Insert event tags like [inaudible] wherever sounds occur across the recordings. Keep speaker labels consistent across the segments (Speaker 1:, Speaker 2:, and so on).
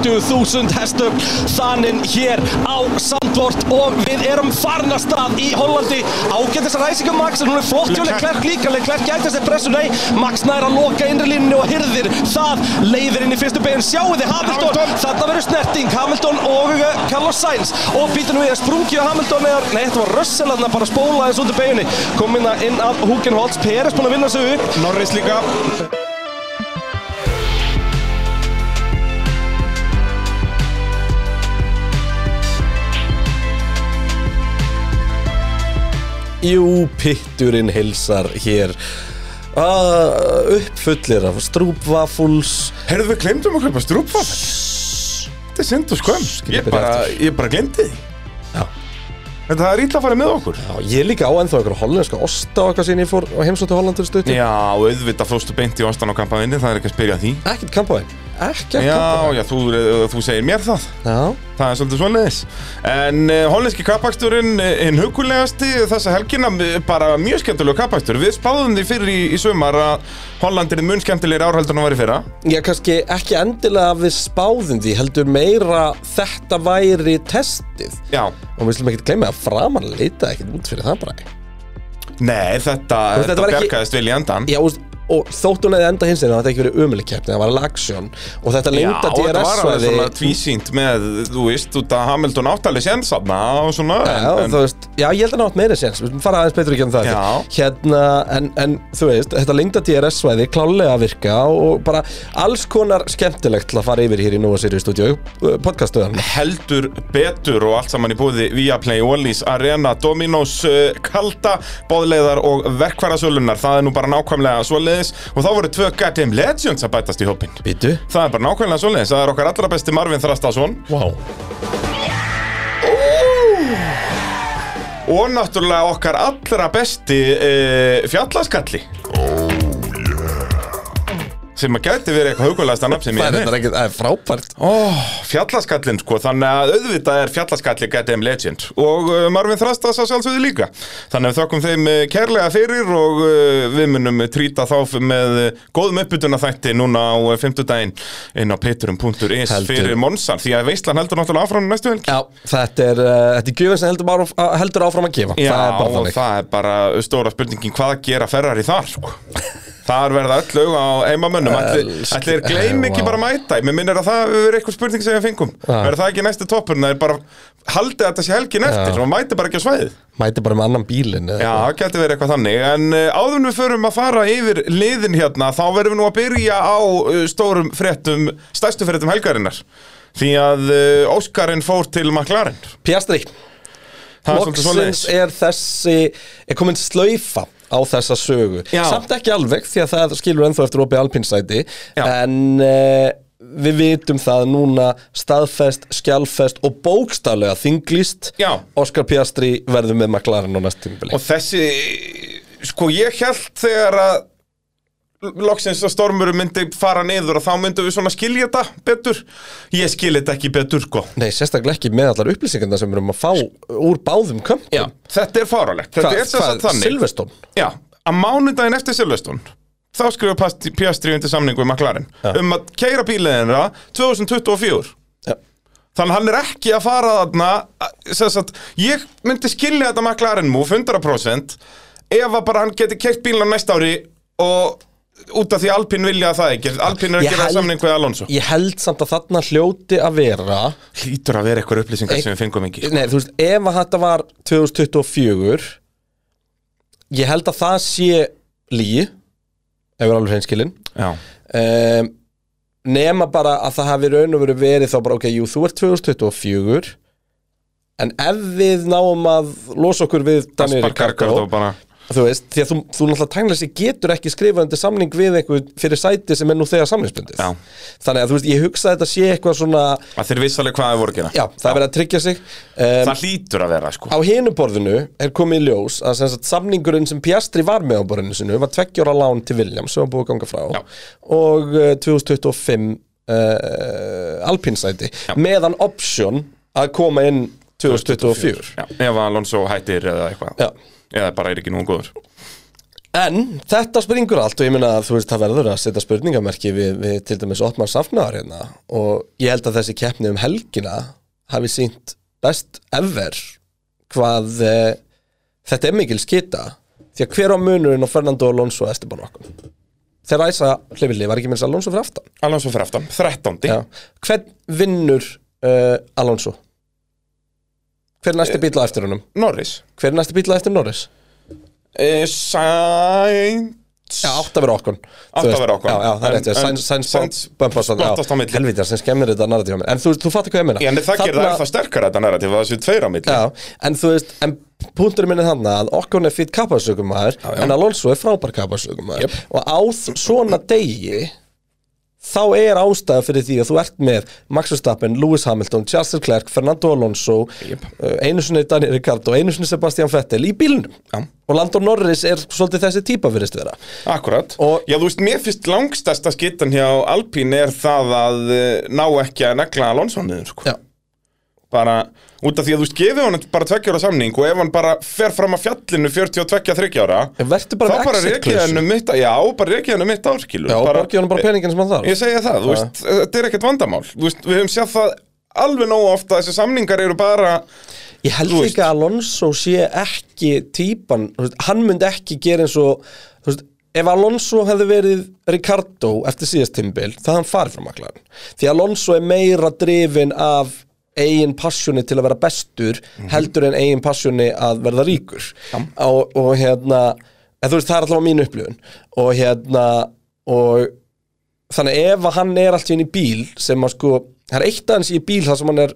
Speaker 1: 20.000 hestum þaninn hér á Sandvort og við erum farnastað í Hollandi ágættis ræsingum um Max en hún er flott hjá Leclerc líka Leclerc gæti þessi pressu, nei Max nær að loka innri línunni og hirðir það leiðir inn í fyrstu beginn, sjáu þið Hamilton,
Speaker 2: Hamilton.
Speaker 1: þarna verður snerting Hamilton og uh, Carlos Sainz og býtur nú í að sprungi á Hamilton eða, nei þetta var Russell að bara spóla þessu undir beginni kom inn að inn að Hugenholz, Peres búin að vinna sig upp
Speaker 2: Norris líka
Speaker 1: Jú, pitturinn hilsar hér uh, uppfullir af strúpvafuls
Speaker 2: Herðu við glemdum að kaupa strúpvaff Þetta er synd og skömm
Speaker 1: Skilja
Speaker 2: Ég
Speaker 1: byrja
Speaker 2: bara,
Speaker 1: aftur.
Speaker 2: ég bara glemdi því
Speaker 1: Já.
Speaker 2: En það er illa að fara með okkur
Speaker 1: Já, ég er líka á ennþá einhverja hollenska osta og eitthvað síðan ég fór á heimsóttu Hollandur stutti
Speaker 2: Já, auðvitað fórstu beint í ostan á kampaðinni Það er ekki að spyrja að því
Speaker 1: Ekkert kampaðin Ekkert
Speaker 2: Já,
Speaker 1: kampaðin
Speaker 2: já, þú, eh, þú segir mér það
Speaker 1: Já,
Speaker 2: Það er svolítið svoleiðis En uh, hollenski kappaksturinn eh, hinn hugulegasti þessa helgina eh, bara mjög skemmtilega kappakstur Við spáðum því fyrir í, í sumar að Hollandir er mun skemmtilegir árhaldur en að vera í fyrra
Speaker 1: ég kannski ekki endilega að við spáðum því heldur meira þetta væri testið
Speaker 2: Já,
Speaker 1: og við slum ekkert gleyma að framan leita ekkert út fyrir það bara
Speaker 2: nei, þetta,
Speaker 1: veist, þetta
Speaker 2: þetta
Speaker 1: var ekki-
Speaker 2: bjargaðist vel í endan
Speaker 1: Já, og, og þótt hún hefði enda hins einu það ekki verið ömuleg keppni, það var lagsjón og þetta lengda
Speaker 2: þetta var alveg
Speaker 1: DRS-svæði
Speaker 2: svona tvísýnt með, þú veist, út að Hamilton áttali sénsanna og svona
Speaker 1: Já,
Speaker 2: en,
Speaker 1: þú veist, já, ég held að nátt meira séns, við skulum fara aðeins betur ekki um það
Speaker 2: Já.
Speaker 1: eftir. Hérna, en, en þú veist, þetta lengda DRS-svæði klálega að virka og bara alls konar skemmtilegt til að fara yfir hér í Nova Sirius Studio uh, podcaststöðan
Speaker 2: heldur betur og allt saman í búði Viaplay, Wallis, Arena, Dominos, eh, Kalda, Bóðleiðar og Verkvarasölunar, það er nú bara nákvæmlega svoleiðis og þá voru tvö goddamn legends að bætast í hópin.
Speaker 1: Býtu
Speaker 2: Það er bara nákvæmlega svoleiðis, það er okkar allra besti Marvin Þrastason
Speaker 1: Vá
Speaker 2: og náttúrulega okkar allra besti uh, fjallaskalli oh, yeah. sem að gæti verið eitthvað hugulegasta nafn sem ég
Speaker 1: Það
Speaker 2: hef
Speaker 1: er
Speaker 2: heyrt.
Speaker 1: þetta ekki, það er frábært
Speaker 2: Oh, fjallaskallin sko, þannig að auðvitað er fjallaskallin Goddamn Legend og uh, Marvin Þrastas að sjálfsögðu líka þannig að við þökkum þeim uh, kærlega fyrir og uh, við munum trýta þá f- með uh, góðum uppbytuna þætti núna á uh, 50 daginn inn á peturum.is
Speaker 1: Heldur.
Speaker 2: fyrir Monsan því að veislan heldur náttúrulega áfram næstu helgi
Speaker 1: Já, þetta er, uh, þetta er gjöfum sem heldur, bara, áf- heldur áfram að gefa
Speaker 2: Já,
Speaker 1: Það er bara
Speaker 2: og
Speaker 1: þannig
Speaker 2: það er bara stóra spurningin hvað gera Ferrari þar sko. Þar verða öll auð á heimamönnum Ætli
Speaker 1: Elsku-
Speaker 2: ætli þeir gleym ekki
Speaker 1: Vá.
Speaker 2: bara að mæta Mér minnir að það verður eitthvað spurning sem við fengum Verður það ekki næsti toppurinn Það er bara haldið að þetta sé helgin eftir og mæti bara ekki á svæðið
Speaker 1: Mæti bara með annan bílin
Speaker 2: Já, það getur verið eitthvað þannig En uh, áður en við förum að fara yfir liðin hérna Þá verðum við nú að byrja á uh, stórum fréttum Stærstu fréttum helgarinnar Því að uh, Óskarinn fór til McLaren
Speaker 1: Pjastri
Speaker 2: Það er svolítið
Speaker 1: Loksins
Speaker 2: svoleiðis.
Speaker 1: er þessi er komin slaufa á þessa sögu
Speaker 2: Já.
Speaker 1: samt ekki alveg því að það skilur ennþá eftir opið alpinsæti
Speaker 2: Já.
Speaker 1: en uh, við vitum það núna staðfest, skjálfest og bókstaflega þinglist
Speaker 2: Já.
Speaker 1: Óskar Piastri verður með McLaren á næst tímabili
Speaker 2: Og þessi, sko ég held þegar að loksins að stormur myndi fara niður og þá myndum við svona skilja þetta betur ég skilja þetta ekki betur sko
Speaker 1: Nei, sérstaklega ekki með allar upplýsingarna sem við erum að fá úr báðum kömpum
Speaker 2: þetta er fáralegt þetta er þess að þannig
Speaker 1: Silveston?
Speaker 2: Já, að mánudaginn eftir Silveston þá skrifa Pasti- Piastri undir samning við McLaren um að keira bíliðina 2024
Speaker 1: Já.
Speaker 2: Þannig hann er ekki að fara þarna að- sem sagt, Ég myndi skilja þetta McLaren move 100% Ef að bara hann geti keitt bílna næsta ári Og út af því Alpine vilja það ekki Alpine er
Speaker 1: Ég
Speaker 2: að gera
Speaker 1: held-
Speaker 2: samning við Alonso
Speaker 1: Ég held samt að þarna hljóti að vera
Speaker 2: Hlýtur að vera eitthvað upplýsingar
Speaker 1: Eitt-
Speaker 2: sem við fengum ekki sko.
Speaker 1: Nei, þú veist, ef að þetta var 2024 Ég held að það sé líi Ef við erum alveg hreinskilin
Speaker 2: Já,
Speaker 1: um, Nema bara að það hafi raun og veru verið þá bara Ok, jú, þú ert 2024 En ef við náum að losa okkur við Daniel
Speaker 2: Aspar Karkardo
Speaker 1: Ricardo
Speaker 2: bara
Speaker 1: Þú veist, því að þú, þú náttúrulega tæknilega sér getur ekki skrifað undir samning við einhver fyrir sæti sem er nú þegar samningsbundið
Speaker 2: Já.
Speaker 1: Þannig að þú veist, ég hugsa að þetta sé eitthvað svona
Speaker 2: Að þeir vissalega hvað er voru að gera
Speaker 1: Já, það er verið að tryggja sig um,
Speaker 2: Það hlýtur að vera sko
Speaker 1: Á hinuborðinu er komið í ljós að sem sagt, samningurinn sem Piastri var með á borðinu sinu var tveggjóra lán til Williams sem var búið að ganga frá
Speaker 2: Já.
Speaker 1: og uh, 2025 uh, Alpinsæti meðan option að koma inn 2024
Speaker 2: Já, Ef Alonso hættir eða eitthvað
Speaker 1: Já.
Speaker 2: Eða bara er ekki nú góður
Speaker 1: En þetta springur allt og ég meina að þú veist það verður að setja spurningamerki við, við til dæmis Ottmar Safnar hérna og ég held að þessi keppni um helgina hafi sínt best ever hvað e, þetta er mikil skita því að hver á munurinn á Fernando Alonso og Esteban Ocon þeir æsa hlifili, var ekki minnst Alonso fyrir aftan
Speaker 2: Alonso fyrir aftan, 13.
Speaker 1: Já. hvern vinnur uh, Alonso hver er næsti bíl á eftir honum
Speaker 2: Norris
Speaker 1: hver er næsti bíl á eftir Norris
Speaker 2: e, Sainz
Speaker 1: Já, átt að vera okkur
Speaker 2: Átti að vera Ocon.
Speaker 1: Já, já, það er
Speaker 2: En-
Speaker 1: rétt
Speaker 2: en
Speaker 1: Sainz- Sainz
Speaker 2: Sainz
Speaker 1: Bömpastan
Speaker 2: skottast á milli.
Speaker 1: Helvítið, sem skemmir þetta narratíf á mér En þú, þú fattar hvað ég meina
Speaker 2: En það gerir það ennþá sterkara þetta narratíf að þessu tveir á milli
Speaker 1: Já, en þú veist, en punkturinn minn er þannig að okkur er fýtt kapparsökumæður En Alonso er frábær kapparsökumæður
Speaker 2: Jöp.
Speaker 1: Og á þ- svona degi Þá er ástæða fyrir því að þú ert með Max Verstappen, Lewis Hamilton, Charles Leclerc, Fernando Alonso
Speaker 2: Jöp.
Speaker 1: uh, Einu sinni Daniel Ricardo, einu sinni Sebastian Vettel í bílnum
Speaker 2: Já.
Speaker 1: Og Landon Norris er svolítið þessi típa fyrir stuðra
Speaker 2: Akkurat,
Speaker 1: Og-
Speaker 2: já þú veist, mér finnst langstasta skittan hjá Alpín er það að eh, ná ekki að negla Alonso niður sko.
Speaker 1: Já,
Speaker 2: bara út af því að þú veist, gefið hann bara tveggja ára samning og ef hann bara fer fram að fjallinu 42-30 ára
Speaker 1: En vertu bara
Speaker 2: þá
Speaker 1: með
Speaker 2: bara
Speaker 1: exit
Speaker 2: rekið
Speaker 1: clause.
Speaker 2: hann um mitt já, bara rekið hann um mitt árkilu
Speaker 1: Já, bara, borgi honum bara peningin sem hann þarf
Speaker 2: ég segja það, þú veist, þetta er ekkert vandamál Þú veist, við höfum séð það alveg nóg ofta að þessi samningar eru bara
Speaker 1: Ég held
Speaker 2: Þú veist.
Speaker 1: líka að Alonso sé ekki típan, þú veist, hann myndi ekki gera eins og, þú veist, ef Alonso hefði verið Ricardo eftir síðast timbil, það hann farið frá maklarinn. Því Alonso er meira drifin af eigin passjóni til að vera bestur heldur en eigin passjóni að verða ríkur og, og hérna en þú veist það er allavega mín upplifun og hérna og þannig ef að hann er allt í henni í bíl sem að sko, það er eitt aðeins í bíl þar sem hann er,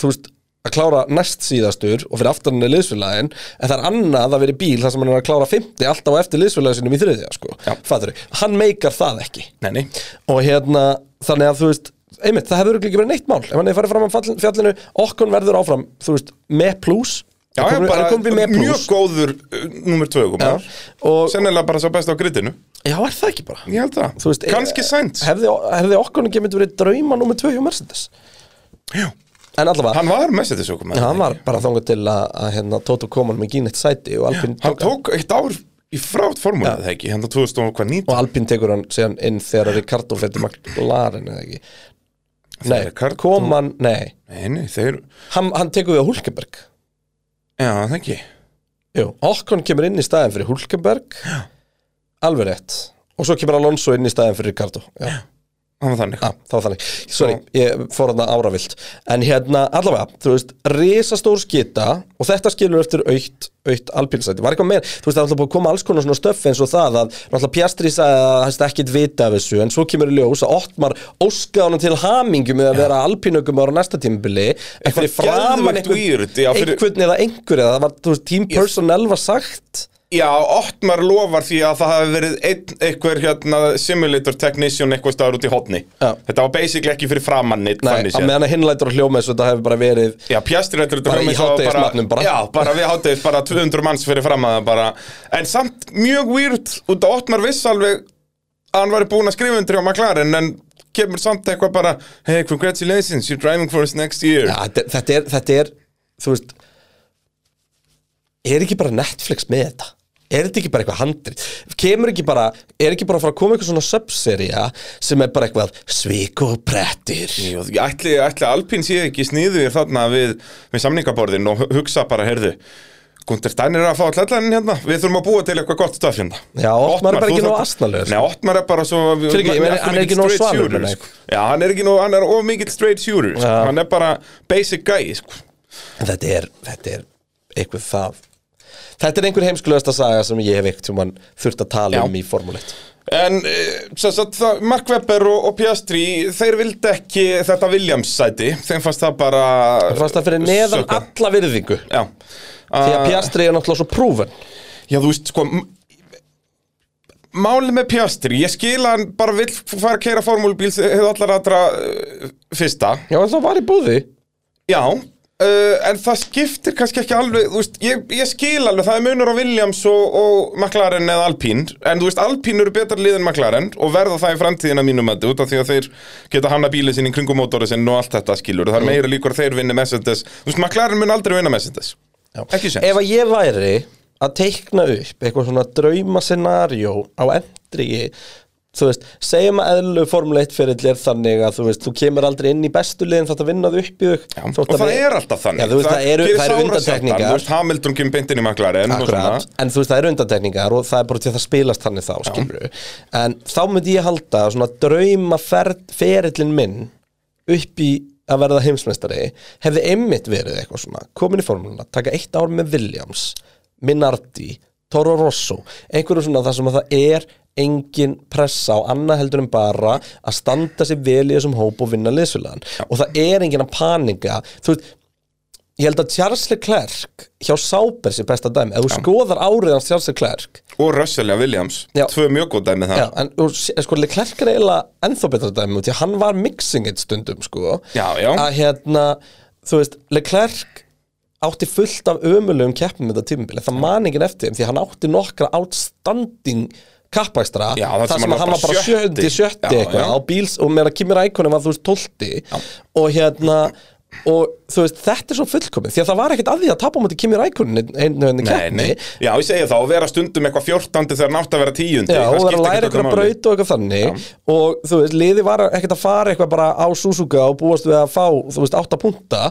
Speaker 1: þú veist, að klára næst síðastur og fyrir aftan hann er liðsfélagin en það er annað að vera í bíl þar sem hann er að klára 50 alltaf á eftir liðsfélagin sinum í þriðja sko,
Speaker 2: Já.
Speaker 1: fattur hann meikar það ekki
Speaker 2: neini,
Speaker 1: og hérna, þannig að þú veist einmitt, það hefur örugglega ekki verið neitt mál ef hann hefur farið fram af fall- fjallinu, okkur verður áfram þú veist, með plus
Speaker 2: já, já, bara mjög
Speaker 1: mjög góð
Speaker 2: góður uh, nummer 2 komar,
Speaker 1: og,
Speaker 2: sennilega bara svo best á grittinu
Speaker 1: já, er það ekki bara
Speaker 2: ég held það,
Speaker 1: Þú veist,
Speaker 2: kannski
Speaker 1: eh,
Speaker 2: sænt
Speaker 1: hefði, hefði okkur ekki myndi verið drauma nummer 2 hjá Mercedes
Speaker 2: Já.
Speaker 1: en allavega,
Speaker 2: hann var með sér þessu okkur
Speaker 1: hann var bara þangað til að, að hérna, Tóto kom hann með gínett sæti og Alpín
Speaker 2: hann
Speaker 1: tók hann
Speaker 2: tók eitt ár í frát formúlið það ekki, hann tók 2019
Speaker 1: og Alpín tekur hann síðan inn þegar Ricardo fyrir til McLaren eða ekki Nei,
Speaker 2: Ricardo-
Speaker 1: kom hann, nei
Speaker 2: Nei, nei, þeir,
Speaker 1: hann, hann tekur við á Hulkenberg
Speaker 2: já það ekki
Speaker 1: Jú, Okkon kemur inn í staðin fyrir Hulkenberg alveg rétt og svo kemur Alonso inn í staðin fyrir Ricardo Já,
Speaker 2: hann var þannig,
Speaker 1: Já Ah, það var þannig, sorry, ég fór hann áravilt en hérna, allavega, þú veist risastór skita og þetta skilur eftir aukt, aukt alpínsæti var eitthvað meira, þú veist, það er alltaf búið að koma alls konar svona stöffi eins og það að, náttúrulega Pjastri sagði að hann hefst ekkit vita af þessu, en svo kemur í ljós að Ottmar óskaði honum til hamingu með að vera alpínökum ára næsta tímbili en fyrir framan
Speaker 2: geðveikt weird, já, fyrir-
Speaker 1: einhvern eða einhver eða það var, þú veist, team personnel var sagt
Speaker 2: já, Ottmar lofar því að það hafi verið einn, einhver hérna simulator technician eitthvað staður út í hotni
Speaker 1: Já.
Speaker 2: þetta var basically ekki fyrir framann neitt,
Speaker 1: Nei,
Speaker 2: þannig
Speaker 1: að
Speaker 2: séð
Speaker 1: meðan að hinlætur og hljóma þessu þetta hefur bara verið
Speaker 2: Já, pjastir þetta
Speaker 1: Bara í hádegismatnum bara.
Speaker 2: Já, bara við hátegis, bara 200 manns fyrir fram að það bara En samt mjög weird, út af Ottmar viss alveg að hann væri búinn að skrifa undir hjá McLaren En kemur samt eitthvað bara Hey, congratulations, you're driving for us next year
Speaker 1: Já, þetta, þetta, er, þetta er, þú veist Er ekki bara Netflix með þetta? Er þetta ekki bara eitthvað handrið? Kemur ekki bara, er ekki bara að fara að koma eitthvað svona subserja sem er bara eitthvað svik og brettir
Speaker 2: Jú, ég ætli, ætli að Alpín sé ekki sniður þarna við, við samningaborðin og hu- hugsa bara, heyrðu Gunther Stein er að fá allan hérna Við þurfum að búa til eitthvað gott stöf hérna
Speaker 1: Já, Ottmar er bara ekki
Speaker 2: þú
Speaker 1: nógu
Speaker 2: þarft-
Speaker 1: asnalegur, sko.
Speaker 2: Nei, Ottmar er bara svo
Speaker 1: Fyrir ekki, ég meina,
Speaker 2: allt of
Speaker 1: hann er
Speaker 2: mikill
Speaker 1: ekki nógu
Speaker 2: straight
Speaker 1: svalur,
Speaker 2: shooter,
Speaker 1: meina ég.
Speaker 2: sko. Já, hann er ekki nóg, hann er of mikill straight shooter sko.
Speaker 1: Já.
Speaker 2: Hann er bara basic guy sko.
Speaker 1: En þetta er, þetta er eitthvað það Þetta er einhver heimskulegasta saga sem ég hef eitt sem mann þurft að tala
Speaker 2: Já.
Speaker 1: um í formuleitt
Speaker 2: En eh, sem sagt, það- Mark Webber og, og Piastri Þeir vildi ekki þetta Williams sæti Þeim fannst það bara
Speaker 1: Fannst það fyrir neðan
Speaker 2: Sökka.
Speaker 1: alla virðingu
Speaker 2: Já Ah,
Speaker 1: Því að Pjastri er náttúrulega svo prúfen
Speaker 2: Já, þú veist, sko m- Málið með Pjastri, ég skil að hann bara vill fara að keira formúlubíl hefur allar aðra uh, fyrsta
Speaker 1: Já, en það var í búði
Speaker 2: Já, uh, en það skiptir kannski ekki alveg, þú veist, ég, ég skil alveg það er munur á Williams og, og McLaren eða Alpín, en þú veist, Alpín eru betra lið en McLaren og verða það í framtíðina mínum að út af því að þeir geta hanna bílið sinni í kringum mótóri sinn og allt þetta skilur, það er meira líkur að þeir vinni Mercedes, þú veist, McLaren mun aldrei vinna Mercedes,
Speaker 1: Já.
Speaker 2: ekki sem
Speaker 1: Ef að ég væri að teikna upp eitthvað svona draumasenarijó á endri þú veist, segjum að eðlu formuleitt fyrir er þannig að þú veist, þú kemur aldrei inn í bestu liðin þátt að vinna þú upp í þau
Speaker 2: Já, og það er alltaf þannig
Speaker 1: Já, þú veist, það, eru,
Speaker 2: gerir
Speaker 1: það eru
Speaker 2: sárasjaldan, Þú
Speaker 1: undantekningar
Speaker 2: veist, Hamilton kemur beint inn í maklaren og svona
Speaker 1: Akkurat, en þú veist það eru undantekningar og það er bara til að það spilast þannig þá skilur en þá myndi ég halda að svona drauma ferillin minn upp í að verða heimsmeistari hefði einmitt verið eitthvað svona komin í formúluna, taka eitt ár með Williams Minardi, Toro Rosso einhverju svona það sem að það er engin pressa á annað heldur en bara að standa sér vel í þessum hóp og vinna liðsfélagan og það er engin að paninga þú veist, Ég held að Charles Leclerc hjá Sáber sé besta dæmi, ef þú skoðar árið hans Charles Leclerc
Speaker 2: Og Russell og Williams,
Speaker 1: Já.
Speaker 2: tvö mjög góð dæmi það
Speaker 1: Já, en og sé- sko, Leclerc er eiginlega ennþá betra dæmi því að hann var mixing eitt stundum sko.
Speaker 2: Já, já.
Speaker 1: að hérna, þú veist, Leclerc átti fullt af ömulegum keppnum þetta tímabili, það man ekki eftir þeim því að hann átti nokkra outstanding kappakstra,
Speaker 2: Já, það sem
Speaker 1: sem að hann var bara sjötti, sjötti
Speaker 2: Já,
Speaker 1: eitthvað
Speaker 2: já.
Speaker 1: á bíls og meðan Kimi Rækonin var þú veist tólti og hérna og þú veist, þetta er svo fullkomið því að það var ekkert að því að tapa á móti Kimi Rækonin einu henni
Speaker 2: Nei,
Speaker 1: keppni
Speaker 2: nei, já, ég segi það, og vera stundum eitthvað fjórtandi þegar nátt að vera tíundi
Speaker 1: Já,
Speaker 2: það
Speaker 1: og
Speaker 2: skiptir
Speaker 1: vera að læra
Speaker 2: ekkert öllu
Speaker 1: eitthvað
Speaker 2: máli.
Speaker 1: braut og eitthvað þannig og þú veist, liði var ekkert að fara eitthvað bara á Suzuka og búast við að fá þú veist, átta punta,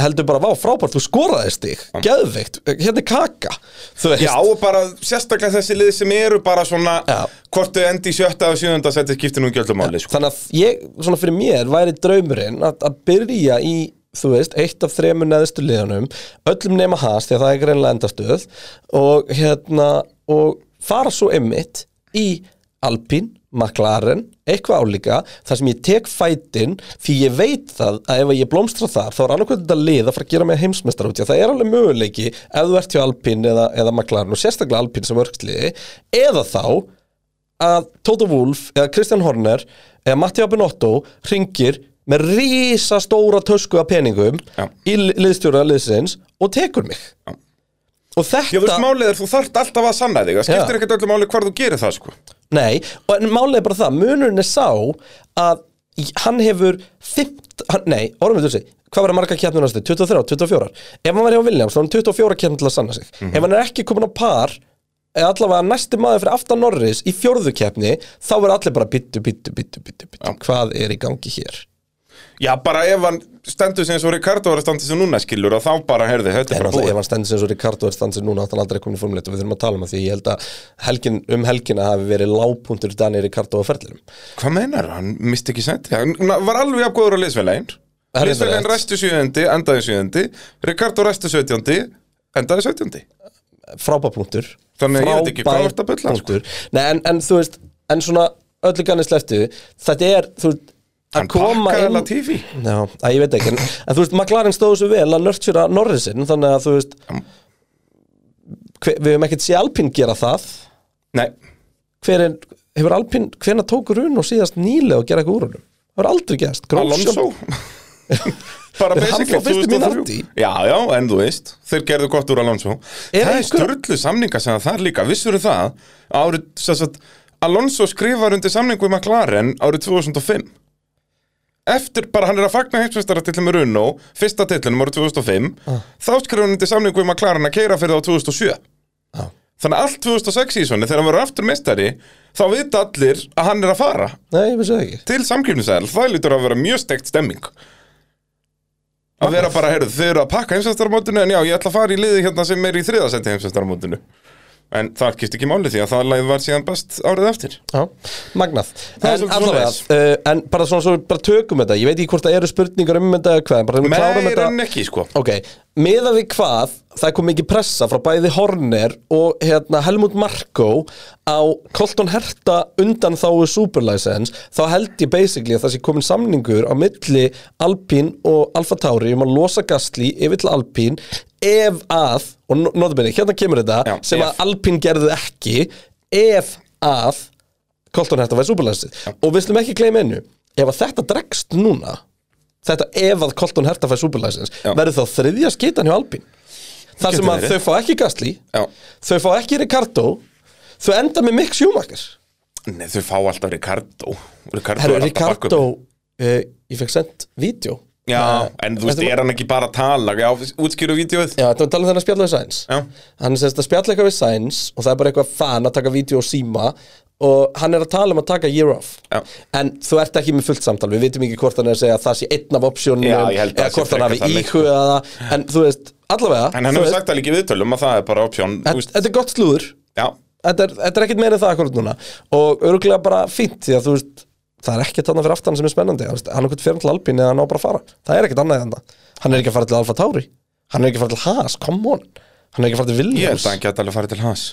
Speaker 1: heldur bara vá, frábært, þú skoraði stig, geðveikt hérna er kaka, þú veist
Speaker 2: Já, og bara sérstaklega þessi lið sem eru bara svona
Speaker 1: Já.
Speaker 2: Hvort þau endi í sjötta og sjöunda seti skiptir nú gjöldum sko.
Speaker 1: þannig að ég, svona fyrir mér væri draumurinn að, að byrja í þú veist, eitt af þremur neðstu liðanum öllum nema hans, því að það er greinlega endastuð og hérna og fara svo emmitt í Alpín, McLaren eitthvað álíka, þar sem ég tek fætin því ég veit það að ef ég blómstra þar, þá er annarkvæmt þetta lið að fara að gera mig heimsmeistar út, því að það er alveg möguleiki ef þú ert hjá Alpín eða, eða McLaren og sérstaklega Alpín sem örgsliði, eða þá að Toto Wolff eða Kristján Horner eða Mattia Benotto ringir með rísa stóra tösku af peningum
Speaker 2: Já.
Speaker 1: í li- liðstjóra liðsins og tekur mig
Speaker 2: Já.
Speaker 1: og þetta
Speaker 2: Já, þú veist, málið er þú þarft alltaf að sanna þig Það skiptir
Speaker 1: Já.
Speaker 2: ekkert öllu máli hvar þú gerir það, sko
Speaker 1: Nei, og en málið er bara það, munurinn er sá að í- hann hefur 15, hann- nei, orðum við þú sig hvað var að marga keppnir næstu, 23, 24 ef hann var hjá Williams, þá er hann 24 keppnir til að sanna sig ef hann er ekki komin á par eða allavega næsti maður fyrir aftan Norris í fjórðu keppni, þá verður allir bara bittu, bittu, bittu, bittu, bittu, hvað er í gangi hér
Speaker 2: Já, bara ef hann stendur sem eins og Ricardo var að standa sem núna skilur og þá bara, heyrðu, þetta
Speaker 1: En
Speaker 2: er bara
Speaker 1: alltaf,
Speaker 2: búið
Speaker 1: ef hann stendur sem svo Ricardo er stendur núna átt hann aldrei komin í formuleitt og við þurfum að tala um það því ég held að helgin, um helgina hafi verið lágpuntur Dani Ricardo á ferðlirum
Speaker 2: Hvað meinar, hann misti ekki senti Hann na- var alveg jafngóður á liðsfélaginn
Speaker 1: Það er
Speaker 2: Liðsfélaginn
Speaker 1: rétt.
Speaker 2: ræstu sjöundi, endaði sjöundi Ricardo ræstu sjötjóndi, endaði sjötjóndi
Speaker 1: frábæpunktur
Speaker 2: Þannig að ég veit ekki hvað þú ert að bulla, sko.
Speaker 1: Nei, en, en þú veist, en svona öllu ganni sleftu, þetta er þú veist, að
Speaker 2: Hann
Speaker 1: koma
Speaker 2: pakkaði
Speaker 1: inn
Speaker 2: Latifi
Speaker 1: Já, að ég veit ekki, en, en þú veist, McLaren stóðu svo vel að nörtsjura Norrisin, þannig að þú veist hver, við höfum ekkert sé Alpín gera það
Speaker 2: Nei,
Speaker 1: hver er, hefur Alpín, hvernig tók Runo síðast nýlega og gera eitthvað úr honum? Það hefur aldrei gerst,
Speaker 2: Alonso [laughs] Bara
Speaker 1: En hann
Speaker 2: basically
Speaker 1: fór fyrst í
Speaker 2: 2003.
Speaker 1: Minardi.
Speaker 2: Já, já, en þú veist, þeir gerðu gott úr Alonso
Speaker 1: Er
Speaker 2: Það er
Speaker 1: einhver-
Speaker 2: störlu samninga sem það er líka, vissur það árið, sem sagt, Alonso skrifar undir samningu í McLaren árið 2005 Eftir, bara hann er að fagna heimsveistara tillum með Runo, fyrsta tillunum árið 2005
Speaker 1: Ah.
Speaker 2: Þá skrifar hann undir samningu í McLaren að keira fyrir þá 2007
Speaker 1: Já.
Speaker 2: Þannig að allt 2006 í svona, þegar hann verður aftur mestari, þá vita allir að hann er að fara
Speaker 1: Nei, ég vissi það ekki
Speaker 2: til samkjöfnisæðal, það lítur að vera mjög steikt stemming að vera bara, heyrðu, þau eru að pakka heimsvestarmótinu en já, ég ætla að fara í liði hérna sem er í þriðasendi heimsvestarmótinu en það kýst ekki máli því að það lagið var síðan best árið eftir
Speaker 1: Já, magnað
Speaker 2: er
Speaker 1: en,
Speaker 2: svolítið
Speaker 1: allavega, uh, en bara svona svo við bara tökum þetta Ég veit ekki hvort það eru spurningar um þetta eða hvað en bara reynum að klára
Speaker 2: meir
Speaker 1: þetta
Speaker 2: en ekki, sko
Speaker 1: Ok, miðað við hvað það kom mikið pressa frá bæði Horner og hérna, Helmut Marko á Colton Herta undan þáu Superlicense þá held ég basically að það sé komin samningur á milli Alpín og Alfa Tauri um að losa Gastli yfir til Alpín ef að, og no- notabene, hérna kemur þetta
Speaker 2: Já,
Speaker 1: sem
Speaker 2: ef.
Speaker 1: að Alpín gerði ekki ef að Colton Herta væri Superlicense og við slum ekki gleyma ennu ef að þetta dregst núna þetta ef að Colton Herta fær superlæsins
Speaker 2: Já.
Speaker 1: verður þá þriðja skitan hjá Alpín þar sem
Speaker 2: Getur
Speaker 1: að
Speaker 2: verið.
Speaker 1: þau fá ekki Gastli
Speaker 2: Já.
Speaker 1: þau fá ekki Ricardo þau enda með Mick Schumacher
Speaker 2: Nei, þau fá alltaf Ricardo Ricardo
Speaker 1: Herru,
Speaker 2: er alltaf
Speaker 1: Ricardo,
Speaker 2: bakkup.
Speaker 1: uh, ég fekk sendt vídeo
Speaker 2: Já, en þú veist,
Speaker 1: Þetta-
Speaker 2: er hann ekki bara að tala? Já, útskýru vídeoið?
Speaker 1: Já, þetta var að tala um þennan spjall við Sainz
Speaker 2: Já.
Speaker 1: Hann er semst að spjalla eitthvað við Sainz og það er bara eitthvað fan að taka vídeo og síma og hann er að tala um að taka year off
Speaker 2: Já.
Speaker 1: en þú ert ekki með fullt samtal við vitum ekki hvort hann er að segja að það sé einn af optionum
Speaker 2: Já, ég held að
Speaker 1: eða
Speaker 2: það sé
Speaker 1: hvort hann
Speaker 2: frekar
Speaker 1: hafi
Speaker 2: þannig, sko.
Speaker 1: íhugað það en þú veist, allavega
Speaker 2: En hann
Speaker 1: þú
Speaker 2: hefur
Speaker 1: veist,
Speaker 2: sagt það líka í viðtölum að það er bara option, þú
Speaker 1: þetta
Speaker 2: veist,
Speaker 1: þetta er gott slúður
Speaker 2: já.
Speaker 1: þetta er, þetta er ekkit meira en það akkurat núna og örgulega bara fínt því að þú veist það er ekkert annað fyrir aftan sem er spennandi þú veist, hann er ekkert fyrir til Alpín eða hann á bara að fara það er ekkert annað en það hann er ekki að fara til Alfa Tauri hann er ekki að fara til Haas, come on hann er ekki að fara til
Speaker 2: Ég held
Speaker 1: Williams
Speaker 2: að hann geti alveg farið til hans.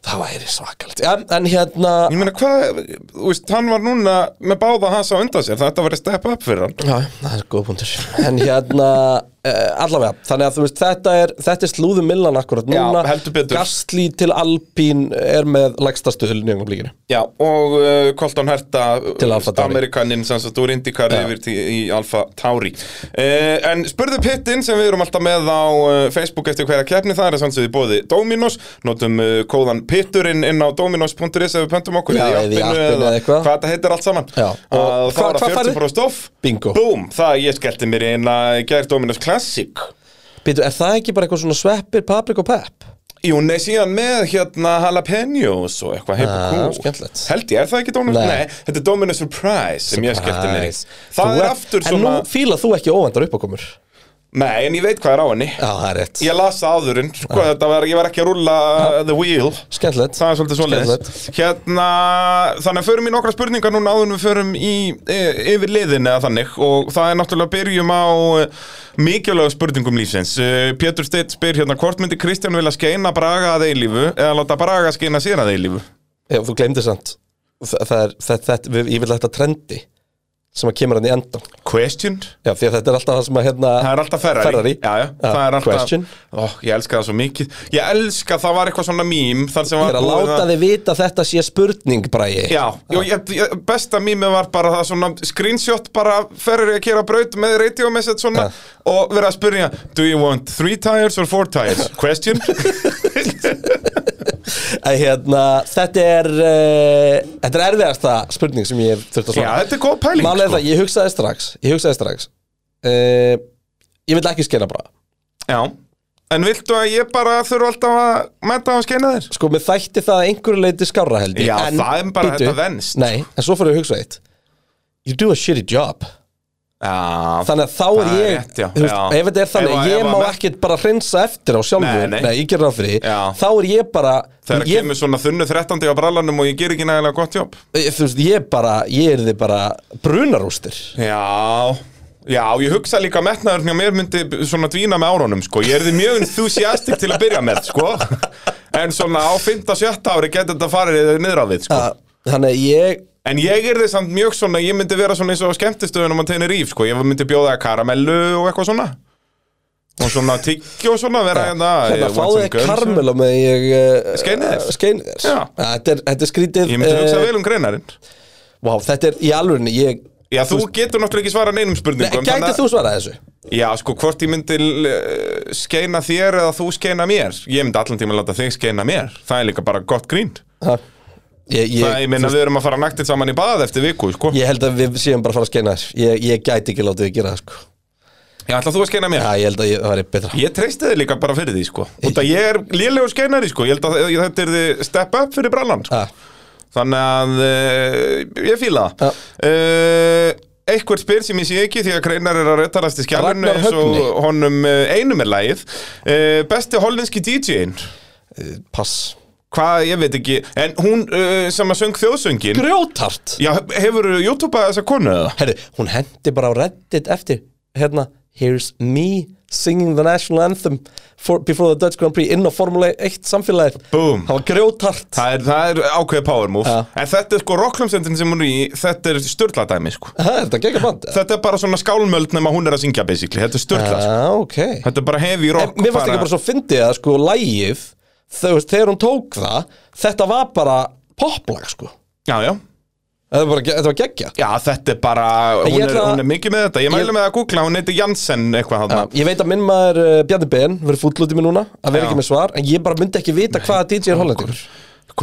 Speaker 1: það væri svakalegt en, en hérna
Speaker 2: Ég meina, hvað, þú veist, hann var núna með báða hans á undan sér, þetta var að steppa upp fyrir hann.
Speaker 1: Já, það er góð punktur [laughs] En hérna, uh, allavega Þannig að þú veist, þetta er, þetta er slúðu millan akkurat
Speaker 2: Já,
Speaker 1: núna
Speaker 2: heldur betur.
Speaker 1: Gastli til Alpín er með lægsta stöðul í ögnum
Speaker 2: Já, og uh, Colton Herta
Speaker 1: Til Alpha Tauri.
Speaker 2: Amerikaninn sem satt úr IndyCar
Speaker 1: Já.
Speaker 2: yfir til, í Alfa Tauri uh, En spurðu pittin sem við erum alltaf með á uh, Facebook eftir hverja keppni það er að sannsögðu bóði Dominos Notum uh, kóðan pitturinn inn á dominos.is ef við pöntum okkur
Speaker 1: Já,
Speaker 2: eða í
Speaker 1: eða í
Speaker 2: appinu
Speaker 1: appinu eða eitthvað.
Speaker 2: Hvað þetta heitir allt saman
Speaker 1: Já,
Speaker 2: Og
Speaker 1: og
Speaker 2: þá
Speaker 1: hva- hvað
Speaker 2: er það
Speaker 1: færðu?
Speaker 2: 40 bróð stoff
Speaker 1: Bingo.
Speaker 2: Búm, það ég skellti mér inn að gera Dominos Classic
Speaker 1: Býtu, er það ekki bara eitthvað svona sveppir, paprik og pepp?
Speaker 2: Jú, nei, síðan með hérna jalapenos og eitthvað heip
Speaker 1: Ah,
Speaker 2: og kú
Speaker 1: skemmtilegt.
Speaker 2: Held ég, er það ekki Dominus?
Speaker 1: Nei.
Speaker 2: Nei, þetta er Dominus Surprise sem ég skellti mér í
Speaker 1: Þú
Speaker 2: Það er
Speaker 1: ert-
Speaker 2: aftur
Speaker 1: En
Speaker 2: svona
Speaker 1: nú fílað þú ekki óvendar uppákomur Já,
Speaker 2: Nei, en ég veit hvað er á henni
Speaker 1: það er rétt
Speaker 2: Ég las það áðurinn, sko,
Speaker 1: Ah.
Speaker 2: þetta var, ég var ekki að rúlla uh, the wheel
Speaker 1: Skemmtilegt
Speaker 2: Það er svolítið svoleiðis Hérna, þannig að förum í nokkra spurningar núna áður en við förum í e, yfir liðin eða þannig og það er náttúrulega byrjum á e, mikilvæg spurningum lífsins e, Pétur Steitt spyr hérna, hvort myndi Kristján vilja skeina Braga að eilífu eða láta Braga skeina sér að eilífu
Speaker 1: Já, þú glemdi samt Þa, það er, það, það, við, Ég vil þetta trendi sem að kemur hann í endan
Speaker 2: Question?
Speaker 1: Já, því að þetta er alltaf það sem að hérna
Speaker 2: Það er alltaf Ferrari,
Speaker 1: Ferrari.
Speaker 2: Já, já, það er alltaf
Speaker 1: Question.
Speaker 2: Ó, Ég elska það svo mikið Ég elska, það var eitthvað svona mím þar sem
Speaker 1: Ég
Speaker 2: var
Speaker 1: er að
Speaker 2: búið
Speaker 1: láta þið vita að þetta sé spurning, Bræi
Speaker 2: Já, jú, ég, ég, besta mými var bara það svona screenshot bara ferur ég að kera braut með radio message svona
Speaker 1: Ja.
Speaker 2: og verið að spyrja Do you want three tires or four tires?
Speaker 1: [laughs]
Speaker 2: Question?
Speaker 1: að hérna, þetta er uh, þetta er erfiðasta spurning sem ég hef þurft að
Speaker 2: Já,
Speaker 1: svara
Speaker 2: þetta er sko. góð pæling
Speaker 1: Málið er það, ég hugsaði strax ég hugsaði strax uh, ég vil ekki skena bara
Speaker 2: Já, en viltu að ég bara þurfa alltaf að mæta á að skeina þér?
Speaker 1: sko, mér þætti það að einhverju leiti skárra held ég
Speaker 2: Já,
Speaker 1: en,
Speaker 2: það er bara
Speaker 1: bíddu,
Speaker 2: þetta venst.
Speaker 1: Nei, en svo fyrir ég að hugsa eitt You do a shitty job
Speaker 2: Já,
Speaker 1: Þannig að þá er
Speaker 2: Það er
Speaker 1: ég
Speaker 2: rétt, já,
Speaker 1: þú veist,
Speaker 2: já.
Speaker 1: Ef þetta er þannig,
Speaker 2: Ef að-
Speaker 1: ég
Speaker 2: ef að
Speaker 1: má
Speaker 2: menn-
Speaker 1: ekkert bara hreinsa eftir á sjálfur
Speaker 2: Nei, nei.
Speaker 1: ég ger ráð fyrir því
Speaker 2: Já.
Speaker 1: Þá er ég bara
Speaker 2: þegar
Speaker 1: ég,
Speaker 2: kemur svona þunnu þrettandi á brallanum og ég ger ekki nægilega gott jobb
Speaker 1: Þú veist, ég bara, ég er þið bara brunarústir
Speaker 2: Já Já, ég hugsa líka að metnaður hjá mér myndi svona dvína með árunum, sko. Ég er því mjög enthusiastic til að byrja með, sko. En svona á 5-7 ári getur þetta farið niður á við, sko.
Speaker 1: Að- Þannig að ég
Speaker 2: En ég er því samt mjög svona, ég myndi vera svona eins og skemmtistöðunum að tegna ríf, sko. Ég myndi bjóða karamellu og eitthvað svona. Og svona tyggju og svona vera hérna.
Speaker 1: Hérna,
Speaker 2: eh, want
Speaker 1: fáðu
Speaker 2: some
Speaker 1: þig
Speaker 2: guns.
Speaker 1: karmel á með ég uh,
Speaker 2: Skeini þér.
Speaker 1: uh, skeini þér.
Speaker 2: Já.
Speaker 1: Að Þetta er, þetta er skrítið
Speaker 2: Ég myndi hugsa
Speaker 1: eh,
Speaker 2: vel um greinarinn.
Speaker 1: Vá, þetta er í alvörinni ég
Speaker 2: Já, þú getur náttúrulega ekki svarað neinum
Speaker 1: Nei,
Speaker 2: spurningum. þannig
Speaker 1: Gæti
Speaker 2: að-
Speaker 1: þú svarað þessu?
Speaker 2: Já, sko, hvort ég myndi eh, skeina þér eða þú skeina mér Ég myndi allan tíma láta þig skeina mér Það er líka bara gott grín
Speaker 1: Ha? Ég,
Speaker 2: Það er, ég
Speaker 1: ég,
Speaker 2: minna, við erum að fara naktir saman í bað eftir viku, sko
Speaker 1: ég held að við séum bara að fara að skeina þér ég, ég gæti ekki látið að gera það sko
Speaker 2: Já, ætla þú að skeina mér
Speaker 1: Já, ég held að ég, það væri betra
Speaker 2: Ég treysti þið líka bara fyrir því, sko Út að ég er lélegur skeinari, sko Ég held að þetta er þið step up fyrir brallan, sko
Speaker 1: Ha,
Speaker 2: Þannig að uh, ég fíla
Speaker 1: Já.
Speaker 2: það uh, Eitthvað spyr sem ég sé ekki því að Kreinar er að röttarast í skjálunni
Speaker 1: Ragnar
Speaker 2: eins og
Speaker 1: Högni.
Speaker 2: honum eh, einum er lagið uh, Besti hollenski DJ-in
Speaker 1: eh, Pass
Speaker 2: Hvað, ég veit ekki En hún uh, sem að söng þjóðsöngin
Speaker 1: Grjótart
Speaker 2: Já, hefur YouTube-að þessa konu eða?
Speaker 1: Herru, hún hendi bara á reddit eftir Hérna, here's me singing the national anthem for, Before the Dutch Grand Prix inn á Formule 1 samfélagið
Speaker 2: Boom.
Speaker 1: Það var grjótart
Speaker 2: Það er, það er ákveðið power move
Speaker 1: Já.
Speaker 2: En þetta er sko rocklumsendin sem hún er í Þetta er störtladæmi sko
Speaker 1: Ha, er þetta geggjum band?
Speaker 2: Þetta er bara svona skálmöld nema hún er að syngja basically Þetta er störtlað sko.
Speaker 1: Já, ok en,
Speaker 2: Þetta er bara heavy rock
Speaker 1: Mér fannst ekki bara svo fyndið að sko lægið þau veist, þegar hún tók það þetta var bara poplag sko
Speaker 2: Já, já
Speaker 1: þetta var, bara, ge- þetta var geggja
Speaker 2: Já, þetta er bara,
Speaker 1: En ég
Speaker 2: hún er,
Speaker 1: ætla-
Speaker 2: hún er mikið með þetta Ég mælu
Speaker 1: Ég-
Speaker 2: með að googla, hún heiti Janssen eitthvað hann
Speaker 1: Ég veit að minn maður eh, uh, Bjarni Ben verið fúll út í mig núna að vera
Speaker 2: Já.
Speaker 1: ekki með svar en ég bara myndi ekki vita hvaða DJ er hollendingur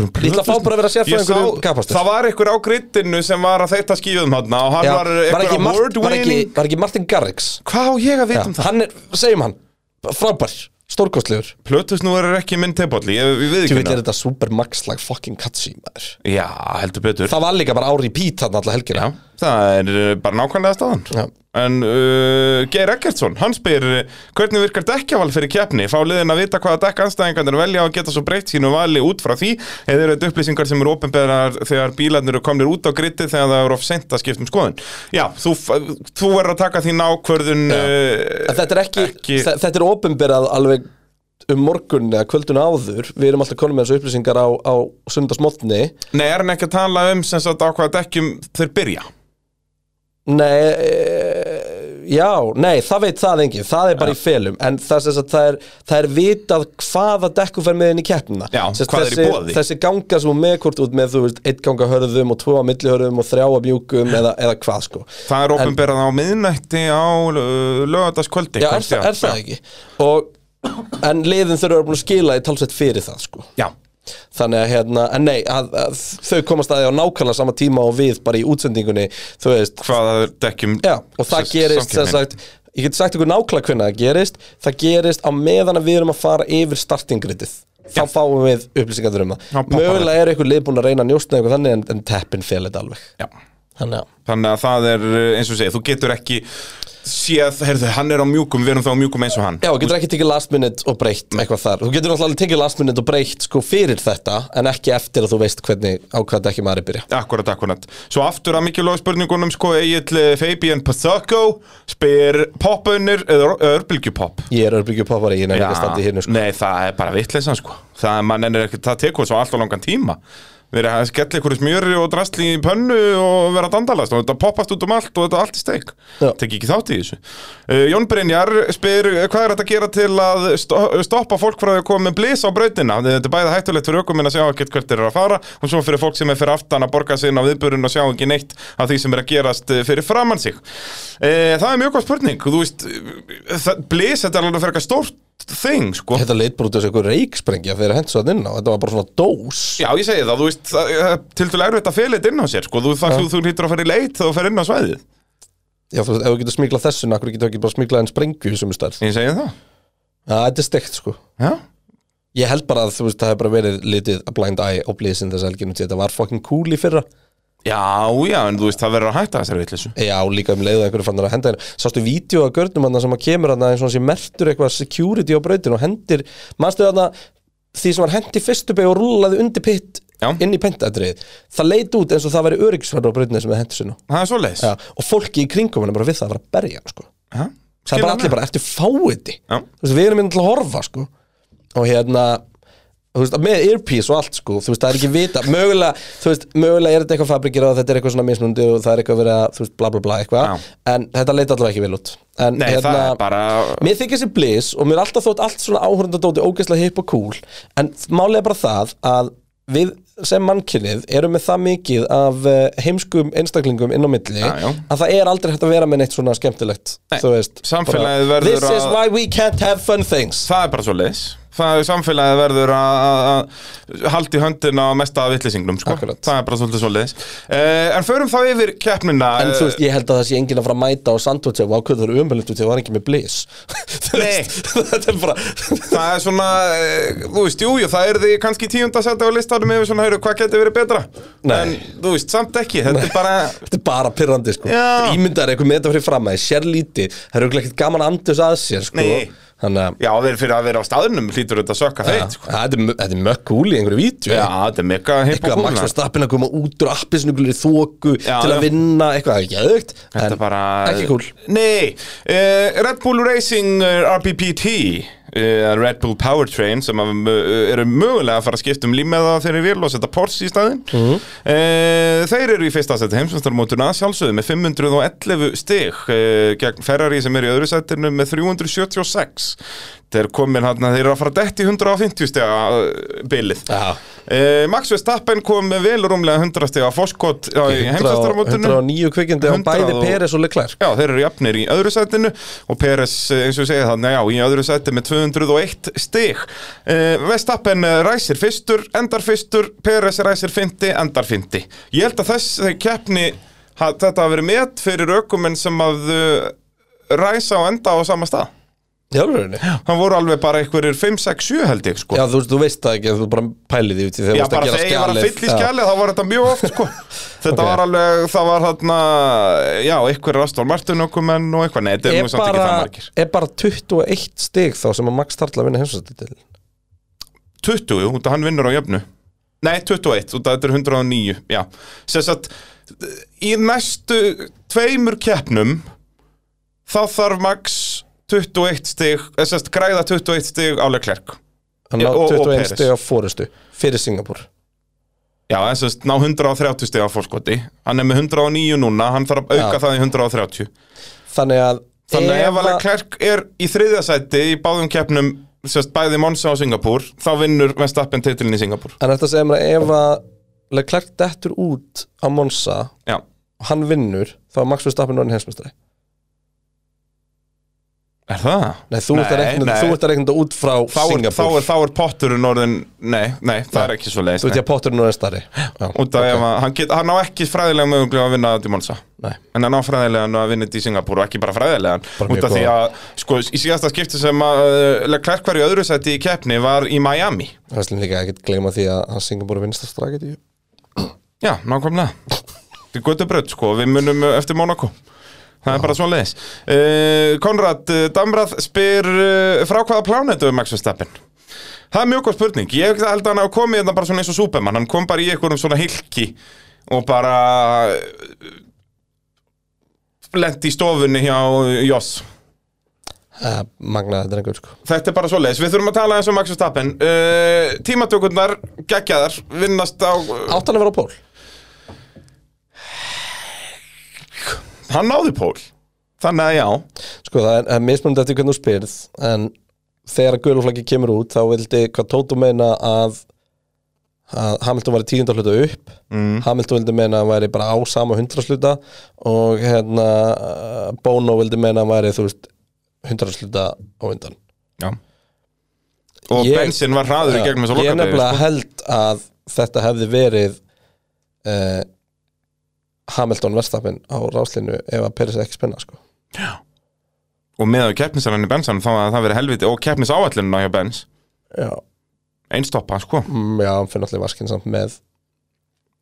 Speaker 1: Ég ætla að fá bara að vera sérfræðingur um kapastur.
Speaker 2: Það var einhver á grittinu sem var að þetta skíðum hann og hann
Speaker 1: Já,
Speaker 2: var eh, einhver
Speaker 1: ekki, Mart-
Speaker 2: award
Speaker 1: var, ekki,
Speaker 2: winning
Speaker 1: var ekki Martin Garrix
Speaker 2: Hvað á ég að
Speaker 1: Já,
Speaker 2: vita um það?
Speaker 1: hann er, segjum hann, frábær, stórkostlegur
Speaker 2: Plötusnúður er ekki minn teipolli, ég, ég
Speaker 1: Þú
Speaker 2: við ekki
Speaker 1: veit er þetta supermax-lag fucking katsi maður
Speaker 2: Já, heldur betur
Speaker 1: Það var líka bara á repeat hann alltaf helgina
Speaker 2: Já, það er uh, bara nákvæmlega staðan
Speaker 1: Já.
Speaker 2: En uh, Geir Eggertsson, hann spyr uh, hvernig virkar dekkjaval fyrir keppni? Fá liðin að vita hvaða dekk anstæðingarnir velja og geta svo breytt sínu vali út frá því eða eru þetta upplýsingar sem eru opinberar þegar bílarnir eru komnir út á gritti þegar það eru of sent að skipta um skoðun Já, þú, f- þú verður að taka því nákvörðun
Speaker 1: En
Speaker 2: uh,
Speaker 1: Þetta er ekki,
Speaker 2: Ekki-
Speaker 1: þe- þetta er opinberað alveg um morgun eða kvöldun áður Við erum alltaf konum með þessu upplýsingar á, á sundarsmotni
Speaker 2: Nei, er hann ekki að tala um sem sagt á hvaða dekkjum þeir byrja?
Speaker 1: Nei, e, já, nei, það veit það engin Það er bara í felum En það, sem sagt, það, er, það er vitað hvaða dekku fer með inn í keppnina
Speaker 2: Já,
Speaker 1: Sem sagt,
Speaker 2: hvað er í
Speaker 1: þessi,
Speaker 2: boði?
Speaker 1: Þessi ganga sem hún meðkort út með, þú veist, eitt ganga hörðum og tvo að millihörðum og þrjá að mjúkum eða, eða hvað sko
Speaker 2: Það er opinberað á miðnætti á uh, lögataskvöldi
Speaker 1: Já, er, það, er það ekki og, En liðin þurfa að vera búin að skila í talsveit fyrir það sko.
Speaker 2: Já,
Speaker 1: Þannig að hérna, en nei að, að, Þau komast að því á nákvæmlega sama tíma og við bara í útsendingunni Þú veist,
Speaker 2: hvaða dekkjum
Speaker 1: já, og það
Speaker 2: s-
Speaker 1: gerist sem
Speaker 2: samkeppnin.
Speaker 1: sagt, Ég get sagt ykkur nákvæmlega hvernig það gerist Það gerist á meðan að við erum að fara yfir startingritið Þá fáum við upplýsingar um
Speaker 2: Þá
Speaker 1: það
Speaker 2: poppar
Speaker 1: Mögulega er ykkur lið búin að reyna að njóstna eitthvað þannig en, en teppin fel þetta alveg
Speaker 2: Já.
Speaker 1: Þannig að
Speaker 2: Þannig að það er, eh, eins og segið, þú getur ekki séð, heyrðu, hann er á mjúkum, við erum þá á mjúkum eins og hann.
Speaker 1: Já, þú getur ekki tekið last minute og breytt
Speaker 2: Mm.
Speaker 1: eitthvað þar Þú getur náttúrulega alveg tekið last minute og breytt sko fyrir þetta En ekki eftir að þú veist hvernig á hvað dekki maður er að byrja
Speaker 2: Akkurat, akkurat. Svo aftur að mikilvæg spurningunum, sko, Egil Fabian Pasako spyr popunir eða örbylgjupopp.
Speaker 1: Ég er örbyggju poppari, ég nefnir ekki að standa í hérna sko
Speaker 2: nei, það er bara vitleysan, sko. Það, mann er ekki, það tekur svo allt og langan tíma. Við erum að skella ykkur í smjöri og drastli í pönnu og vera að dandalast og þetta poppast út um allt og þetta er allt í steik.
Speaker 1: Já.
Speaker 2: Tek ekki þátt í þessu. Uh, Jón Brynjar spyr eh, hvað er þetta að gera til að sto stoppa fólk frá því að koma með blís á brautina? Eh, Þetta er bæði hættulegt fyrir ökuminn að sjá ekkert hvert þeir eru að fara og svo fyrir fólk sem er fyrir aftan að borga sig inn á viðburun og sjá ekki neitt af því sem er að gerast eh, fyrir framann sig. Uh, það er mjög góð spurning. Þú veist, blís þetta er alveg fyrir eitthvað stórt þing, sko.
Speaker 1: Þetta leit bara út af þessu ykkur reiksprengja fyrir hendur svo að inn á Þetta var bara svona dós
Speaker 2: Já, ég segi það, þú veist, það er til dælu erfitt að fela þetta inn á sér, sko, þú, það, þú, þú hýttur að fara í leit þegar þú fer inn á svæðið.
Speaker 1: Já, þú veist, ef þú getur smiklað þessun, akkur getur ekki bara smiklað en sprengju sem er stærð Já,
Speaker 2: Ég segi það,
Speaker 1: þetta er steikt sko
Speaker 2: já.
Speaker 1: Ég held bara að þú veist, það hefur bara verið litið að blind eye og blíðsinn þess að helginu Þetta var fucking cool í fyrra
Speaker 2: Já, já, en þú veist, það verður að hætta þessari vitleysu.
Speaker 1: Já, líka um leiðu einhverju fannar að henda henni Sástu vídeo að görnum hann sem að kemur hann eins og hann sé mertur eitthvað security á brautin og hendir, manstu hann því sem var hendi fyrstu beig og rúlaði undir pitt
Speaker 2: Já.
Speaker 1: inn í pentadrið það leit út eins og það væri öryggisverð á brautinu sem það hendi sinna
Speaker 2: Það er svo leis.
Speaker 1: ja, og fólki í kringum hann er bara við það að vera að berja hann, sko. það er bara allir bara eftir fáiði
Speaker 2: Já.
Speaker 1: Þú veist, við erum inn til að horfa sko. og hérna þú veist, með earpiece og allt sko, þú veist, það er ekki vita mögulega, þú veist, mögulega er þetta eitthvað fabrikir og þetta er eitthvað svona mismundi og það er eitthvað verið að þú veist, bla bla bla
Speaker 2: Já.
Speaker 1: eitthvað en þetta leit allavega ekki vel út en, hérna-
Speaker 2: Nei, það er bara-
Speaker 1: mér þykir sér bliss og mér er alltaf þótt allt svona áhörndadóti ógeðslega hip og cool en málið er bara það að við sem mannkynnið erum með það mikið af eh, heimskum einstaklingum inn á milli
Speaker 2: Já, já.
Speaker 1: að það er aldrei hægt að vera með neitt svona skemmtilegt
Speaker 2: Nei,
Speaker 1: þú veist,
Speaker 2: samfélagið
Speaker 1: bara,
Speaker 2: verður
Speaker 1: This is
Speaker 2: að-
Speaker 1: why we can't have fun things
Speaker 2: Það er bara svo leis. Það er samfélagið verður að- að að halda í höndina á mesta vitleysingnum, sko.
Speaker 1: Akkurat.
Speaker 2: Það er bara svolítið svo leis. en förum þá yfir keppnina.
Speaker 1: En
Speaker 2: eh,
Speaker 1: þú veist, ég held að það sé enginn að fara að mæta og sandvotja og ákveður það eru umbelendu til það var ekki með blís [laughs] Þú veist, [laughs] Þetta er bara
Speaker 2: Það er svona, eh, þú veist, jú, jú, það er því kannski tíunda setja á listanum yfir svona, heyrðu, hvað getur verið betra?
Speaker 1: Nei.
Speaker 2: En, þú veist, samt ekki, þetta er bara,
Speaker 1: Þetta er bara pyrrandi sko
Speaker 2: Já.
Speaker 1: Ímyndar eitthvað með þetta fyrir fram að sér lítið Það eru örugglega ekkert gaman að andus að sér sko
Speaker 2: Nei.
Speaker 1: Þannig að
Speaker 2: já, þeir fyrir að vera á staðnum, hlýtur þetta að sökka
Speaker 1: ja,
Speaker 2: þeir, sko.
Speaker 1: þetta er mö- þetta er mökk kúl í einhverju vítju
Speaker 2: Já, þetta er mega hipp
Speaker 1: Eitthvað
Speaker 2: og
Speaker 1: að Max
Speaker 2: kúla.
Speaker 1: Verstappen að koma út úr appisnuglir í þóku
Speaker 2: Já,
Speaker 1: til að
Speaker 2: já.
Speaker 1: vinna eitthvað ekki aðugt
Speaker 2: Þetta er bara... eh,
Speaker 1: Ekki kúl
Speaker 2: Nei, uh, Red Bull Racing uh, RBPT, uh, Red Bull Powertrain, sem að, uh, eru mögulega að fara að skipta um límeða þeirri vil og setja Porsche í staðinn. uh, þeir eru í fyrsta seti heimsvæmstarmótuna sjálfsögðu með eh, 511 stig uh, gegn Ferrari sem er í öðru setinu með 376. þeir komin hann þeir eru að fara dætt í 150 stega eh, bilið
Speaker 1: Já.
Speaker 2: e, Max Verstappen kom með vel rúmlega 100 stega foskot á heimsastarmótinu
Speaker 1: 109 kvikindi á
Speaker 2: 100
Speaker 1: bæði
Speaker 2: og-
Speaker 1: Peres og Leclerc sko.
Speaker 2: Já, þeir eru jafnir í öðru sætinu og Peres, eh, eins og ég segi það, já, í öðru sæti með 201 stig. Uh, Vestappen ræsir fyrstur, endar fyrstur, Peres ræsir finti, endar finti. Ég held að þess þeir keppni, ha, þetta hafi verið met fyrir ökumenn sem að uh, ræsa og enda á sama stað.
Speaker 1: Já, rauninni
Speaker 2: Hann voru alveg bara einhverjir 5, 6, 7 held ég, sko.
Speaker 1: Já, þú veist, þú veist það ekki, þú bara pælið því út í þegar
Speaker 2: Já,
Speaker 1: þú
Speaker 2: bara
Speaker 1: varst
Speaker 2: þegar ég var að
Speaker 1: skjalið.
Speaker 2: fylla í
Speaker 1: Já.
Speaker 2: skjalið þá var þetta mjög oft
Speaker 1: [laughs]
Speaker 2: sko. Þetta
Speaker 1: Ok.
Speaker 2: var alveg, það var þarna Já, einhver Aston Martin okkumenn og eitthvað Nei, þetta er
Speaker 1: er
Speaker 2: nú samt ekki
Speaker 1: bara,
Speaker 2: það margir
Speaker 1: er bara 21 stig þá sem að Max Tarla vinna heimsvæmstitil
Speaker 2: 20, jú, út að hann vinnur á jöfnu Nei, 21, út að þetta er 109 Já, sess að Í næstu tveimur keppnum Þá þarf Max 21 stig Sess að græða 21 stig álega klerk
Speaker 1: hann á
Speaker 2: Og- og
Speaker 1: 21
Speaker 2: Perez.
Speaker 1: stig á fórustu fyrir Singapur
Speaker 2: Já, en sess ná 130 stig á fórskoti Hann er með 109 núna, hann þarf að auka
Speaker 1: Já.
Speaker 2: það í 130
Speaker 1: þannig að
Speaker 2: Þannig að ef
Speaker 1: að-
Speaker 2: alveg klerk er í þriðja sæti Í báðum keppnum, sess bæði Monsa og Singapúr Þá vinnur Vestappen titilin í Singapúr
Speaker 1: en þetta segir mér að ef að Leclerc dettur út á Monsa
Speaker 2: Já,
Speaker 1: og hann vinnur þá er Max Verstappen orðin heimsvæmstari
Speaker 2: er það?
Speaker 1: Nei, þú ert að
Speaker 2: Nei,
Speaker 1: reikna
Speaker 2: nei.
Speaker 1: þú ert að reikna þetta út frá
Speaker 2: þá er, þá,
Speaker 1: Singapur
Speaker 2: er, þá er potturinn orðin Nei, nei, það er ekki svo leiðis
Speaker 1: þú ert ég að potturinn orðin stari
Speaker 2: Út af okay. að hann, get, hann á ekki fræðilega mögulega að vinna þetta í Monsa
Speaker 1: Nei.
Speaker 2: En hann á fræðilegan að vinna þetta í Singapúr og ekki bara fræðilegan
Speaker 1: Bara mjög
Speaker 2: Út af því
Speaker 1: góða.
Speaker 2: að, sko, í síðasta skipti sem að uh, Leclerc var í öðru sæti í keppni var í Miami
Speaker 1: það er slín líka ekki gleyma því að hann Singapur vinnst að straka því
Speaker 2: Já, nákvæmlega Þetta er götu brödd, sko, við munum uh, eftir Monaco Það er bara svo leiðis Konrad uh, Damrað spyr uh, frá hvaða plánetu er Max Verstappen? Það er mjög góð spurning Ég held að hann hafa komið þetta bara svona eins og Superman Hann kom bara í einhverjum svona hilki og bara lendi í stofunni hjá Joss
Speaker 1: Eh, magnaði þetta einhver sko
Speaker 2: Þetta er bara svo leiðis, við þurfum að tala eins og Max Verstappen uh, Tímatökurnar, geggjaðar, vinnast á
Speaker 1: átt hann að vera á pól
Speaker 2: Hann náði pól Þannig að já
Speaker 1: Sko það er, er mismunandi eftir hvernig þú spyrð en þegar að guluflaggi kemur út þá vildi hvað Tóto meina að, að Hamilton var í tíunda hluta upp mm. Hamilton vildi meina að hann væri bara á sama hundrasluta og hérna uh, Bono vildi meina að hann væri þú veist hundrasluta á undan
Speaker 2: Já Og
Speaker 1: Ég-
Speaker 2: bensin var hraður í gegnum sko. þess að
Speaker 1: Ég
Speaker 2: loka
Speaker 1: nefnilega held að þetta hefði verið uh, Hamilton verðstafinn á ráslinu ef að Peris ekki spenna sko
Speaker 2: Og með að keppnisalenni bensan þá að það verið helviti og keppnisáallinu hjá bens
Speaker 1: Já,
Speaker 2: Einstoppa, sko
Speaker 1: mm, já, hann fyrir náttúrulega vaskinn samt með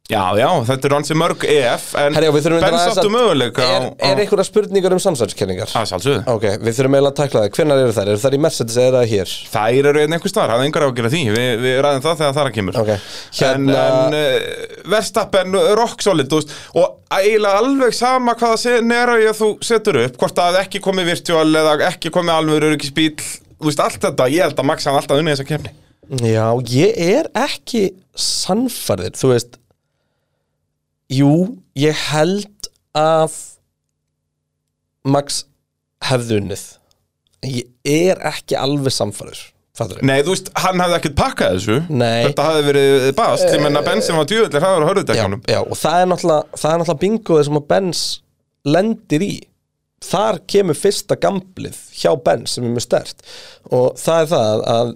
Speaker 2: Já, já, þetta eru ansi mörg EF En
Speaker 1: Herjá, við þurfum
Speaker 2: bens
Speaker 1: aðeins
Speaker 2: áttu möguleika
Speaker 1: er, er einhverja spurningar um samsæðiskenningar?
Speaker 2: Það er sálsögðu
Speaker 1: Ok, við þurfum eiginlega að tækla það Hvenær eru þær? Eru þær í Mercedes eða eru þær hér?
Speaker 2: Þær eru einn einhver staðar, það er engar á að gera því Við, við ræðum það þegar það kemur
Speaker 1: Ok,
Speaker 2: En,
Speaker 1: hérna
Speaker 2: en uh, verstappen rock solid þú veist, og eiginlega alveg sama hvaða senera ég þú setur upp hvort að ekki komi virtual eða ekki komi alveg öryggisbíl þú veist allt þetta, ég held að Max hann alltaf unni þessa kemni
Speaker 1: Já, ég er ekki sannfærðir Þú veist Jú, ég held að Max hefði unnið En Ég er ekki alveg sannfærður Fattur
Speaker 2: Nei, þú veist, hann hafði ekkert pakkað þessu
Speaker 1: Nei.
Speaker 2: Þetta hafði verið bast Ég menna bensin var djúvillir hraður á hörðutekjanum
Speaker 1: já, já, og það er náttúrulega það er náttúrulega bingoðið sem að Benz lendir í þar kemur fyrsta gamblið hjá Benz sem er mjög stert og það er það að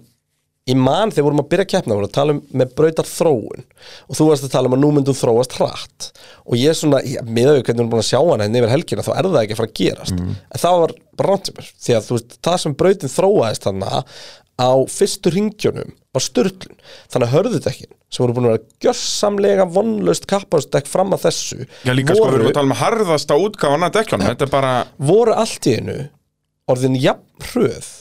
Speaker 1: í mann þegar vorum að byrja að keppna vorum að tala um með brautar þróun og þú varst að tala um að nú myndum þróast hratt og ég svona, já, miðað við hvernig við erum búin að sjá hana henni yfir helgina þá er það ekki að fara að gerast
Speaker 2: Mm.
Speaker 1: en það var bara rámt sem er því að þú veist, það sem brautin þróaðist þannig á fyrstu ringjónum á störlun, þannig að hörðutekkin sem voru búin að vera gjörsamlega vonlaust kappaðsdekk fram að þessu
Speaker 2: Já, líka sko, við erum að tala um að harðast á útgáfan að dekjanum Þetta er bara,
Speaker 1: voru allt í einu orðin jafn hröð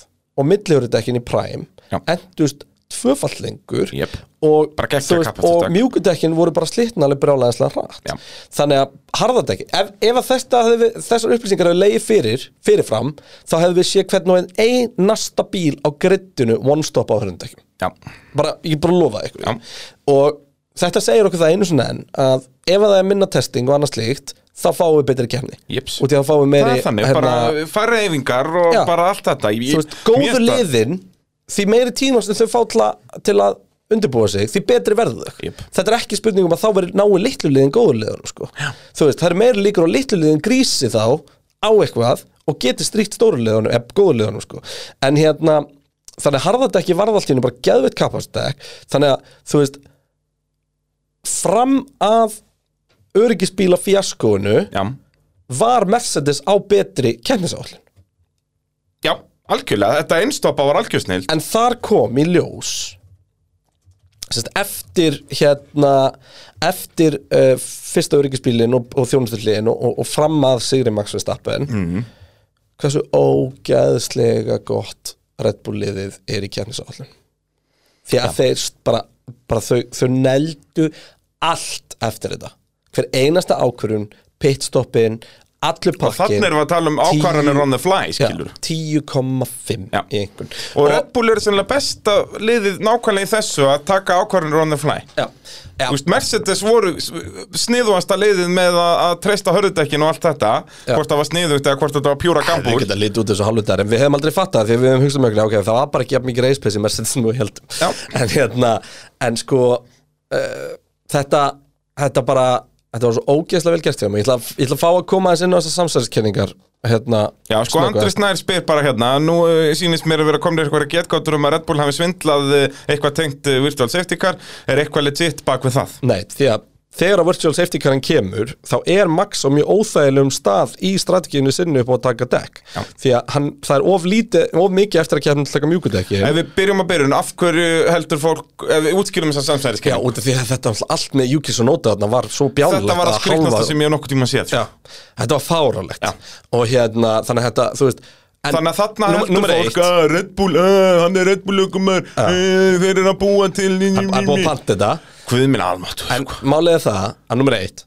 Speaker 1: og millihörudekkin í Prime
Speaker 2: Já.
Speaker 1: endust tvöfall lengur
Speaker 2: Jep.
Speaker 1: og,
Speaker 2: Bara geggjað
Speaker 1: þú veist,
Speaker 2: kappakstur
Speaker 1: og
Speaker 2: takk.
Speaker 1: mjúkudekkin voru bara slitnalega brjálæðislega hratt
Speaker 2: Já.
Speaker 1: þannig að harðadekkin ef, ef að þetta, hefði- þessar upplýsingar hefur leið fyrir fyrirfram þá hefðu við séð hvern og einn einasta bíl á grittinu one stop á hörundekkin
Speaker 2: já,
Speaker 1: bara, ég get bara að lofa ykkur
Speaker 2: Já.
Speaker 1: og þetta segir okkur það einu svona enn að ef að það er minna testing og annað slíkt þá fáum við betri kefni
Speaker 2: Jeps.
Speaker 1: og því að þá fáum við
Speaker 2: Það
Speaker 1: meiri hérna,
Speaker 2: er þannig, bara fara eyfingar og
Speaker 1: Já.
Speaker 2: bara allt þetta Ég-
Speaker 1: þú veist,
Speaker 2: mér
Speaker 1: góðu
Speaker 2: finnst það-
Speaker 1: liðin því meiri tíma sem þau fá til að, til að undirbúa sig, því betri verður þau
Speaker 2: Jep.
Speaker 1: þetta er ekki spurning um að þá verður náu litlu liðin góðu liðunum sko. þú veist, það er meiri líkur á litlu liðin grísi þá á eitthvað og geti stríkt stóru liðunum eða góðu liðunum sko. en hérna, þannig að harðardekki varðaltínu bara geðveitt kapastek þannig að, þú veist fram að öryggisbíla fjaskóinu
Speaker 2: Já,
Speaker 1: var Mercedes á betri kemnisáallin
Speaker 2: já algjörlega, þetta einstoppa var algjörsnild
Speaker 1: En þar kom í ljós sest, eftir hérna eftir uh, fyrsta öryggisbílin og, og þjónustillin og, og, og fram að Sigri Max Verstappen
Speaker 2: Mhm.
Speaker 1: mm. hversu ógæðslega gott Red Bull liðið er í kjarnisáallin því að þeir st- bara, bara þau, þau neldu allt eftir þetta hver einasta ákvörun, pitstoppin allur
Speaker 2: Og
Speaker 1: pakkin
Speaker 2: þannig erum við að tala um ákvarðanir on the fly, skilur
Speaker 1: 10,5
Speaker 2: Já.
Speaker 1: í einhvern
Speaker 2: Og Red Bull er sennilega besta liðið nákvæmlega í þessu að taka ákvarðanir on the fly
Speaker 1: Já, já,
Speaker 2: Þú veist, Mercedes voru sniðuasta liðið með að, að treysta hörðudekkin og allt þetta
Speaker 1: Já.
Speaker 2: Hvort það var sniðugt eða hvort þetta var pjúra
Speaker 1: Við
Speaker 2: gambúl
Speaker 1: getum litið út þessu halvutaðar en við hefum aldrei fattað það því að við hefum hugsað mjög ok, það var bara ekki jafn mikið reispeis í Mercedes nú heldum
Speaker 2: Já.
Speaker 1: en hérna, en sko uh, þetta, þetta bara þetta var svo ógeðslega vel gert hjá mig ég ætla, að- ég ætla að fá að koma aðeins inn á þessar samsæðiskenningar hérna,
Speaker 2: Já, sko,
Speaker 1: snöggvað.
Speaker 2: Andri Snær spyr bara hérna Nú uh, sýnist mér að vera komnir eitthvað getgáttur um að Red Bull hafi svindlað uh, eitthvað tengt uh, virtual safety car Er eitthvað legit bak við það?
Speaker 1: Nei, því að þegar að virtual safety carin kemur þá er Max á mjög óþægilegum stað í strateginu sinni upp á að taka dekk Já. því að hann, það er of, lítið, of mikið eftir að kemna til að taka mjúkudekki
Speaker 2: Ef við byrjum að byrjun, af hverju heldur fólk Ef við útskýrum þess að
Speaker 1: Já,
Speaker 2: samsæðiskeið
Speaker 1: út af því að þetta allt með Júkis og Nóta þarna var svo bjálulegt
Speaker 2: Þetta var að skriknasta sem ég hef nokkuð tíma séð
Speaker 1: Já,
Speaker 2: sko.
Speaker 1: þetta var fáralegt
Speaker 2: Já.
Speaker 1: og hérna, þannig að þetta, þú veist en,
Speaker 2: Þannig að þarna
Speaker 1: Númer-
Speaker 2: heldur
Speaker 1: númer
Speaker 2: fólk
Speaker 1: eitt.
Speaker 2: að Red Bull, uh, hann er Red Bull ökumar uh, Þeir eru að búa til
Speaker 1: það er búið að panta þetta
Speaker 2: Hvað minn almáttu
Speaker 1: en málið er það að nummer eitt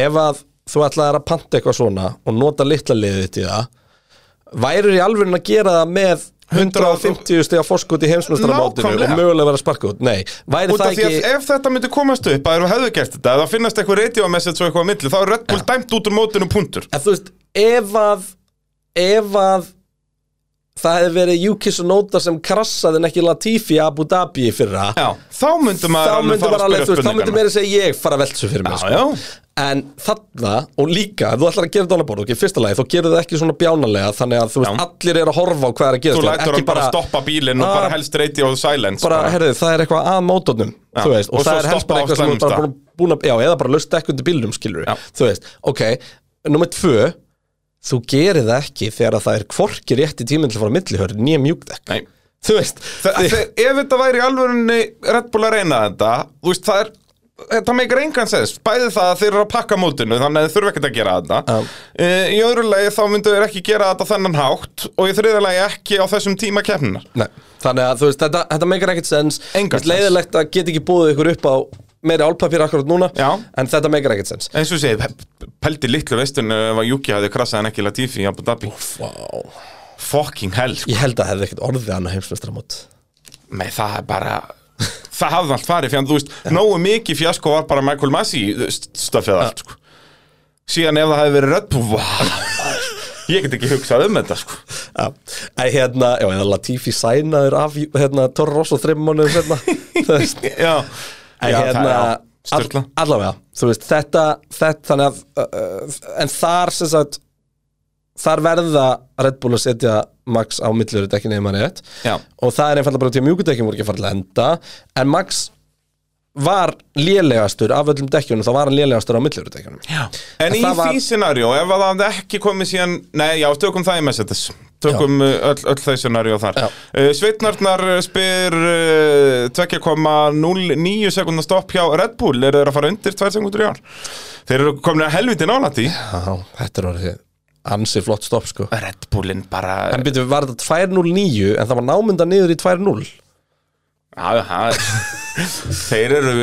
Speaker 1: ef að þú ætlaðir að panta eitthvað svona og nota litla liðið þitt í það værir í alveg að gera það með 150 stiga fórskot í heimsmyndstaramótinu og
Speaker 2: Nákvæmlega.
Speaker 1: mögulega vera sparka út nei, væri
Speaker 2: Út af
Speaker 1: það
Speaker 2: því að
Speaker 1: ekki
Speaker 2: ef þetta myndi komast upp að þú hefðu gert þetta, þá finnast eitthvað radiomessage og eitthvað á milli, þá er Red Bull dæmt út úr mótinu punktur.
Speaker 1: En þú veist, ef að ef að það hefði verið Yuki Sonoda sem krassaði en ekki Latifi í Abu Dhabi í fyrra
Speaker 2: Já, þá myndi maður
Speaker 1: þá
Speaker 2: alveg
Speaker 1: myndi
Speaker 2: fara
Speaker 1: bara
Speaker 2: að
Speaker 1: alveg,
Speaker 2: spyrja
Speaker 1: þú veist, þá myndi
Speaker 2: spurningarna.
Speaker 1: meira segja ég fara að velta svo fyrir mig
Speaker 2: Já, já.
Speaker 1: En þarna, og líka, ef þú ætlar að gera þetta á borð, ok, í fyrsta lagi, þá gerir það ekki svona bjánalega þannig að þú veist,
Speaker 2: Já.
Speaker 1: allir eru að horfa á hvað er að sko, gera
Speaker 2: Þú lætur hann bara stoppa bílinn og
Speaker 1: Ah.
Speaker 2: bara helst radio silence.
Speaker 1: bara, herðu, það er eitthvað að mótunum
Speaker 2: Já.
Speaker 1: þú veist, og,
Speaker 2: Og
Speaker 1: það
Speaker 2: svo
Speaker 1: er helst
Speaker 2: stoppa á
Speaker 1: bara eitthvað sem þú
Speaker 2: slæmum
Speaker 1: ert bara
Speaker 2: stað.
Speaker 1: búin að, búin að já, eða bara löst ekki undir bílnum, skilur
Speaker 2: Já.
Speaker 1: þú veist, ok, nummer tvö þú gerir það ekki þegar að það er kvorki rétti tíminn til að fara á millihörð nýja mjúkdekk,
Speaker 2: Nei.
Speaker 1: þú veist
Speaker 2: Þa-
Speaker 1: því-
Speaker 2: þe- Ef þetta væri í alvörunni Red Bull að reyna þetta, þú veist, það er Þetta meikir engan sens, bæði það að þeir eru að pakka mótinu þannig að þeir þurfa ekkert að gera þetta
Speaker 1: Já.
Speaker 2: e, Í öðru lagi þá myndu þeir ekki gera þetta á þennan hátt og í þriðja lagi ekki á þessum tíma keppninar
Speaker 1: Nei. þannig að þú veist, þetta, þetta meikar ekkert sens
Speaker 2: Engan
Speaker 1: Þú veist, leiðilegt að geta ekki búið ykkur upp á meiri álpapír akkurat núna
Speaker 2: Já.
Speaker 1: en þetta meikar ekkert sens
Speaker 2: eins og segið, pe- pældi litlu veistunni ef að Juki hafði krassað en ekki Latifi í Abu Dhabi
Speaker 1: wow.
Speaker 2: fucking hell, sko.
Speaker 1: ég held að það hefði ekkert orðið annað heimsmestramót
Speaker 2: með það er bara það hafði allt farið, fyrir þú veist nógu mikið fjasko var bara Michael Massey stöfið allt, sko síðan ef það hefði verið Red Bull vá, ég get ekki hugsað um þetta, sko
Speaker 1: Já, en hérna, já, eða Latifi sænaður af hérna, Torra Rosso þreim mánuðum [laughs] sérna En
Speaker 2: já, já, það
Speaker 1: hérna,
Speaker 2: er já,
Speaker 1: all,
Speaker 2: styrla
Speaker 1: allavega, þú veist, þetta, þetta þannig að, uh, uh, en þar sem sagt, þar verða Red Bull að setja Max á millur dekkinni ef maður rétt
Speaker 2: Já.
Speaker 1: og það er einfalda bara út í að mjúkudekkin voru ekki að fara til að enda en Max var lélegastur af öllum dekkjunum þá var hann lélegastur á millur dekkinum
Speaker 2: En,
Speaker 1: En
Speaker 2: í
Speaker 1: það var-
Speaker 2: því scenarió, ef að það hafði ekki komið síðan, nei, já, tökum það í Mercedes tökum já. öll, öll þau scenarió þar
Speaker 1: Já.
Speaker 2: uh, Sveitnarnar spyr uh, 2,09 sekundar stopp hjá Red Bull, eru þeir að fara undir 2 sekundur í ár? Þeir eru komin að helviti nálætti
Speaker 1: Já, þetta er orðið ansi flott stopp sko
Speaker 2: Red Bullin bara
Speaker 1: En byrju, var þetta 2.09 en það var námynda niður í 2.0
Speaker 2: já, já, Þeir eru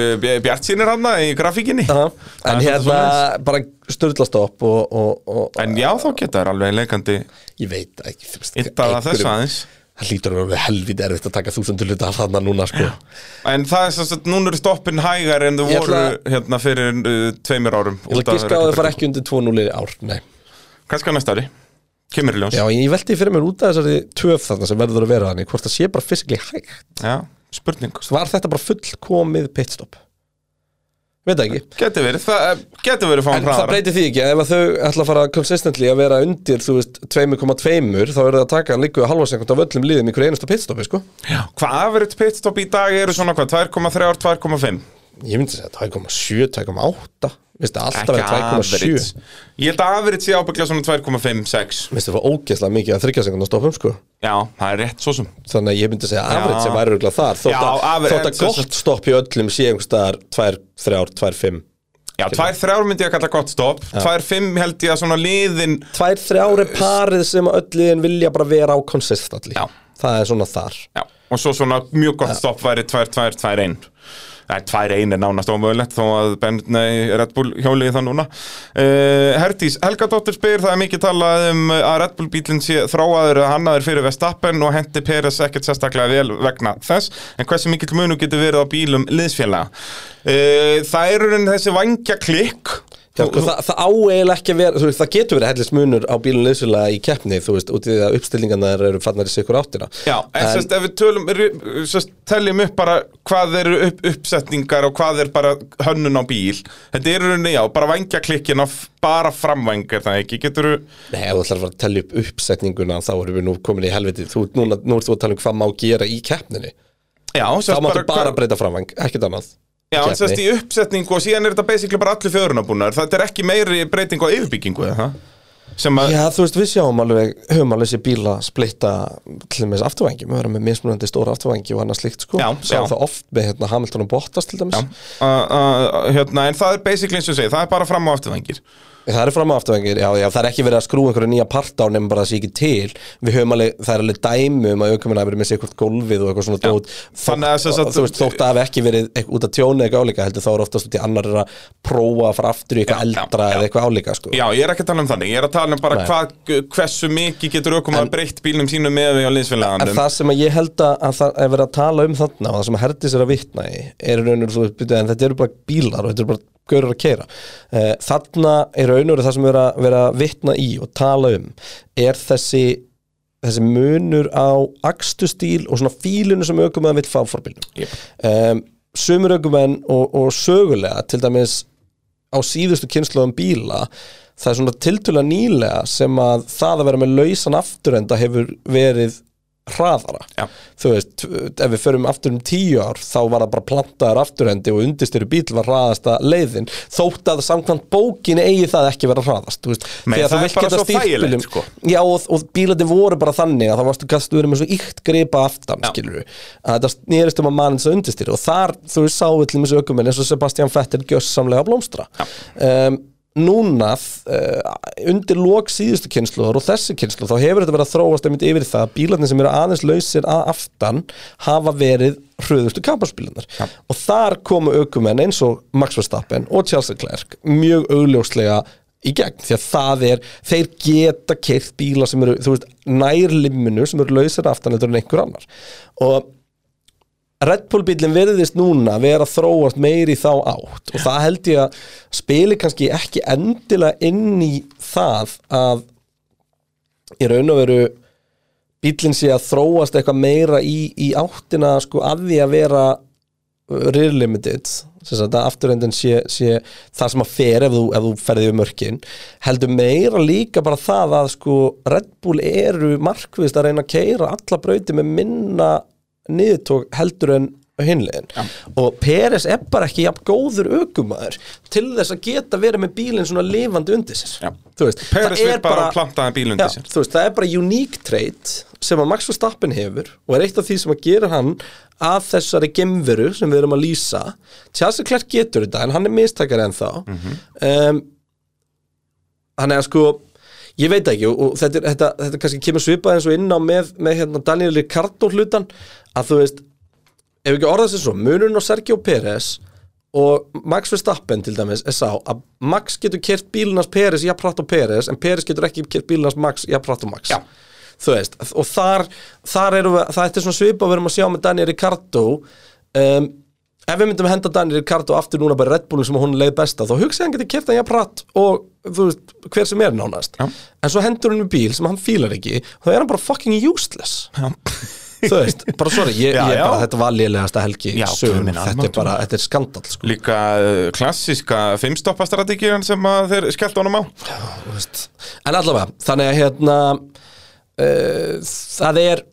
Speaker 2: bjart sínir hann í grafíkinni Það
Speaker 1: En
Speaker 2: er svolítið
Speaker 1: hérna, bara störðlast upp og, og, og
Speaker 2: En já, þá geta þeir alveg leikandi
Speaker 1: ég veit það ekki þú veist,
Speaker 2: yttaða
Speaker 1: einhverjum-
Speaker 2: þess aðeins
Speaker 1: það lítur að vera helvítið erfitt að taka þúsundu hluta af þarna núna sko.
Speaker 2: En það er svo að núna eru stoppin hægar en þau
Speaker 1: Ég
Speaker 2: voru
Speaker 1: ætla-
Speaker 2: hérna fyrir uh, tveimur árum
Speaker 1: Ég ætla
Speaker 2: Út af
Speaker 1: að giska á
Speaker 2: reglugerð.
Speaker 1: að þau fara ekki undir 2-0 í ár Nei.
Speaker 2: Kannski á næsta ári Kemur í ljós
Speaker 1: Já, ég velti fyrir mér út af þessari töf þarna sem verður að vera þannig hvort það sé bara fysikli hægt
Speaker 2: Já, spurning
Speaker 1: Var þetta bara fullkomið pitstop? Veit það ekki
Speaker 2: Geti verið, það geti verið
Speaker 1: En
Speaker 2: fáum
Speaker 1: það
Speaker 2: hraðara
Speaker 1: breytir því ekki, ef að þau ætla að fara consistently að vera undir, þú veist, 2,2 þá eru það að taka hann líku að halva sekund af öllum liðum í hverju einasta pitstopi, sko
Speaker 2: Já. Hvað average pitstop í dag eru svona hvað, 2,3 2,5
Speaker 1: Ég myndi að segja 2,7, 2,8 Vist það alltaf
Speaker 2: Ekki
Speaker 1: verið 2,7
Speaker 2: average Ég held að average sé ábygglega svona 2,5, 6
Speaker 1: Vist það var ógeðslega mikið að þryggja sekund að stoppum, sko
Speaker 2: Já, það er rétt svo sem
Speaker 1: Þannig að ég myndi að segja average sem væri örgulega þar Þótt
Speaker 2: Já,
Speaker 1: að,
Speaker 2: average,
Speaker 1: þótt að
Speaker 2: sem sagt-
Speaker 1: gott stopp í öllum sé einhvers staðar 2, 3, 2, 5
Speaker 2: Já, 2,3 myndi ég að kalla gott stopp 2,5 held ég að svona liðin
Speaker 1: 2, 3 er parið sem að öll liðin vilja bara vera á consistently
Speaker 2: Já.
Speaker 1: Það er svona þar
Speaker 2: Já, og svo svona mjög gott stopp væri 2-2-2-1 Nei, 2-1 er nánast ómögulegt þó að ben, nei, Red Bull hjóliði það núna uh, Hertís, Helga Dóttir spyr það er mikið talað um að Red Bull bílinn sé þráaður að hannaður fyrir Vestappen og hendi Peres ekkert sérstaklega vel vegna þess en hversu mikill munu getur verið á bílum liðsfélaga uh, Það eru enn þessi vangja klikk
Speaker 1: Já, sko, það, það á eiginlega ekki að vera, þú veist, það getur verið hellist munur á bílun liðsfélaga í keppni, þú veist, út í því að uppstillingarnar eru farnar í sikur áttina.
Speaker 2: Já, en,
Speaker 1: En-
Speaker 2: sérst, ef við tölum, ri- sérst, teljum upp bara hvað eru upp, uppsetningar og hvað er bara hönnun á bíl Þetta eru rauninni, já, bara vangjaklikkin af bara framvæng, er það ekki? Getur
Speaker 1: Nei, ef þú ætlar að fara að tellja upp uppsetninguna, þá erum við nú komin í helviti, þú, núna, nú ert þú að tala um hvað má gera í keppninni.
Speaker 2: já,
Speaker 1: Þá
Speaker 2: sérst,
Speaker 1: máttu bara
Speaker 2: hvað-
Speaker 1: breyta framvæng, ekkert annað.
Speaker 2: Já, en sérst,
Speaker 1: keppni.
Speaker 2: í uppsetningu og síðan er þetta basically bara allir fjörunabúnar Þetta er ekki meiri breyting á yfirbyggingu, eða það? Sem að,
Speaker 1: Já, þú veist, við sjáum alveg, höfum alveg sér bíla splitta til dæmis afturvængi, við verðum með mismunandi stóra afturvængi og annað slíkt, sko.
Speaker 2: Já,
Speaker 1: Sjáum
Speaker 2: já.
Speaker 1: það oft með hérna, Hamilton og Bottas til dæmis.
Speaker 2: a, a, hérna, en það er basically eins og ég segi, það er bara fram á afturvængir
Speaker 1: Það er fram á afturvængir, já, já, það er ekki verið að skrúa einhverja nýja part á nema bara að sé ekki til Við höfum alveg, það er alveg dæmi um að aukumenn hafi verið með sér eitthvað gólfið og eitthvað svona dót
Speaker 2: Þannig að sem sagt-
Speaker 1: Þótt, þú veist, þótt að hafi ekki verið eitthvað, út að tjóna eitthvað álíka heldur þá er oftast út í annar er að prófa að fara aftur í eitthvað
Speaker 2: Já, já,
Speaker 1: eldra
Speaker 2: já.
Speaker 1: eða eitthvað álíka, sko
Speaker 2: Já, ég er ekki að tala um þannig, ég er að tala um bara
Speaker 1: Nei.
Speaker 2: hvað, hversu mikið getur ökum að breytt bílnum sínum með við á liðsfélagandum
Speaker 1: En það sem að ég held að, að það er verið að tala um þarna og það sem að Herdís er að vitna í er raunur, þú veist, byrju, en þetta eru bara bílar og þetta eru bara görur að keira uh, þarna er raunur það sem er að vera að vitna í og tala um er þessi, þessi munur á akstustíl og svona fílunu sem aukumenn vill fá fór bílnum
Speaker 2: Jep.
Speaker 1: um, sumur aukumenn og, og sögulega til dæmis á síðustu kynsluðum bíla það er svona tiltöla nýlega sem að það að vera með lausan afturenda hefur verið hraðara
Speaker 2: Já.
Speaker 1: þú veist, ef við förum aftur um tíu ár þá var það bara plantaðar afturendi og undirstyru bíl var hraðasta leiðin þótt að samkvæmt bókinni eigi það ekki vera hraðast þú veist,
Speaker 2: Nei,
Speaker 1: Þegar
Speaker 2: það
Speaker 1: þú
Speaker 2: er
Speaker 1: vilt
Speaker 2: bara
Speaker 1: geta
Speaker 2: svo
Speaker 1: stýrt
Speaker 2: þægilegt,
Speaker 1: bílnum-
Speaker 2: sko.
Speaker 1: Já, og, og bílandi voru bara þannig að það varstu gastu verið með svo íkt gripa aftan,
Speaker 2: Já.
Speaker 1: skilur við að þetta snerist um að mann svo undirstýri og þar, þú veist, sáðu til þessu ökumenn eins og Sebastian Vettel gjössamlega að blómstra um, Núna uh, undir lok síðustu kynsluðar og þessi kynslu þá hefur þetta verið að þróast einmitt yfir í það að bílarnir sem eru aðeins lausir að aftan hafa verið hröðustu kamparsbílarnar og þar komu ökumenn eins og Max Verstappen og Charles Leclerc mjög augljóslega í gegn því að það er þeir geta keirt bíla sem eru þú veist, nær limminu sem eru lausir aftan þetta en einhver annar og Red Bull bílinn verðist núna vera að þróast meiri í þá átt og það held ég að spili kannski ekki endilega inn í það að í raun og veru bílinn sé að þróast eitthvað meira í, í áttina sko að því að vera uh, rear limited sem sagt að afturhendin sé, sé það sem að fer ef þú, ef þú ferði við mörkin heldur meira líka bara það að sko Red Bull eru markvist að reyna að keira alla brauti með minna niðurtók heldur en hinlegin og Peres er bara ekki jafn góður ökumæður til þess að geta verið með bílinn svona lifandi undir sér
Speaker 2: Já.
Speaker 1: Þú veist,
Speaker 2: Peres
Speaker 1: það
Speaker 2: vill
Speaker 1: er
Speaker 2: bara planta þeim bíl undir
Speaker 1: Já,
Speaker 2: sér.
Speaker 1: þú veist, það er bara unique trait sem að Max Verstappen hefur og er eitt af því sem að gera hann að þessari gemveru sem við erum að lýsa Tjassi Klerk getur þetta en hann er mistakar ennþá mm um, hann er sko ég veit ekki og, og þetta, er- þetta, þetta kannski kemur svipað eins og inn á með, með hérna, Daniel Ricardo hlutan að þú veist, ef ekki orðað sér svo munurinn á Sergio Pérez og Max Verstappen til dæmis er sá að Max getur kert bílunars Pérez jafnpratt og Pérez en Pérez getur ekki kert bílunars Max jafnpratt og Max
Speaker 2: Já.
Speaker 1: þú veist, og þar, þar erum við, það er svona svipa við erum að sjá með Daniel Ricardo um, ef við myndum henda Daniel Ricardo aftur núna bara í Red Bullum sem hún leið besta þá hugsaði hann geti kert hann jafnrætt og þú veist, hver sem er nánast
Speaker 2: Já.
Speaker 1: en svo hendur hann með bíl sem hann fílar ekki þá er hann bara fucking useless þú veist, bara sorry, ég,
Speaker 2: [laughs] Já,
Speaker 1: ég
Speaker 2: já.
Speaker 1: bara, þetta var lélegasta helgi
Speaker 2: Já, guð
Speaker 1: sögum,
Speaker 2: minn
Speaker 1: þetta er
Speaker 2: almáttugur.
Speaker 1: bara, þetta er skandal sko,
Speaker 2: Líka uh, klassíska fimmstoppastrategíran sem að þeir skellt honum á
Speaker 1: þú veist. en allavega, þannig að hérna uh, það er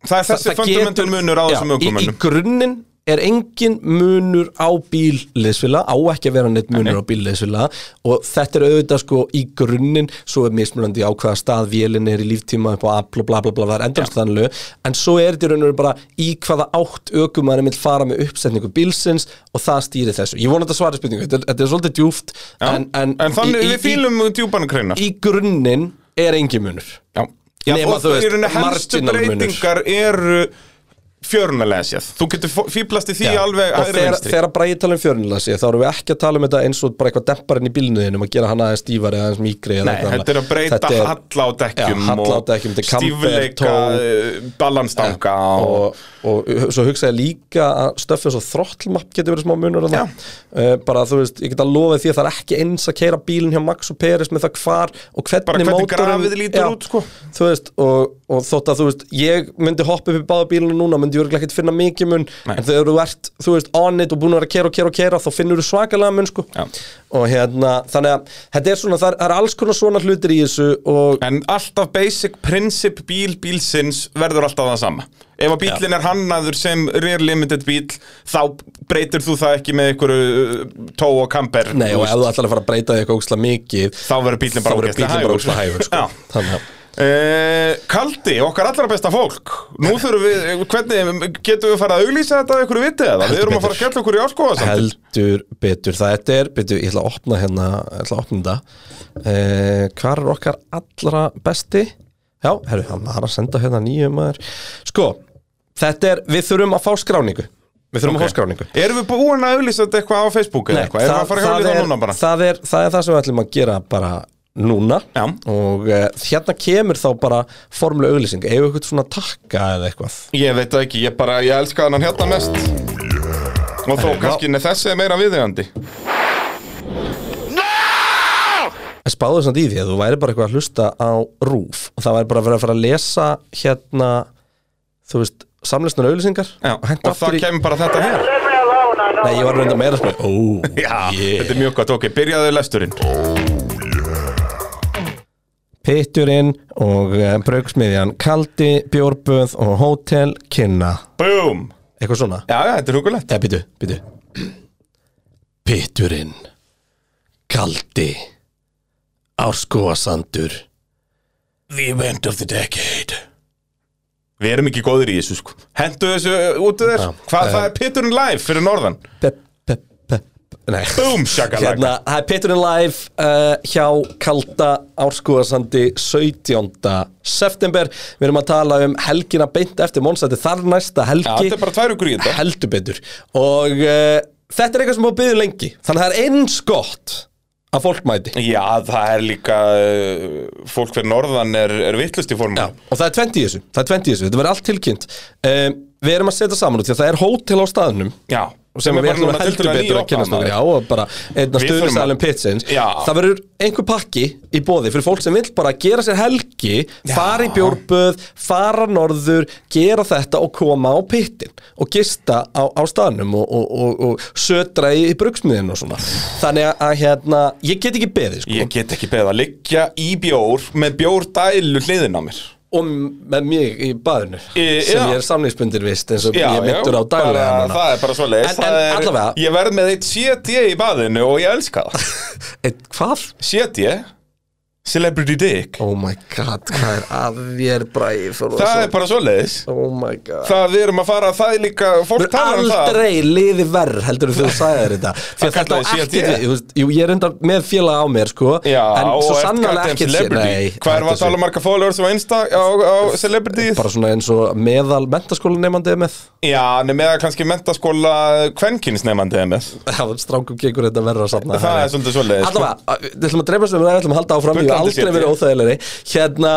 Speaker 2: Það er þessi fundamental munur á
Speaker 1: í,
Speaker 2: þessum
Speaker 1: í
Speaker 2: ökumönnum
Speaker 1: grunninn er engin munur á bílleysfila á ekki að vera neitt munur á bílleysfila og þetta er auðvitað sko í grunninn svo er mismunandi á hvaða stað vélinn er í líftíma upp á afl og bla bla bla það er endalst þannlega en svo er þetta í raun og veru bara í hvaða átt ökumæri vill fara með uppsetningu bílsins og það stýri þessu ég vona þetta svarið spurningu, þetta, er- þetta er svolítið djúft en, en,
Speaker 2: En þannig
Speaker 1: í, í,
Speaker 2: við fýlum djúbanu kreinar
Speaker 1: í, í grunninn er engin munur
Speaker 2: Já, já
Speaker 1: Nema,
Speaker 2: og
Speaker 1: þú veist,
Speaker 2: í rauninni helstu
Speaker 1: marginal munur.
Speaker 2: breytingar eru fjörunalega séð Þú getur fó- fíblast í því
Speaker 1: Já.
Speaker 2: alveg
Speaker 1: og
Speaker 2: hægri
Speaker 1: þegar,
Speaker 2: vinstri.
Speaker 1: þegar bræði tala um fjörunalega sé þá erum við ekki að tala um þetta eins og bara eitthvað demparinn í bílnuðin um að gera hann aðeins stífari eða aðeins mýkri eða
Speaker 2: Nei,
Speaker 1: eitthvað
Speaker 2: þetta er að
Speaker 1: annað.
Speaker 2: breyta
Speaker 1: Þetta er-
Speaker 2: halla á
Speaker 1: Já,
Speaker 2: dekkjum
Speaker 1: halla á dekkjum, þetta
Speaker 2: og
Speaker 1: er camber,
Speaker 2: stífleika,
Speaker 1: tó-
Speaker 2: eh, balansstanga og,
Speaker 1: og, og, svo hugsa ég líka að stöffið svo throttlmapp getur verið smá munur
Speaker 2: Já.
Speaker 1: uh, bara þú veist, ég get að lofa því að það er ekki eins að keira bílinn hjá Max og Peres með það hvar og hvernig,
Speaker 2: Bara hvernig
Speaker 1: mótorinn-
Speaker 2: grafið lítur út, sko.
Speaker 1: þú veist, og, og þótt að þú veist ég myndi hoppa upp í báða bílunum núna myndi ég örugglega ekkert finna mikið mun en þegar þú ert, þú veist, on it og búin að vera að kera og kera og kera þá finnur þú svakalega mun, sko
Speaker 2: Já.
Speaker 1: og hérna, þannig að þetta er svona, það er, það er alls konar svona hlutir í þessu og
Speaker 2: En alltaf basic prinsip bíl bílsins verður alltaf það sama Ef að bílinn er hannaður sem rear limited bíl þá breytir þú það ekki með einhverju uh, tó og kamper
Speaker 1: Nei, og ef þú ætlar að fara að breyta því eitthvað ógslag mikið
Speaker 2: Þá verður bíllinn bara
Speaker 1: þá verður
Speaker 2: ógeðslega
Speaker 1: bíllinn bara
Speaker 2: hægur.
Speaker 1: ógslag hægur sko.
Speaker 2: Já.
Speaker 1: Þannig að
Speaker 2: Eh, Kaldi, okkar allra besta fólk Nú þurfum við, eh, hvernig getum við að fara að auglýsa þetta að ykkur viti eða? Við erum að fara að skella okkur í áskoða samt
Speaker 1: heldur betur Þetta er, betur, ég ætla að opna hérna ég ætla að opna þetta eh, Hvar er okkar allra besti? Já, herru, hann var að senda hérna nýjum maður Sko, þetta er, við þurfum að fá skráningu Við þurfum að fá skráningu
Speaker 2: Erum við búin að auglýsa þetta eitthvað á Facebook eða
Speaker 1: Nei,
Speaker 2: eitthvað? Erum við að fara að auglýsa það
Speaker 1: er,
Speaker 2: núna bara?
Speaker 1: það, er, það er það sem við ætlum að gera bara núna
Speaker 2: Já.
Speaker 1: og uh, hérna kemur þá bara formulega auglýsing, ef eitthvað svona takka eða eitthvað
Speaker 2: Ég veit það ekki, ég bara, ég elska hann hérna mest Og þó kannski neð þessi er meira viðeigandi
Speaker 1: En spáðu samt í því að þú væri bara eitthvað að hlusta á rúf og það væri bara að vera að fara að lesa hérna, þú veist, samlisnar auðlýsingar
Speaker 2: Já,
Speaker 1: og henda
Speaker 2: og það
Speaker 1: aftur í...
Speaker 2: kemur bara þetta hér
Speaker 3: Leave me alone, I know.
Speaker 1: Nei, ég var reynda meira að spáðu, ó,
Speaker 2: Já, þetta er mjög gott, ok, byrjaðu lesturinn
Speaker 1: Pitturinn og uh, brauksmiðjan Kaldi, Bjórböð og Hótel Kinna,
Speaker 2: Búm!
Speaker 1: eitthvað svona
Speaker 2: Já, já, þetta er hugulegt
Speaker 1: Eða, býtu, býtu Pitturinn Kaldi Árskóasandur The event of the decade
Speaker 2: Við erum ekki góðir í þessu, sko Hentu þessu uh, út af þér
Speaker 1: Já.
Speaker 2: Hvað, það er pitturinn live fyrir norðan
Speaker 1: Pepp, pepp, pepp Nei
Speaker 2: Búm, shakalaka
Speaker 1: Hérna, það er Peturinn live uh, hjá Kalda Árskúðarsandi 17. september Við erum að tala um helgina beint eftir Mónsætti þar næsta
Speaker 2: Já,
Speaker 1: helgi
Speaker 2: þetta er bara tvær ykkur í þetta
Speaker 1: Heldur betur Og uh, þetta er eitthvað sem á byggðum lengi Þannig að það er eins gott að fólk mæti
Speaker 2: Já, það er líka uh, Fólk fyrir norðan er, er vittlust í formu
Speaker 1: Já, og það er 20 í þessu, það er 20 í þessu, þetta verður allt tilkynnt um, Við erum að setja saman út því að það er hótel á staðnum
Speaker 2: já
Speaker 1: sem
Speaker 2: er
Speaker 1: við
Speaker 2: bara
Speaker 1: ætlum
Speaker 2: núna
Speaker 1: að heldur
Speaker 2: tiltölulega
Speaker 1: betur að
Speaker 2: nýopnað,
Speaker 1: kynast okkur
Speaker 2: maður.
Speaker 1: já, og bara einna
Speaker 2: Við
Speaker 1: stöðustælum
Speaker 2: þurfum að-
Speaker 1: pitsins
Speaker 2: Já.
Speaker 1: það verður einhver pakki í bóði fyrir fólk sem vill bara gera sér helgi fara í bjórböð, fara norður gera þetta og koma á pittin og gista á, á staðnum og, og, og, og södra í, í brugsmiðin og svona þannig að hérna, ég get ekki beðið sko,
Speaker 2: Ég get ekki beðið að liggja í bjór með bjórdælu hliðin á mér
Speaker 1: og með mig í baðinu
Speaker 2: Í-
Speaker 1: sem
Speaker 2: já.
Speaker 1: ég er samlingspundin vist eins og
Speaker 2: Já,
Speaker 1: ég
Speaker 2: já,
Speaker 1: mittur á daglega
Speaker 2: bara,
Speaker 1: núna.
Speaker 2: það er bara svo leiðis
Speaker 1: en, en allavega,
Speaker 2: Ég verð með eitt CD í baðinu og ég elska það
Speaker 1: [laughs] ég... hvað?
Speaker 2: CD Celebrity Dick
Speaker 1: Oh my god, hvað er að þér bræði fyrir
Speaker 2: Það er bara svo leiðis
Speaker 1: Oh my god
Speaker 2: Það við erum að fara, það er líka Fólk
Speaker 1: Mér
Speaker 2: talar um það
Speaker 1: aldrei liði verð heldur þú sagði þér þetta Því að
Speaker 2: Það
Speaker 1: þetta á
Speaker 2: kallaði
Speaker 1: ekkert
Speaker 2: CLT.
Speaker 1: við þú veist, Jú, ég er enda með félaga á mér sko
Speaker 2: Já,
Speaker 1: En
Speaker 2: og
Speaker 1: svo
Speaker 2: ert
Speaker 1: sannlega
Speaker 2: goddamn
Speaker 1: ekkert sér
Speaker 2: celebrity. Hvað er
Speaker 1: þetta
Speaker 2: að tala um marga followers á Insta á, á Celebrity?
Speaker 1: Bara svona eins og meðal mentaskólaneimandi er með [laughs]
Speaker 2: Já, nema eða kannski mentaskóla kvenkinsnefandi eða með
Speaker 1: Já, strákum gengur þetta verra sann
Speaker 2: Það er svolítið svoleiðis, sko.
Speaker 1: Allavega, við ætlum að dreifast um það, við ætlum að halda áfram Ég hef
Speaker 2: Bullandi
Speaker 1: aldrei
Speaker 2: CLT.
Speaker 1: verið óþægilegri Hérna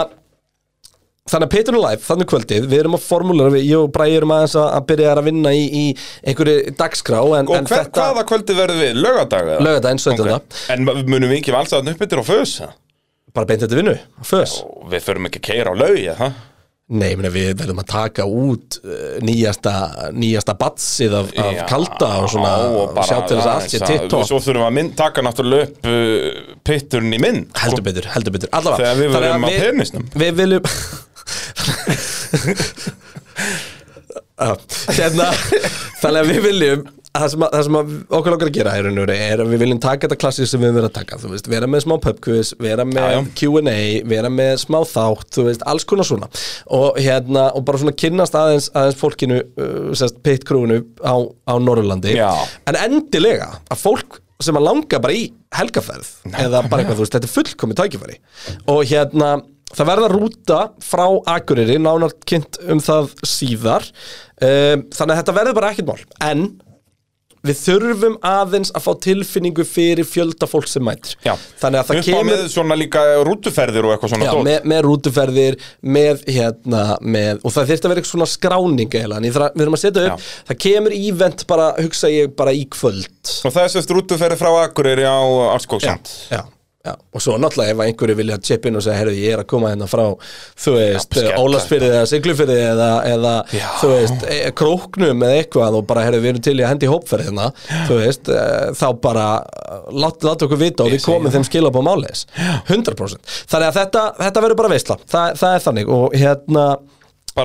Speaker 1: Þannig að Patreon Live, þannig kvöldið, við erum á formúlar, við, ég og Bræði erum aðeins að, að byrja að vinna í, í einhverju dagskrá en,
Speaker 2: Og
Speaker 1: en
Speaker 2: hver, hvaða kvöldi verður við? Lögadag? eða?
Speaker 1: Laugardaginn, 17..
Speaker 2: Ok. En munum við ekki valsa þannig upp yfir á föðs?
Speaker 1: bara beint þetta vinnu, fös
Speaker 2: Við förum ekki að keira á laugi, ha?
Speaker 1: Nei, ég meina, við verðum að taka út uh, nýjasta, nýjasta batsið af, af kalda og svona sjá til þess að allt sé titt
Speaker 2: Svo þurfum við að mynd, taka náttúrulega upp uh, pitturinn í mynd Sko,
Speaker 1: heldur betur, heldur betur, allavega
Speaker 2: Þegar við
Speaker 1: Þannig að
Speaker 2: verðum á
Speaker 1: við-
Speaker 2: penisnum.
Speaker 1: Við viljum Já, hérna, Þannig að við viljum Það sem, að, það sem að okkur langar að gera er, raunur, er að við viljum taka þetta klassið sem við höfum verið að taka þú veist, vera með smá pubquiz, vera
Speaker 2: Já, já.
Speaker 1: með Q&A, vera með smá þátt þú veist, alls konar svona og, hérna, og bara svona kynnast aðeins, aðeins fólkinu, uh, sérst, pitt krúinu á, á Norrlandi
Speaker 2: Já.
Speaker 1: en endilega að fólk sem að langa bara í helgaferð eða bara eitthvað, þú veist, þetta er fullkomið tækifæri og hérna, það verða rúta frá Akureyri, nánar kynnt um það síðar um, þannig að þetta verður bara ekkert mál en við þurfum aðeins að fá tilfinningu fyrir fjölda fólk sem mætir
Speaker 2: Já.
Speaker 1: þannig að það
Speaker 2: Upp á
Speaker 1: kemur
Speaker 2: með svona líka rútuferðir og eitthvað svona
Speaker 1: Já,
Speaker 2: dót.
Speaker 1: með, með rútuferðir, með hérna, með, og það þyrfti að vera eitthvað svona skráning eða, við þurfum að setja upp,
Speaker 2: Já.
Speaker 1: það kemur ívent bara, hugsa ég, bara í kvöld
Speaker 2: Og það er sérst rútuferði frá Akureyri á Arskóksand
Speaker 1: já, já. og svo náttúrulega ef einhverju vilja chip inn og segja, herrðu, ég er að koma hérna frá þú veist,
Speaker 2: skella.
Speaker 1: Ólasfyrði eða Siglufyrði eða, eða
Speaker 2: Já.
Speaker 1: þú veist, e króknum eða eitthvað og bara, herrðu, við erum til í að hendi hópferð hérna þú veist, e þá bara láta lát okkur vita og við komum þeim um skila på máleis, 100% þannig að þetta, þetta verður bara veistla, Þa, það er þannig og hérna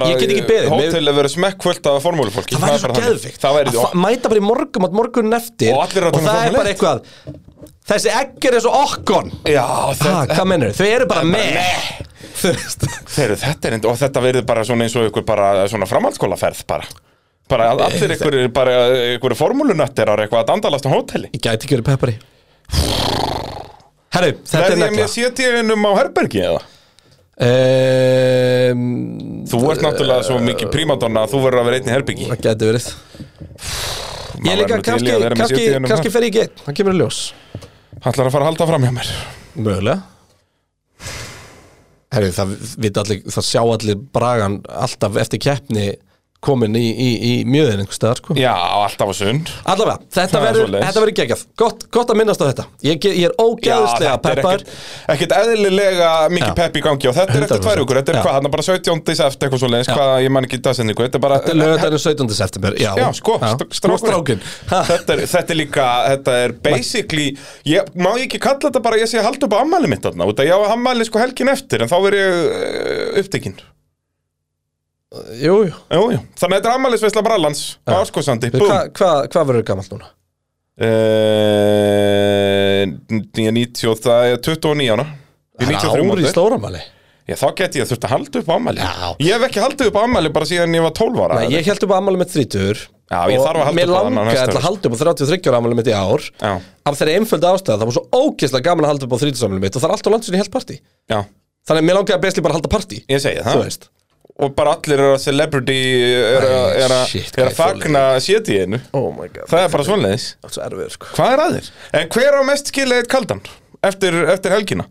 Speaker 1: ég get ekki beðið Mér-
Speaker 2: Hótel að vera smekkvöld af formúlufólki
Speaker 1: það væri svo
Speaker 2: bara þannig.
Speaker 1: geðvikt
Speaker 2: Það
Speaker 1: að
Speaker 2: væri
Speaker 1: fa- mæta bara í morgum átt morgun eftir
Speaker 2: Og allir eru að um taka
Speaker 1: það
Speaker 2: þátt
Speaker 1: er
Speaker 2: með
Speaker 1: bara eitthvað þessi egg er eins og okkon
Speaker 2: Já,
Speaker 1: Ha,
Speaker 2: þetta,
Speaker 1: hvað mennur? Þau eru bara með
Speaker 2: meh.
Speaker 1: Þú veist
Speaker 2: Þeir, þetta er enda, og þetta verður bara svona eins og ykkur bara svona framhaldsskólaferð bara bara
Speaker 1: Eh,
Speaker 2: að allir ykkur bara ykkur formúlunöttir ára eitthvað að dandalast á hóteli
Speaker 1: Ég gæti ekki verið peppari Herru, þetta er
Speaker 2: Verði ég
Speaker 1: nekla
Speaker 2: með sétíðinum á herbergi eða?
Speaker 1: um,
Speaker 2: Þú ert náttúrulega svo mikið prímadonna að þú verður að vera einn í herbergi
Speaker 1: Það gæti verið
Speaker 2: Maður
Speaker 1: Ég
Speaker 2: verður
Speaker 1: líka,
Speaker 2: nú til í
Speaker 1: kannski,
Speaker 2: að vera með
Speaker 1: kannski,
Speaker 2: CT-unum
Speaker 1: kannski fer ég í geitt Það kemur í ljós
Speaker 2: það. Hann ætlar að fara að halda fram hjá mér
Speaker 1: Mögulega Herru, það, vita allir, það sjá allir bragan alltaf eftir keppni komin í, í, í mjöðin einhvers staðar sko.
Speaker 2: Já, alltaf á sund
Speaker 1: Allavega, þetta
Speaker 2: Það er
Speaker 1: verður
Speaker 2: svoleiðis.
Speaker 1: þetta verður geggjað gott, gott að minnast á þetta Ég, ge- ég er ógeðslega
Speaker 2: þetta er
Speaker 1: peppar
Speaker 2: ekkert, ekkert eðlilega
Speaker 1: Já.
Speaker 2: mikið pepp í gangi og þetta er eftir
Speaker 1: 100%.
Speaker 2: tvær vikur, þetta er
Speaker 1: Já.
Speaker 2: hvað, hann er bara 17. eftir eitthvað svo leiðis,
Speaker 1: Já.
Speaker 2: hvað, ég man ekki dagsetningu, þetta er bara
Speaker 1: Þetta er lögadaginn 17. september Já,
Speaker 2: Já, sko,
Speaker 1: strákin,
Speaker 2: st- strákurinn. þetta, er, þetta er líka, þetta er basically ég, Má ég ekki kalla þetta bara, ég sé að halda upp á ammæli mitt þarna Út að ég á ammæli sko helgin eftir En þá verð ég uh, upptekinn
Speaker 1: Jú, jú
Speaker 2: Jú, jú, þannig að þetta er ammælisveisla brallans Á Árskosandi,
Speaker 1: Hvað
Speaker 2: búm
Speaker 1: hva, hva hvað verður gammalt núna?
Speaker 2: Eh, 90 og það er 29 ára Ég er 93
Speaker 1: ári í
Speaker 2: mótið.
Speaker 1: stóramæli
Speaker 2: Já, þá geti ég þurft að halda upp á ammæli
Speaker 1: Já.
Speaker 2: Ég hef ekki haldið upp á ammæli bara síðan ég var 12 ára
Speaker 1: Nei, ég held upp á ammæli með 30
Speaker 2: Já, ég þarf að halda upp á
Speaker 1: Og
Speaker 2: annað
Speaker 1: mér
Speaker 2: næsta
Speaker 1: langar
Speaker 2: haust.
Speaker 1: að halda upp á 33 ára ammæli mitt í ár
Speaker 2: Já,
Speaker 1: Af þeirri einföldu ástæða, það var svo ógeðslega gaman að halda upp á 30 ammæli mitt Og það er allt á landsinni helt partí
Speaker 2: já,
Speaker 1: Þannig að mér langar að besli bara að halda partí
Speaker 2: ég segi
Speaker 1: Þú
Speaker 2: það
Speaker 1: veist
Speaker 2: Og bara allir eru að celebrity eru að-
Speaker 1: Æ,
Speaker 2: eru að-
Speaker 1: shit,
Speaker 2: eru
Speaker 1: hvað ég
Speaker 2: að fagna sétíinu
Speaker 1: Oh my god
Speaker 2: Það er bara svonleðis
Speaker 1: Það er svo erfið, sko
Speaker 2: Hvað er aðeins? En hver á mest skilja eitt kaldan? Eftir, eftir helgina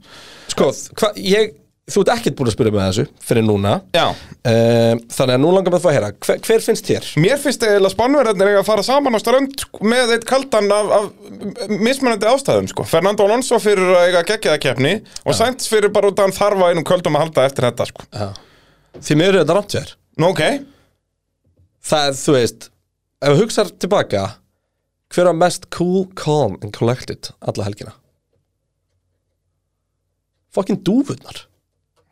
Speaker 1: Sko, hva, ég, þú ert ekkert búin að spyrja með þessu Fyrir núna
Speaker 2: Já
Speaker 1: Um, Þannig að nú langar með að fá að heyra hver, hver finnst þér?
Speaker 2: Mér finnst eiginlega spannverðarnir eiga að fara saman á strönd með eitt kaldan af, af mismunandi ástæðum sko. Fernando Alonso fyrir að eiga geggjaða keppni og Sainz fyrir bara út að hann þarf að einum köldum að halda eftir þetta sko.
Speaker 1: Því mér er þetta rámt sér
Speaker 2: Nú ok,
Speaker 1: Það er, þú veist, ef við hugsar tilbaka Hver var mest cool, calm and collected alla helgina? Fokkin dúfurnar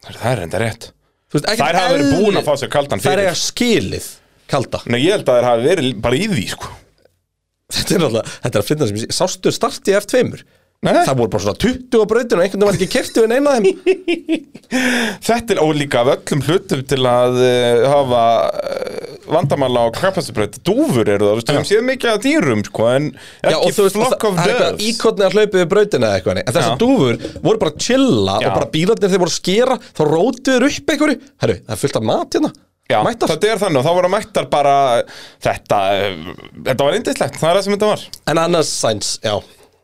Speaker 2: það er enda rétt
Speaker 1: Þú veist, ekkert
Speaker 2: Þær hafa verið
Speaker 1: eðli-
Speaker 2: búin að fá sér kaldan
Speaker 1: Þær eiga
Speaker 2: fyrir
Speaker 1: skilið kalda [laughs]
Speaker 2: Nei, ég held að þær hafi verið bara í því sko.
Speaker 1: Þetta er náttúrulega, þetta er að finna sem ég sé Sástu starti í F2-mur
Speaker 2: Nei,
Speaker 1: Það voru bara svona 20 á brautinu og einhvern veginn var ekki kertu en eina af
Speaker 2: [laughs]
Speaker 1: þeim
Speaker 2: Þetta er ólíka af öllum hlutum til að uh, hafa uh, vandamála á kapasibröð Dúfur eru það, þú veist, við höfum séð mikið að dýrum sko, en
Speaker 1: Já, og
Speaker 2: ekki
Speaker 1: þú veist, það
Speaker 2: flock of
Speaker 1: það er eitthvað
Speaker 2: doves
Speaker 1: íkotni að hlaupa við brautina eða eitthvað nei. En þessar
Speaker 2: Já.
Speaker 1: dúfur voru bara að chilla
Speaker 2: Já.
Speaker 1: og bara bílarnir þeir voru að skera Þá rótuður upp einhverju Herru, það er fullt af mat hérna
Speaker 2: Já,
Speaker 1: Mættar.
Speaker 2: þetta er þannig og þá voru mættar bara þetta, eh, þetta var indislegt, það er það sem þetta var
Speaker 1: En annars sæns, já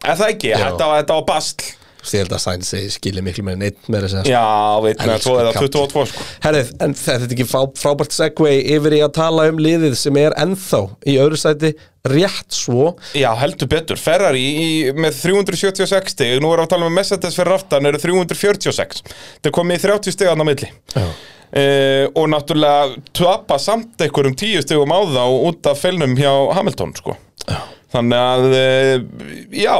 Speaker 2: En það ekki, þetta var, þetta var basl
Speaker 1: Þú veist, Ég held að Sainz skilja miklu meira en einn meira að segja, sko.
Speaker 2: Já, veitna,
Speaker 1: Elsku
Speaker 2: svo eða
Speaker 1: kall.
Speaker 2: 22 sko
Speaker 1: Herrið, en þetta er ekki frá, frábært segway yfir í að tala um liðið sem er ennþá í öðru sæti rétt svo
Speaker 2: Já, heldur betur, Ferrari í, með 376 stig, nú erum við að tala um að Mercedes fyrir aftan eru 346 Það komið í 30 stig annar milli
Speaker 1: Já.
Speaker 2: Uh, og náttúrulega tapa samt einhverjum tíu stigum á þá út af felnum hjá Hamilton sko. þannig að uh, já,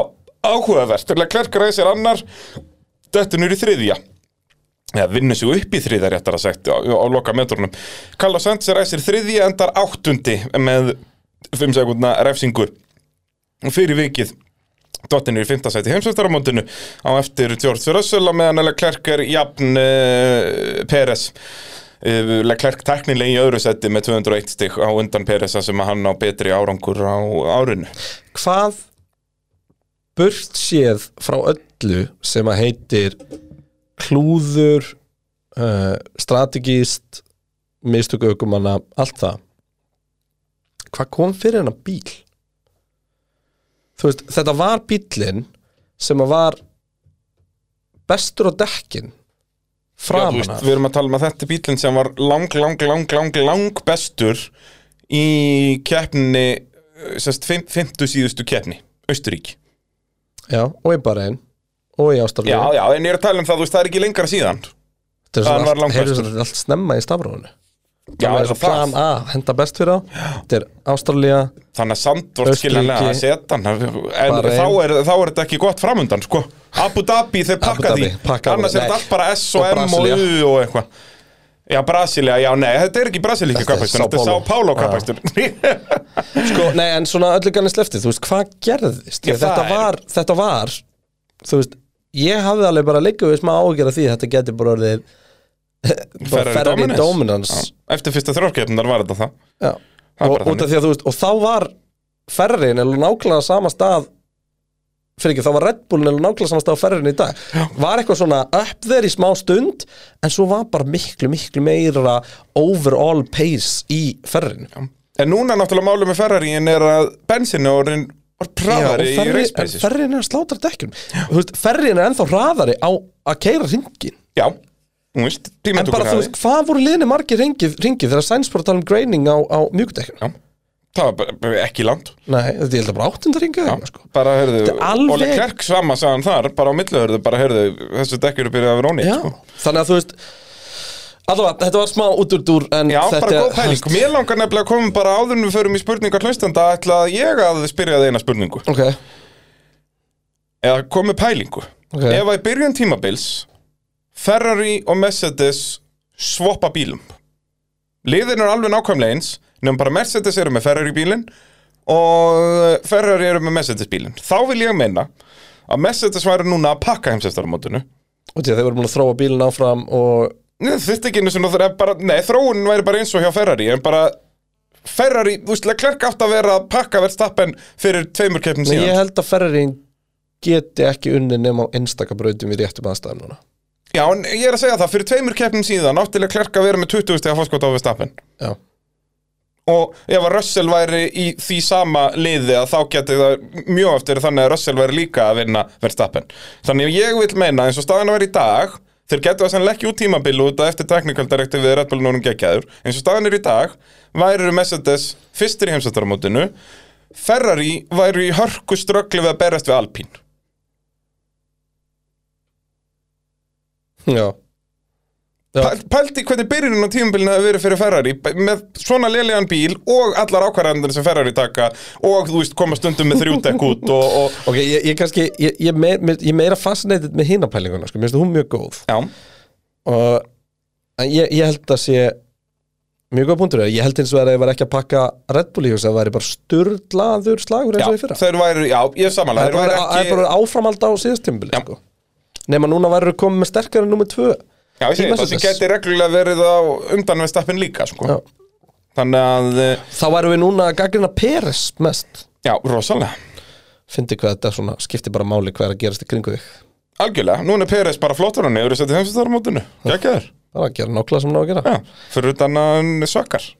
Speaker 2: áhugavert Klerk reisir annar döttunur í þriðja eða vinnur sig upp í þriðja réttar að sagt á, á loka metrunum Carlos Sainz reisir þriðja endar áttundi með 5 sekundna refsingu fyrir vikið Dottin er í 15 sæti heimsvöldaramóndinu á eftir George Russell á meðan Leclerc er jafn uh, Peres uh, Leclerc teknilega í öðru sæti með 201 stig á undan Peres þar sem að hann á betri árangur á árinu
Speaker 1: hvað burt séð frá öllu sem að heitir klúður uh, strategist mistök aukumanna, allt það hvað kom fyrir hennar bíl þú veist, þetta var bílinn sem að var bestur á dekkin
Speaker 2: Já, þú
Speaker 1: framan
Speaker 2: veist,
Speaker 1: af
Speaker 2: Við erum að tala um að þetta er bílinn sem var lang, lang, lang, lang, lang bestur í eh, keppni sérst, 50 síðustu keppni Austuríki
Speaker 1: Já, og í Bahrein og í
Speaker 2: Já,
Speaker 1: Ástralíu
Speaker 2: já, en ég er að tala um það, þú veist, það er ekki lengra síðan
Speaker 1: Þetta er
Speaker 2: hann var
Speaker 1: svona allt,
Speaker 2: langbestur.
Speaker 1: heyrðu svona, þetta er allt snemma í stafrófunu
Speaker 2: Já,
Speaker 1: Það er
Speaker 2: eins
Speaker 1: svo
Speaker 2: og það.
Speaker 1: plan A, henda best fyrir á Þetta er Ástralía
Speaker 2: Þannig að Sandvort
Speaker 1: Austurríki,
Speaker 2: skiljanlega að setja hann en
Speaker 1: Bahrein.
Speaker 2: þá er, þá er þetta ekki gott framundan sko. Abu Dhabi þeir
Speaker 1: Abu
Speaker 2: pakka
Speaker 1: Dhabi,
Speaker 2: því
Speaker 1: pakka
Speaker 2: annars
Speaker 1: alveg,
Speaker 2: er
Speaker 1: nei.
Speaker 2: þetta allt bara S og
Speaker 1: Og
Speaker 2: M og
Speaker 1: Brasilía.
Speaker 2: U og eitthvað Já, Brasilia, já, nei, þetta er ekki Brasilíki
Speaker 1: Þetta er
Speaker 2: kapastur,
Speaker 1: Sao
Speaker 2: þetta er Sá
Speaker 1: Paulo.
Speaker 2: Paulo
Speaker 1: Já.
Speaker 2: kapastur
Speaker 1: [laughs] sko, Nei, en svona öllu ganni sleftið, þú veist, hvað gerðist?
Speaker 2: Já,
Speaker 1: þetta,
Speaker 2: það er-
Speaker 1: var, þetta var, þú veist Ég hafði alveg bara líka við smá ágjöra því að Þetta geti bara orðið bara Ferrari Dominance
Speaker 2: Eftir fyrsta þrjórkeppnar var þetta það
Speaker 1: Já.
Speaker 2: Það
Speaker 1: Og,
Speaker 2: er bara
Speaker 1: út af því að, þú veist, og þá var Ferrariin eða nákvæmlega sama stað fyrir ekki, þá var Red Bullin eða nákvæmlega sama stað á Ferrariin í dag var eitthvað svona upp þeir í smá stund en svo var bara miklu, miklu meira overall pace í Ferrariin
Speaker 2: En núna náttúrulega málum með Ferraríin er að bensinu orðin var praðari í reispeisi
Speaker 1: Ferrariin er að slátra dekkjum Þú veist, Ferrariin er ennþá hraðari á að keira ringin
Speaker 2: Já, þú veist, tíma
Speaker 1: en bara
Speaker 2: tökur
Speaker 1: þú
Speaker 2: hraði.
Speaker 1: veist, hvað voru liðni margir ringið þegar Sainz fór að tala um graining á, á mjúkdekkjum
Speaker 2: Já, það var bara- bara ekki langt
Speaker 1: Nei, þetta ég held að bara áttundar ringið
Speaker 2: Já, Sko, bara heyrðu,
Speaker 1: Þetta er alveg-
Speaker 2: Óli Klerk sama sagðan þar, bara á milluhörðu, bara heyrðu, þessu dekkur er byrjað að vera ónýtt,
Speaker 1: Já,
Speaker 2: sko.
Speaker 1: þannig að þú veist Allavega, þetta var smá út úr dúr en
Speaker 2: Já,
Speaker 1: þetta,
Speaker 2: bara góð pæling. Mér langar nefnilega að koma bara áður en við förum í spurningar hlustenda, ætla að ég að spyrja það eina spurningu.
Speaker 1: Ok,
Speaker 2: Eða komi pælingu.
Speaker 1: Ok.
Speaker 2: Ef að í byrjun tímabils, Ferrari og Mercedes svoppa bílum. Liðin eru alveg nákvæmlega eins, nefnum bara Mercedes eru með Ferrari bílinn og Ferrari eru með Mercedes bílinn. Þá vil ég meina að Mercedes væri núna að pakka heimsefstaramótinu.
Speaker 1: og því að þeir voru búin að þróa bílinn áfram og
Speaker 2: Nei, þetta ekki einu sinni og það er bara, nei, þróunin væri bara eins og hjá Ferrari, en bara Ferrari, þú veist, Leclerc átt að vera að pakka verðstappen fyrir tveimur keppnum
Speaker 1: Nei, ég
Speaker 2: síðan.
Speaker 1: held að Ferrarín geti ekki unni nema á einstaka brautum í réttum aðstæðum núna
Speaker 2: Já, en ég er að segja það, fyrir tveimur keppnum síðan átti Leclerc að vera með 20 steg að fórskota á verðstappen.
Speaker 1: Já,
Speaker 2: Og ef að Russell væri í því sama liði að þá geti það mjög eftir þannig að Russell væri líka að vinna verðstappen. Þannig að ég vil meina eins og staðan væri í dag, þeir getur það sennilega ekki út tímabili út að eftir technical directive við Red Bull núna geggjaður. Eins og staðan er í dag, væri Mercedes fyrstir í heimsættaramótinu, Ferrari væri í hörku ströggli við að berast við Alpine.
Speaker 1: já, Já.
Speaker 2: Pæl- Pældi hvernig byrjunin á tímabilinu hefur verið fyrir Ferrari b- með svona lélegan bíl og allar ákvarðanir sem Ferrari taka og þú veist koma stundum með þrjúdekk út og, og
Speaker 1: ok, ég, ég kannski ég, ég, meir, mér- ég er meira fascinated með hina pælinguna sko, mér finnst hún mjög góð
Speaker 2: Já,
Speaker 1: og en ég, ég held að sé mjög góð punktur, ég held eins og að ég var ekki að pakka Red Bull í þessu, það væri bara sturdlaður slagur eins
Speaker 2: já,
Speaker 1: og í fyrra
Speaker 2: þeir væru, já, ég
Speaker 1: Það
Speaker 2: samanlega Þeir væru
Speaker 1: er bara,
Speaker 2: ekki,
Speaker 1: ekki... bara áframald á síðastimbil
Speaker 2: Já.
Speaker 1: sko. Nefn að núna væru komið með sterkari nummer tvö
Speaker 2: já, ég
Speaker 1: í
Speaker 2: segi, það sem
Speaker 1: Mercedes.
Speaker 2: geti reglulega verið á undan við stappin líka, sko
Speaker 1: Já.
Speaker 2: Þannig að, eh,
Speaker 1: Þá væru við núna að gaggrina Peres mest
Speaker 2: já, rosalega
Speaker 1: Fyndi hvað þetta svona, skiptir bara máli hvað er að gerast í kringu þig
Speaker 2: Algjörlega, núna er Peres bara flottur hann yfir að setja þeimstöðar á mótinu Gækja þér,
Speaker 1: Það var að gera nákvæmlega sem ná að gera
Speaker 2: já, fyrir utan að hann sökkar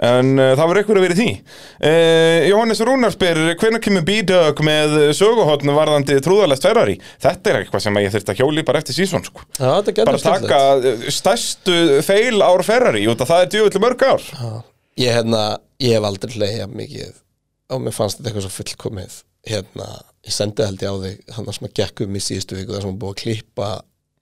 Speaker 2: en uh, það var ekkur að vera í því uh, Jóhannes Rúnar spyr hvenær kemur B-Dog með söguhotn varðandi trúðalest Ferrari þetta er eitthvað sem að ég þurfti að hjóli bara eftir sísón sko.
Speaker 1: Já, þetta getur
Speaker 2: bara taka uh, stærstu feil ár Ferrari út að það er djöfull mörg ár
Speaker 1: ég, hérna, ég hef aldrei leiðja mikið og mér fannst þetta eitthvað svo fullkomið hérna, ég sendi held ég á þig hann sem að gekk um í síðustu viku þar sem að búið að klippa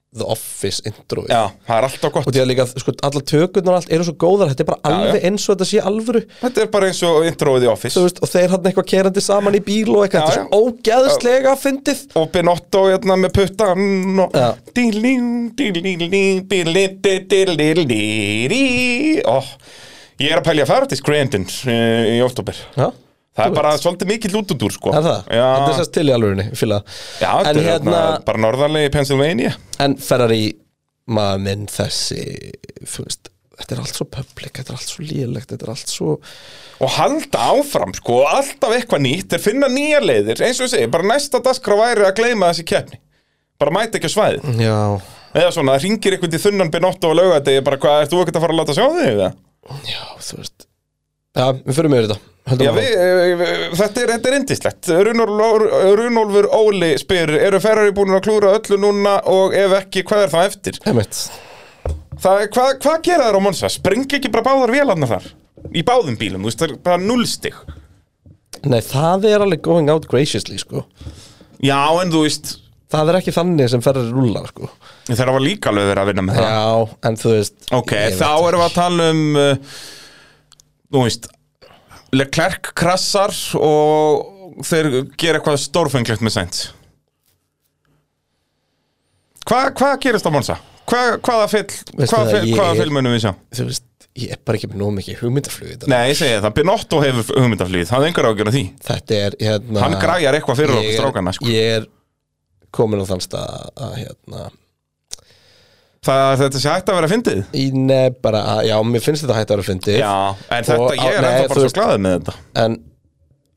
Speaker 1: The Office introið
Speaker 2: já, það er alltaf
Speaker 1: og
Speaker 2: gott
Speaker 1: því að líka, sko, alla tökurnar og allt eru svo góðar þetta er bara alveg eins og þetta sé alvöru
Speaker 2: þetta er bara eins og introið í Office
Speaker 1: þú veist, og þeir hann eitthvað kerandi saman í bíl og eitthvað, þetta
Speaker 2: Já,
Speaker 1: er svo ógeðslega fyndið
Speaker 2: og Benotto hérna með puttan og
Speaker 1: Já.
Speaker 2: dýlí, dýlí, dýlí, dýlí, dýlí og ég er að pælja að fara til Scranton eh, í oktober
Speaker 1: Já,
Speaker 2: það er bara svolítið mikið lútundúr sko
Speaker 1: er það?
Speaker 2: Já,
Speaker 1: Þetta er sérst til í alvörunni, fíla
Speaker 2: já þetta
Speaker 1: En
Speaker 2: er hérna...
Speaker 1: hérna,
Speaker 2: bara norðarlega í Pennsylvania
Speaker 1: en Ferrari maður minn þessi þú veist, þetta er allt svo public þetta er allt svo lélegt, þetta er allt svo
Speaker 2: og halda áfram sko, alltaf eitthvað nýtt þeir finna nýjar leiðir, eins og ég segi bara næsta daskra væri að gleyma þessi keppni bara mæta ekki á svæðið
Speaker 1: Já,
Speaker 2: eða svona, það ringir eitthvað í þunnan Benotto og laugadegi bara hvað, ert þú ekkert að fara að láta sjá þig eða?
Speaker 1: já, þú veist Já, við fyrir mér þetta, höldum
Speaker 2: Já, við, eh, þetta er, þetta er indislegt Runolfur Óli spyr eru Ferrari búin að klúra öllu núna og ef ekki, hvað er það eftir?
Speaker 1: Einmitt.
Speaker 2: Það, er- hvað, hvað gera þær á Monsa? Spring ekki bara báðar vélarnar þar? Í báðum bílum, þú veist, það er bara nullstig
Speaker 1: Nei, það er alveg going out graciously, sko
Speaker 2: Já, en þú veist,
Speaker 1: Það er ekki þannig sem ferðar rúlar, sko
Speaker 2: þeirra var líka alveg verið að vinna með það
Speaker 1: Já, en þú veist
Speaker 2: Ok,
Speaker 1: ég veit
Speaker 2: þá
Speaker 1: ekki.
Speaker 2: erum við að tala um uh, Þú veist Leclerc krassar og þeir gera eitthvað stórfenglegt með sænt Hva, Hvað gerist á Monsa? Hva, hvaða fyll
Speaker 1: Veistu
Speaker 2: hvaða
Speaker 1: það,
Speaker 2: fyll,
Speaker 1: ég-
Speaker 2: hvaða fyll munum við sjá?
Speaker 1: Þú veist, ég er bara ekki með nóg mikið hugmyndaflug í þetta
Speaker 2: Nei, ég segi það, Binotto hefur hugmyndaflýð Það er engar ágjörn af því
Speaker 1: Þetta er, hérna
Speaker 2: Hann græjar eitthvað fyrir okkur
Speaker 1: ég er-
Speaker 2: strákana sko.
Speaker 1: Ég er komin á þann stað að- að, hérna
Speaker 2: Það, Þetta sé hægt að vera fyndið
Speaker 1: Í nefn bara, að, já, mér finnst þetta hægt að vera fyndið
Speaker 2: Já, en þetta,
Speaker 1: á-
Speaker 2: ég er
Speaker 1: nei,
Speaker 2: ennþá
Speaker 1: þú
Speaker 2: bara svo
Speaker 1: veist-
Speaker 2: glaðið með þetta
Speaker 1: en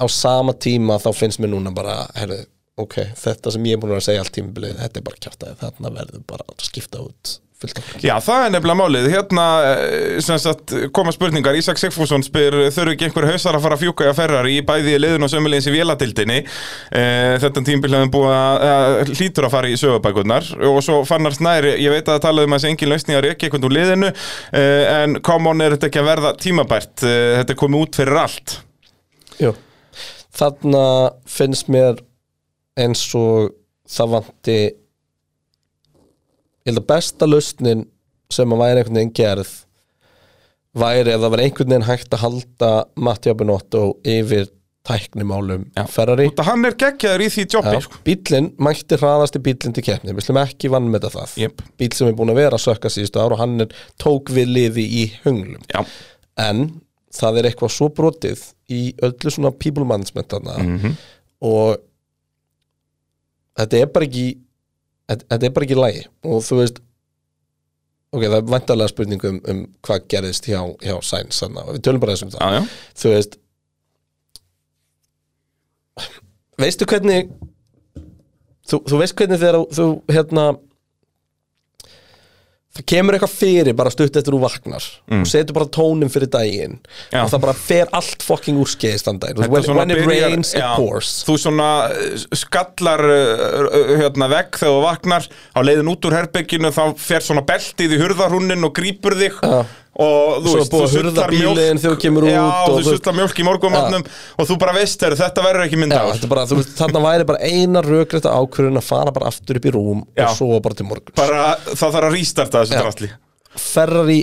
Speaker 1: á sama tíma þá finnst mér núna bara herru, ok, þetta sem ég er búin að vera að segja allt tímabilið, þetta er bara kjátaði, þarna verður bara að skipta út fullt af fólki.
Speaker 2: Já, það er nefnilega málið. Hérna, eh, sem sagt, koma spurningar. Ísak Sigfússon spyr, þurfu ekki einhver hausar að fara að fjúka í að ferrari í bæði í liðun og sömulegins í véladildinni. Eh, Þetta tímbil hefum búið að, að hlýtur að fara í sögubækurnar og svo fannar snær, ég veit að það talaði um að þessi engin lausning að reyka einhvern úr liðinu eh, en common er þetta ekki að verða tímabært. Eh, Þetta er komið út fyrir allt.
Speaker 1: Jú. þarna finnst mér eins og það vanti ég held að besta lausnin sem að væri einhvern veginn gerð væri að það var einhvern veginn hægt að halda Mattia Benotto yfir tæknimálum
Speaker 2: Já.
Speaker 1: Ferrari
Speaker 2: Þetta hann er geggjaður í því jobbi. sko.
Speaker 1: Bílinn mætti hraðasti bílinn til keppni Við slum ekki vann með það
Speaker 2: Jep.
Speaker 1: Bíl sem er búin að vera að sökka síðustu ár og hann er tók við liði í hunglum
Speaker 2: Já.
Speaker 1: En það er eitthvað svo brotið í öllu svona people management þarna
Speaker 2: Mhm.
Speaker 1: og þetta er bara ekki þetta þetta er bara ekki í lagi og þú veist ok, það er vantarlega spurning um, um hvað gerðist hjá, hjá Sainz þarna og við tölum bara þessum það
Speaker 2: Já, já.
Speaker 1: þú veist veistu hvernig þú, þú veist hvernig þegar þú- þú hérna það kemur eitthvað fyrir bara stutt eftir þú vaknar og setur bara tónum fyrir daginn
Speaker 2: Mm. Já.
Speaker 1: og það bara fer allt fucking úr skeiðist þann daginn when,
Speaker 2: Þetta svona
Speaker 1: when it
Speaker 2: byrjar-
Speaker 1: rains
Speaker 2: já,
Speaker 1: it pours
Speaker 2: Þú svona uh, skallar uh, uh, hérna vekk þegar þú vaknar á leiðin út úr herbygginu þá fer svona beltið í hurðarhúnin og grýpur þig og þú
Speaker 1: Svo
Speaker 2: veist,
Speaker 1: er búið
Speaker 2: þú
Speaker 1: að hurða
Speaker 2: sultar
Speaker 1: bílinn
Speaker 2: mjólk-
Speaker 1: þegar þú kemur
Speaker 2: Já,
Speaker 1: út og
Speaker 2: þú
Speaker 1: þú veist-
Speaker 2: sultar mjölk í morgumatnum og þú bara veist þeir, þetta verður ekki mynd
Speaker 1: Já,
Speaker 2: á
Speaker 1: þetta er bara, þú veist, þarna væri bara eina rökrétta ákvörðun að fara bara aftur upp í rúm
Speaker 2: Já.
Speaker 1: og sofa bara til morguns
Speaker 2: bara það þarf að rístarta þessu drastli
Speaker 1: Ferrari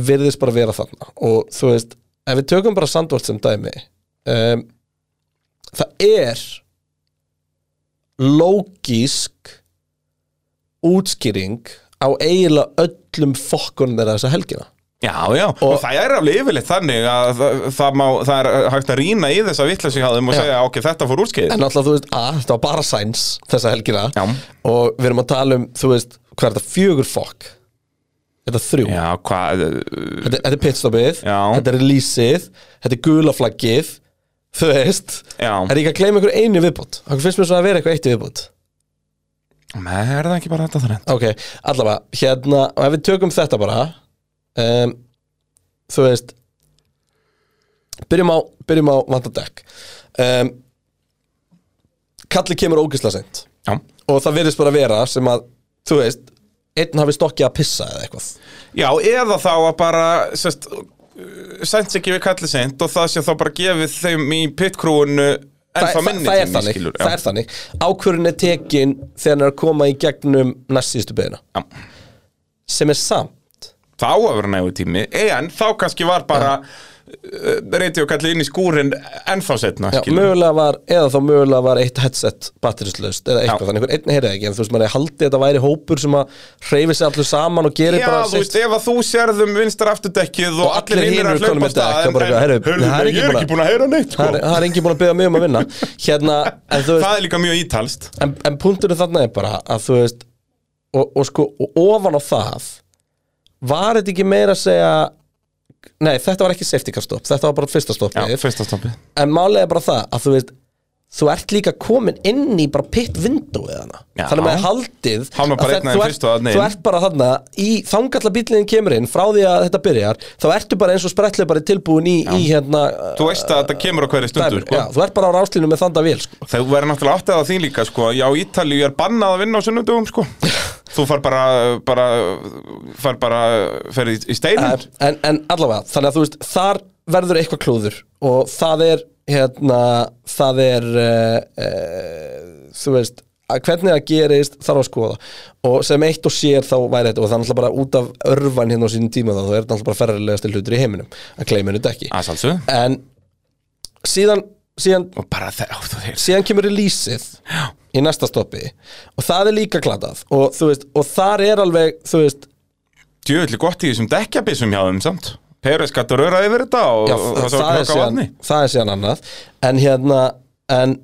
Speaker 1: virðist bara vera þarna og þú veist, ef við tökum bara Sandvort sem dæmi um, það er lógísk útskýring á eiginlega öllum fokkunum þeirra þessa helgina
Speaker 2: Já, já, og, það er alveg yfirleitt þannig að það, það, má, það er eh, hægt að rýna í þessa vitleysihjáðum og
Speaker 1: Já.
Speaker 2: segja, ok, þetta fór úrskeið
Speaker 1: en náttúrulega þú veist, að þetta var bara sæns þessa helgina
Speaker 2: Já.
Speaker 1: og við erum að tala um, þú veist, hvað er þetta fjögur fokk þetta er þrjú
Speaker 2: Já, hvað,
Speaker 1: þetta, þetta er pitstopið,
Speaker 2: Já.
Speaker 1: þetta er releaseið þetta er gulaflaggið þú veist,
Speaker 2: eh, Já.
Speaker 1: er ég ekki að gleyma ykkur einu viðbútt okkur finnst mér svo að vera eitthvað eitt í viðbútt
Speaker 2: Nei, er það ekki bara þetta þrennt?
Speaker 1: ok, allavega, hérna og ef við tökum þetta bara um, þú veist byrjum á, byrjum á vandadekk um, Kalli kemur ógisla seint
Speaker 2: Já.
Speaker 1: og það virðist bara vera sem að, þú veist einn hafi stokkið að pissa eða eitthvað
Speaker 2: Já, eða þá að bara sest, uh, sænt sig ekki við kallið seint og það sé þá bara gefið þeim í pitkrúinu en það,
Speaker 1: það,
Speaker 2: minni
Speaker 1: það, er
Speaker 2: tími,
Speaker 1: þannig,
Speaker 2: skilur, já.
Speaker 1: það er þannig ákvörðin er tekin þegar hann er að koma í gegnum næst síðustu beina
Speaker 2: Já.
Speaker 1: sem er samt
Speaker 2: þá að vera nægur tími Eh, en þá kannski var bara uh, reyti og kallið inn í skúrin ennþá setna
Speaker 1: Já, mögulega var, eða þá mögulega var eitt headset batterislaust eða eitthvað,
Speaker 2: Já.
Speaker 1: þannig einhver einn heyrði ekki en þú veist, maður hefði haldið að þetta væri hópur sem að hreyfi sér allir saman og gerir
Speaker 2: Já,
Speaker 1: bara
Speaker 2: þú veist, ef að þú sérðum vinstra afturdekkið og,
Speaker 1: Og allir
Speaker 2: allir
Speaker 1: hinir
Speaker 2: hinir að
Speaker 1: eru
Speaker 2: hlaupa
Speaker 1: komnir dekk
Speaker 2: af stað
Speaker 1: og bara eitthvað, heyrðu, það er
Speaker 2: hörðu,
Speaker 1: ekki
Speaker 2: ég er
Speaker 1: búin að-
Speaker 2: ekki búin að heyra neitt sko.
Speaker 1: það er, það er enginn búin að byggja mig um að
Speaker 2: [laughs]
Speaker 1: vinna hérna, en þú veist,
Speaker 2: Það er líka mjög ítalst
Speaker 1: en, en punkturinn þarna er bara að þú veist og, og sko, og ofan á það var þetta ekki meira að segja nei, þetta var ekki safety car stopp þetta var bara fyrsta
Speaker 2: Já,
Speaker 1: stoppið
Speaker 2: fyrsta stoppið
Speaker 1: en málega bara það að þú veist þú ert líka komin inn í bara pitt vindóið hana
Speaker 2: Já.
Speaker 1: þannig með haldið
Speaker 2: Hann var bara
Speaker 1: að
Speaker 2: einn af
Speaker 1: þetta-
Speaker 2: þeim
Speaker 1: þú
Speaker 2: fyrstu þarna
Speaker 1: ert- þú
Speaker 2: inn.
Speaker 1: ert bara þarna í þangalla bíllinn kemur inn frá því að þetta byrjar þá ertu bara eins og spretlið bara tilbúin í, í hérna
Speaker 2: Þú veist að þetta kemur á hverju stundu
Speaker 1: dæmur.
Speaker 2: sko.
Speaker 1: já, þú ert bara á ráslínu með þanda vél sko.
Speaker 2: Þau verður náttúrulega áttið á því líka sko. Já, Ítalíu er bannað að vinna á sunnudugum sko. Þú far bara, bara far bara fer í, í steinin
Speaker 1: en, en allavega, þannig að þú veist þar verður eitthvað klúður og það er hérna, það er uh, uh, þú veist að hvernig það gerist þarf að skoða og sem eitt og sér þá væri þetta og það er náttúrulega bara út af örvan hérna á sínum tíma þá þá er þetta náttúrulega bara ferrilegast hlutur í heiminum að kleiminu þetta ekki
Speaker 2: Aðsalsu
Speaker 1: en síðan, síðan,
Speaker 2: Og bara þeir, ó, þú þeir
Speaker 1: síðan kemur releaseið í næsta stoppi og það er líka glatað og, þú veist, og þar er alveg þú veist,
Speaker 2: Djöfulli gott í þessum dekkjabissum hjá þeim samt Peres gættur öra yfir þetta og,
Speaker 1: Já,
Speaker 2: og
Speaker 1: það,
Speaker 2: það var
Speaker 1: er
Speaker 2: knokka
Speaker 1: síðan,
Speaker 2: vatni
Speaker 1: það er síðan annað en hérna en,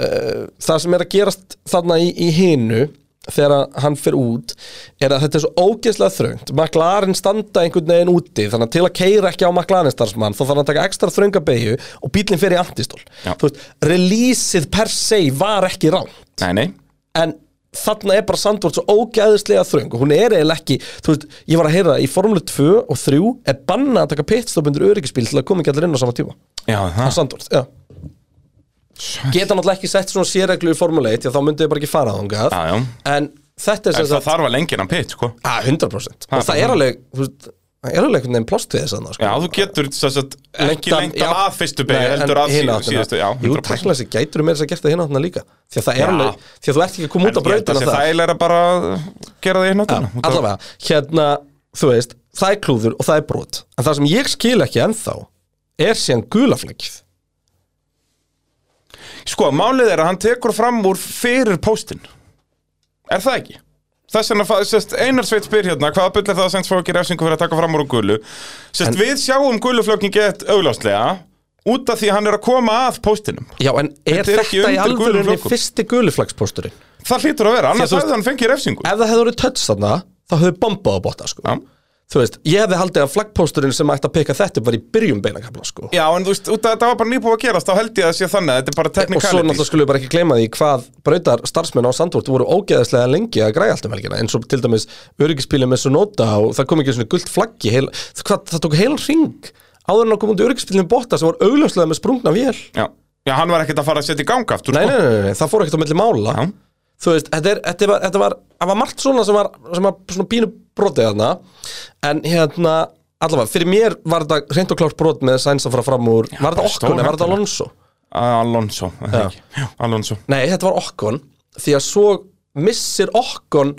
Speaker 1: uh, það sem er að gerast þarna í, í hinu þegar að hann fer út er að þetta er svo ógeðslega þröngt McLaren standa einhvern veginn úti þannig að til að keira ekki á McLaren starfsmann þá þarf hann að taka ekstra þrönga beigju og bílinn fer í antistól
Speaker 2: Já.
Speaker 1: Þú veist, releaseið per se var ekki rán
Speaker 2: Nei, nei
Speaker 1: en þarna er bara Sandvort svo ógæðislega þröng og hún er eiginlega ekki, þú veist, ég var að heyra það, í Formule 2 og 3 er bannað að taka pitstop undir öryggisbíl til að koma ekki allir inn á sama tíma
Speaker 2: Já,
Speaker 1: á
Speaker 2: það
Speaker 1: Sandvort, já geta náttúrulega ekki sett svona sérreglu í Formule 1 því að þá myndi ég bara ekki fara þangað
Speaker 2: Já, já.
Speaker 1: en þetta er
Speaker 2: En
Speaker 1: sem
Speaker 2: það
Speaker 1: sagt
Speaker 2: þarf að lengja hann pitt, sko
Speaker 1: að 100% og
Speaker 2: bara
Speaker 1: það er alveg, þú veist, það er alveg einhvern veginn plást við þess að
Speaker 2: Já, þú getur sem sagt, ekki
Speaker 1: Lengdan-
Speaker 2: lengt hann
Speaker 1: já.
Speaker 2: að fyrstu
Speaker 1: Nei,
Speaker 2: beigja
Speaker 1: en
Speaker 2: heldur að
Speaker 1: hina
Speaker 2: síð-
Speaker 1: áttina.
Speaker 2: síðustu, já,
Speaker 1: Jú,
Speaker 2: 100%.
Speaker 1: teknilega sér gætur þú meira þess að gert það hina áttina líka Því að það er
Speaker 2: Já.
Speaker 1: alveg, því að þú ert ekki að koma út
Speaker 2: En
Speaker 1: af
Speaker 2: ég held að
Speaker 1: brautina
Speaker 2: sé þægilega bara að gera það í náttúruna Út af-
Speaker 1: allavega, hérna, þú veist það er klúður og það er brot en það sem ég skil ekki ennþá er síðan gulaflækið
Speaker 2: Sko, málið er að hann tekur fram úr fyrir postin Er það ekki? Þess vegna, fa- sérst, Einar Sveit spyr hérna Hvaða bull er það að Sainz fá ekki refsingu fyrir að taka fram úr úr gulu Sérst, við sjáum guluflöknin gett augláslega Út af því að hann er að koma að postinum
Speaker 1: já, en er
Speaker 2: Þetta er
Speaker 1: þetta,
Speaker 2: ekki
Speaker 1: í
Speaker 2: undir gulum
Speaker 1: alvörunni
Speaker 2: flöggum.
Speaker 1: fyrsti gulaflækspósturinn ef
Speaker 2: Það hlýtur að vera, annars
Speaker 1: þú veist-
Speaker 2: hefði hann fengið refsingu
Speaker 1: það hefði voru tötts þarna, þá hefði bombað á bota sko.
Speaker 2: Já.
Speaker 1: þú veist, ég hefði haldið að flaggpósturinn sem ætti að peka þetta upp var í byrjum beinakafla sko.
Speaker 2: Já, en þú veist, út af þetta var bara nýbúið að gerast Þá held ég að það sé þannig að þetta er bara
Speaker 1: og svo náttúrulega
Speaker 2: technicality
Speaker 1: skulum við bara ekki gleyma því hvað brautar starfsmenn á Sandvort voru ógeðaslega lengi að græja allt um helgina eins og til dæmis öryggispílið með Sonota og það kom ekki svona gult flaggi heil, það, það tók heilan ring áður en að koma út öryggispílið með botta sem voru augljóslega með sprungna vél nei,
Speaker 2: Já. Já, hann var ekkert að fara að setja í gang aftur
Speaker 1: nei,
Speaker 2: sko.
Speaker 1: nei, nei, nei, það fór ekkert á milli mála
Speaker 2: Já.
Speaker 1: þú veist, þetta, er, þetta, var, þetta var það var margt svona sem var, sem var svona pínu brotið þarna en hérna allavega, fyrir mér var þetta reynd og klárt brot með Sainz að fara fram úr var
Speaker 2: bara
Speaker 1: þetta Okkon, eða var þetta Alonso
Speaker 2: Alonso, er það ekki? Já, Alonso
Speaker 1: Nei, þetta var okkon Því að svo missir okkon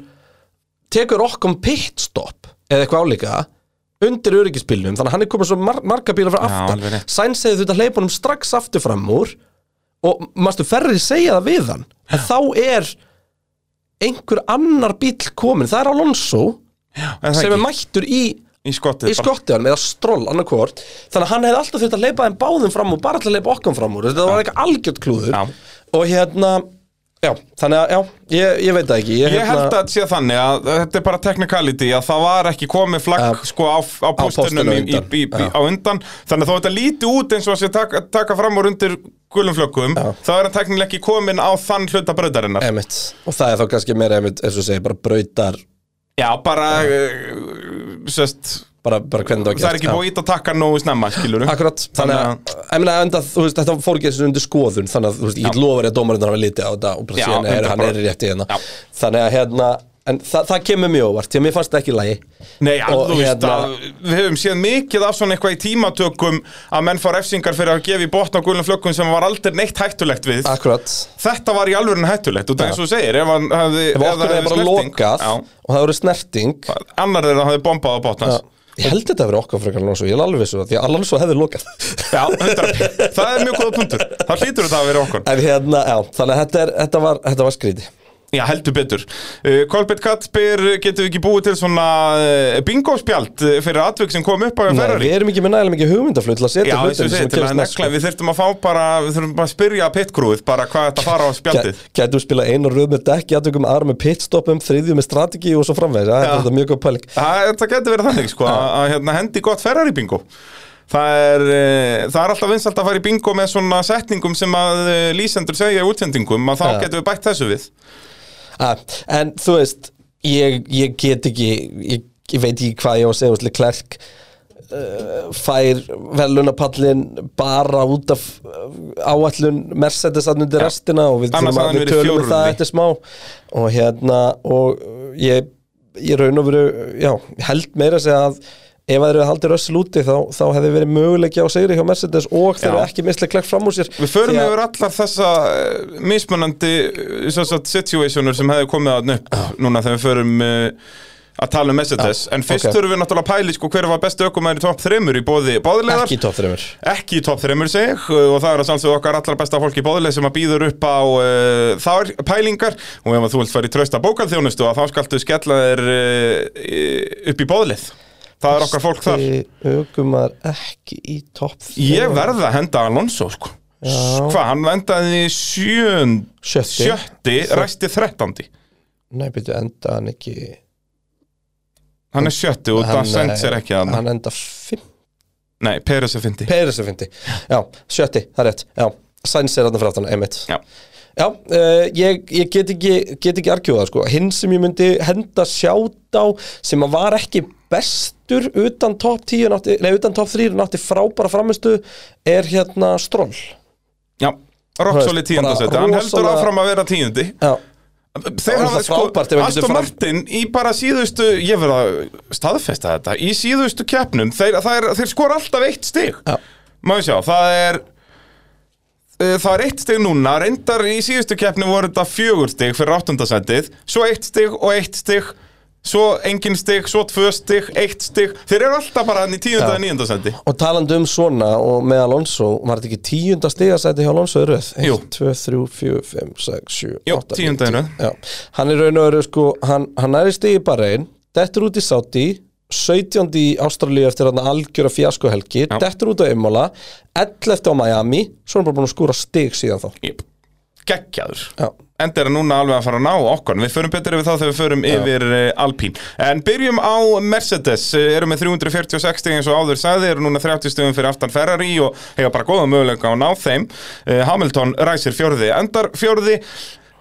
Speaker 1: Tekur okkon pitstop Eða eitthvað álíka Undir öryggisbílnum Þannig að hann er komin svo mar marga bílar frá
Speaker 2: Já, alveg
Speaker 1: aftan
Speaker 2: rétt.
Speaker 1: Sainz segði þú þetta hleypunum strax aftur fram úr Og mástu ferri segja það við hann En þá er Einhver annar bíl komin Það er Alonso
Speaker 2: Er það
Speaker 1: Sem er
Speaker 2: ekki?
Speaker 1: mættur í
Speaker 2: Í skottið
Speaker 1: Í skottiðanum eða stról annarkvort Þannig að hann hefði alltaf þurft að leipa þeim báðum fram úr Bara til að leipa okkur fram úr Þetta var eitthvað algjört klúður
Speaker 2: Já.
Speaker 1: Og hérna, já, þannig að, já, ég, ég hérna- veit það ekki
Speaker 2: Ég held að þetta sé þannig að þetta er bara technicality að það var ekki komið flagg
Speaker 1: Ja.
Speaker 2: sko á, á postunum
Speaker 1: póstinu
Speaker 2: á, í,
Speaker 1: undan.
Speaker 2: í, í, á undan þannig að þó þetta líti út eins og að sé taka, taka fram úr undir gulum flöggum þá er hann teknilega ekki komin á þann hluta bröðarinnar
Speaker 1: Emitt, og það er þá kannski meira emitt, eins og segir, bara brautar
Speaker 2: Já, bara uh, eh, sest,
Speaker 1: bara, bara hvernig það var
Speaker 2: það er
Speaker 1: gert
Speaker 2: ekki
Speaker 1: Já.
Speaker 2: búið að íta takka nógu snemma, skilur
Speaker 1: Akkurat, þannig að, ég meina, enda, þú veist, þetta fór ekki þessu undir skoðun, þannig að, þú veist, ég
Speaker 2: Já.
Speaker 1: get lofa þér að dómarinn hafa litið á þetta og bara
Speaker 2: Já,
Speaker 1: síðan er, hann
Speaker 2: 100%.
Speaker 1: er rétt í hérna.
Speaker 2: Já.
Speaker 1: Þannig að, hérna, en þa það kemur mjög óvart, því að mér fannst þetta ekki í lagi.
Speaker 2: Nei,
Speaker 1: Og,
Speaker 2: alveg veist
Speaker 1: hérna,
Speaker 2: að við höfum séð mikið af svona eitthvað í tímatökum að menn fá refsingar fyrir að gefa í botn á gulnum flökkum sem var aldrei neitt hættulegt við
Speaker 1: Akkurat,
Speaker 2: Þetta var í alvörin hættulegt og það er eins og þú segir, ef hann hefði
Speaker 1: ef
Speaker 2: það
Speaker 1: okkur er bara lokað
Speaker 2: já,
Speaker 1: og það eru snerting,
Speaker 2: annar er að hann hefði bombað á botn
Speaker 1: já,
Speaker 2: hans
Speaker 1: ég held þetta að vera okkar frekar Alonso, ég er alveg vissu það, því að Alonso hefði lokað. [laughs]
Speaker 2: Já, hundra, það er mjög góða punktur Það hlýtur þetta að vera okkur
Speaker 1: en hérna, já, þannig að þetta, er, þetta var, þetta var skrítið.
Speaker 2: Já, heldur betur uh, Kolbett Kattbyr, getum við ekki búið til svona uh, bingospjald uh, fyrir atvik sem kom upp á
Speaker 1: Nei,
Speaker 2: Ferrari
Speaker 1: við erum ekki með nægilega mikið hugmyndaflut til að
Speaker 2: Já,
Speaker 1: setja
Speaker 2: eins
Speaker 1: hlutin
Speaker 2: og
Speaker 1: sem
Speaker 2: við segir, til
Speaker 1: gerast
Speaker 2: að
Speaker 1: næst, sko.
Speaker 2: nekla, við þurfum að fá bara, við þurfum bara að spyrja pitgrúið, bara hvað þetta fara á spjaldið
Speaker 1: Gæ- Gætu spila einu röð með dekki, aðtökum aðra með pitstoppum, þriðju með strategi og svo framvegis Það
Speaker 2: Já.
Speaker 1: er þetta mjög góð pæling
Speaker 2: Það, það getur verið þannig, sko, að að, hérna, hendi gott Ferrari bingo Það er, eh, það er alltaf vinsalt að fara í bingo með svona setningum sem að eh, lýsendur segja í útsendingum að þá
Speaker 1: Já.
Speaker 2: getum við bætt þessu við
Speaker 1: að, En þú veist, ég, ég get ekki, ég, ég veit ekki hvað ég á að segja Úsli Klerk uh, fær velunapallin bara út af uh, áætlun Mercedes að undir restina og við,
Speaker 2: Annars
Speaker 1: þurfum
Speaker 2: hafði hann
Speaker 1: að- við
Speaker 2: verið
Speaker 1: tölum um
Speaker 2: fjórði.
Speaker 1: það eftir smá og hérna, og uh, ég, ég raun og veru, uh, já, held meira að segja að ef að þeir eru haldið rössil úti þá, þá hefði verið möguleiki á sigri hjá Mercedes og þeir
Speaker 2: Já.
Speaker 1: eru ekki mislega klekk fram úr sér
Speaker 2: Við förum
Speaker 1: Því að-
Speaker 2: yfir allar þessa eh, mismunandi eh, sem sagt, situationur sem hefði komið að nöpp núna þegar við förum eh, að tala um Mercedes En fyrst
Speaker 1: ok.
Speaker 2: þurfum við náttúrulega að pæli sko, hver var bestu ökumæður í topp 3 í bóði báðilegar
Speaker 1: ekki í topp þreymur
Speaker 2: ekki í topp 3 sig og það er að sjálfsögðu okkar allra besta fólki bóðileg sem að býður upp á uh, þár pælingar og ef að þú vilt fara í trösta bókalþjónustu að þá skaltu skella þér uh, upp í bóðlið það er okkar fólk þar
Speaker 1: Ögumar ekki í topp
Speaker 2: ég verð að henda Alonso sko.
Speaker 1: Já.
Speaker 2: hvað, hann vendaði sjönd,
Speaker 1: Sjötti.
Speaker 2: sjötti ræsti þrettandi
Speaker 1: Nei, byrju, enda hann ekki
Speaker 2: hann er sjötti og það send sér ekki að hann
Speaker 1: Hann enda fimm
Speaker 2: nei, Peres er fyndi
Speaker 1: Peris er fyndi Já, sjötti, það er rétt Já, Sainz er hann fyrir aftan, einmitt
Speaker 2: Já.
Speaker 1: Já, eh, ég, ég get ekki, get ekki arkjóða sko. Hinn sem ég myndi henda sjátt á sem að var ekki bestur utan top 10 en átti, nei, utan top 3 en átti frábæra framistu er hérna Stroll
Speaker 2: já,
Speaker 1: Þú veist,
Speaker 2: Roksoli
Speaker 1: bara
Speaker 2: tíundasætti, hann heldur
Speaker 1: rosalega-
Speaker 2: áfram að vera tíundi
Speaker 1: Já,
Speaker 2: Þeir
Speaker 1: Það var
Speaker 2: hafa
Speaker 1: það
Speaker 2: sko,
Speaker 1: frábært ef við
Speaker 2: Aston
Speaker 1: getum fram-
Speaker 2: Martin í bara síðustu, ég verð að staðfesta þetta, í síðustu keppnum, þeir, þeir, þeir skora alltaf eitt stig.
Speaker 1: Já.
Speaker 2: Má við sjá, það er, eh, það er eitt stig núna, reyndar í síðustu keppni voru þetta fjögur stig fyrir áttundasendið, svo eitt stig og eitt stig, svo engin stig, svo tvö stig, eitt stig, þeir eru alltaf bara hann í tíunda
Speaker 1: Já.
Speaker 2: og níundasendi.
Speaker 1: Og talandi um svona og með Alonso var þetta ekki tíunda stigasæti hjá Alonso í röð?
Speaker 2: Jú.
Speaker 1: 1, 2, 3, 4, 5, 6, 7, 8
Speaker 2: Jú, tíunda í röð.
Speaker 1: Já, hann er raun og veru sko, hann, hann er í stigi bara einn Dettur út í Sáti 17. í Ástralíu eftir hann algjöra fjaskohelgi
Speaker 2: Já.
Speaker 1: Dettur út á Imola 11. á Miami Svo er hann bara búin að skúra stig síðan þá
Speaker 2: Jep. Gekkjaður.
Speaker 1: Já,
Speaker 2: Enda er hann núna alveg að fara að ná okkur Við förum betur yfir þá þegar við förum yfir uh, Alpín En byrjum á Mercedes Eh, Eru með 346 stig eins og áður sagði Eru núna 30 stigum fyrir aftan Ferrari Og hefa bara góða möguleika á að ná þeim Eh, Hamilton ræsir fjórði Endar fjórði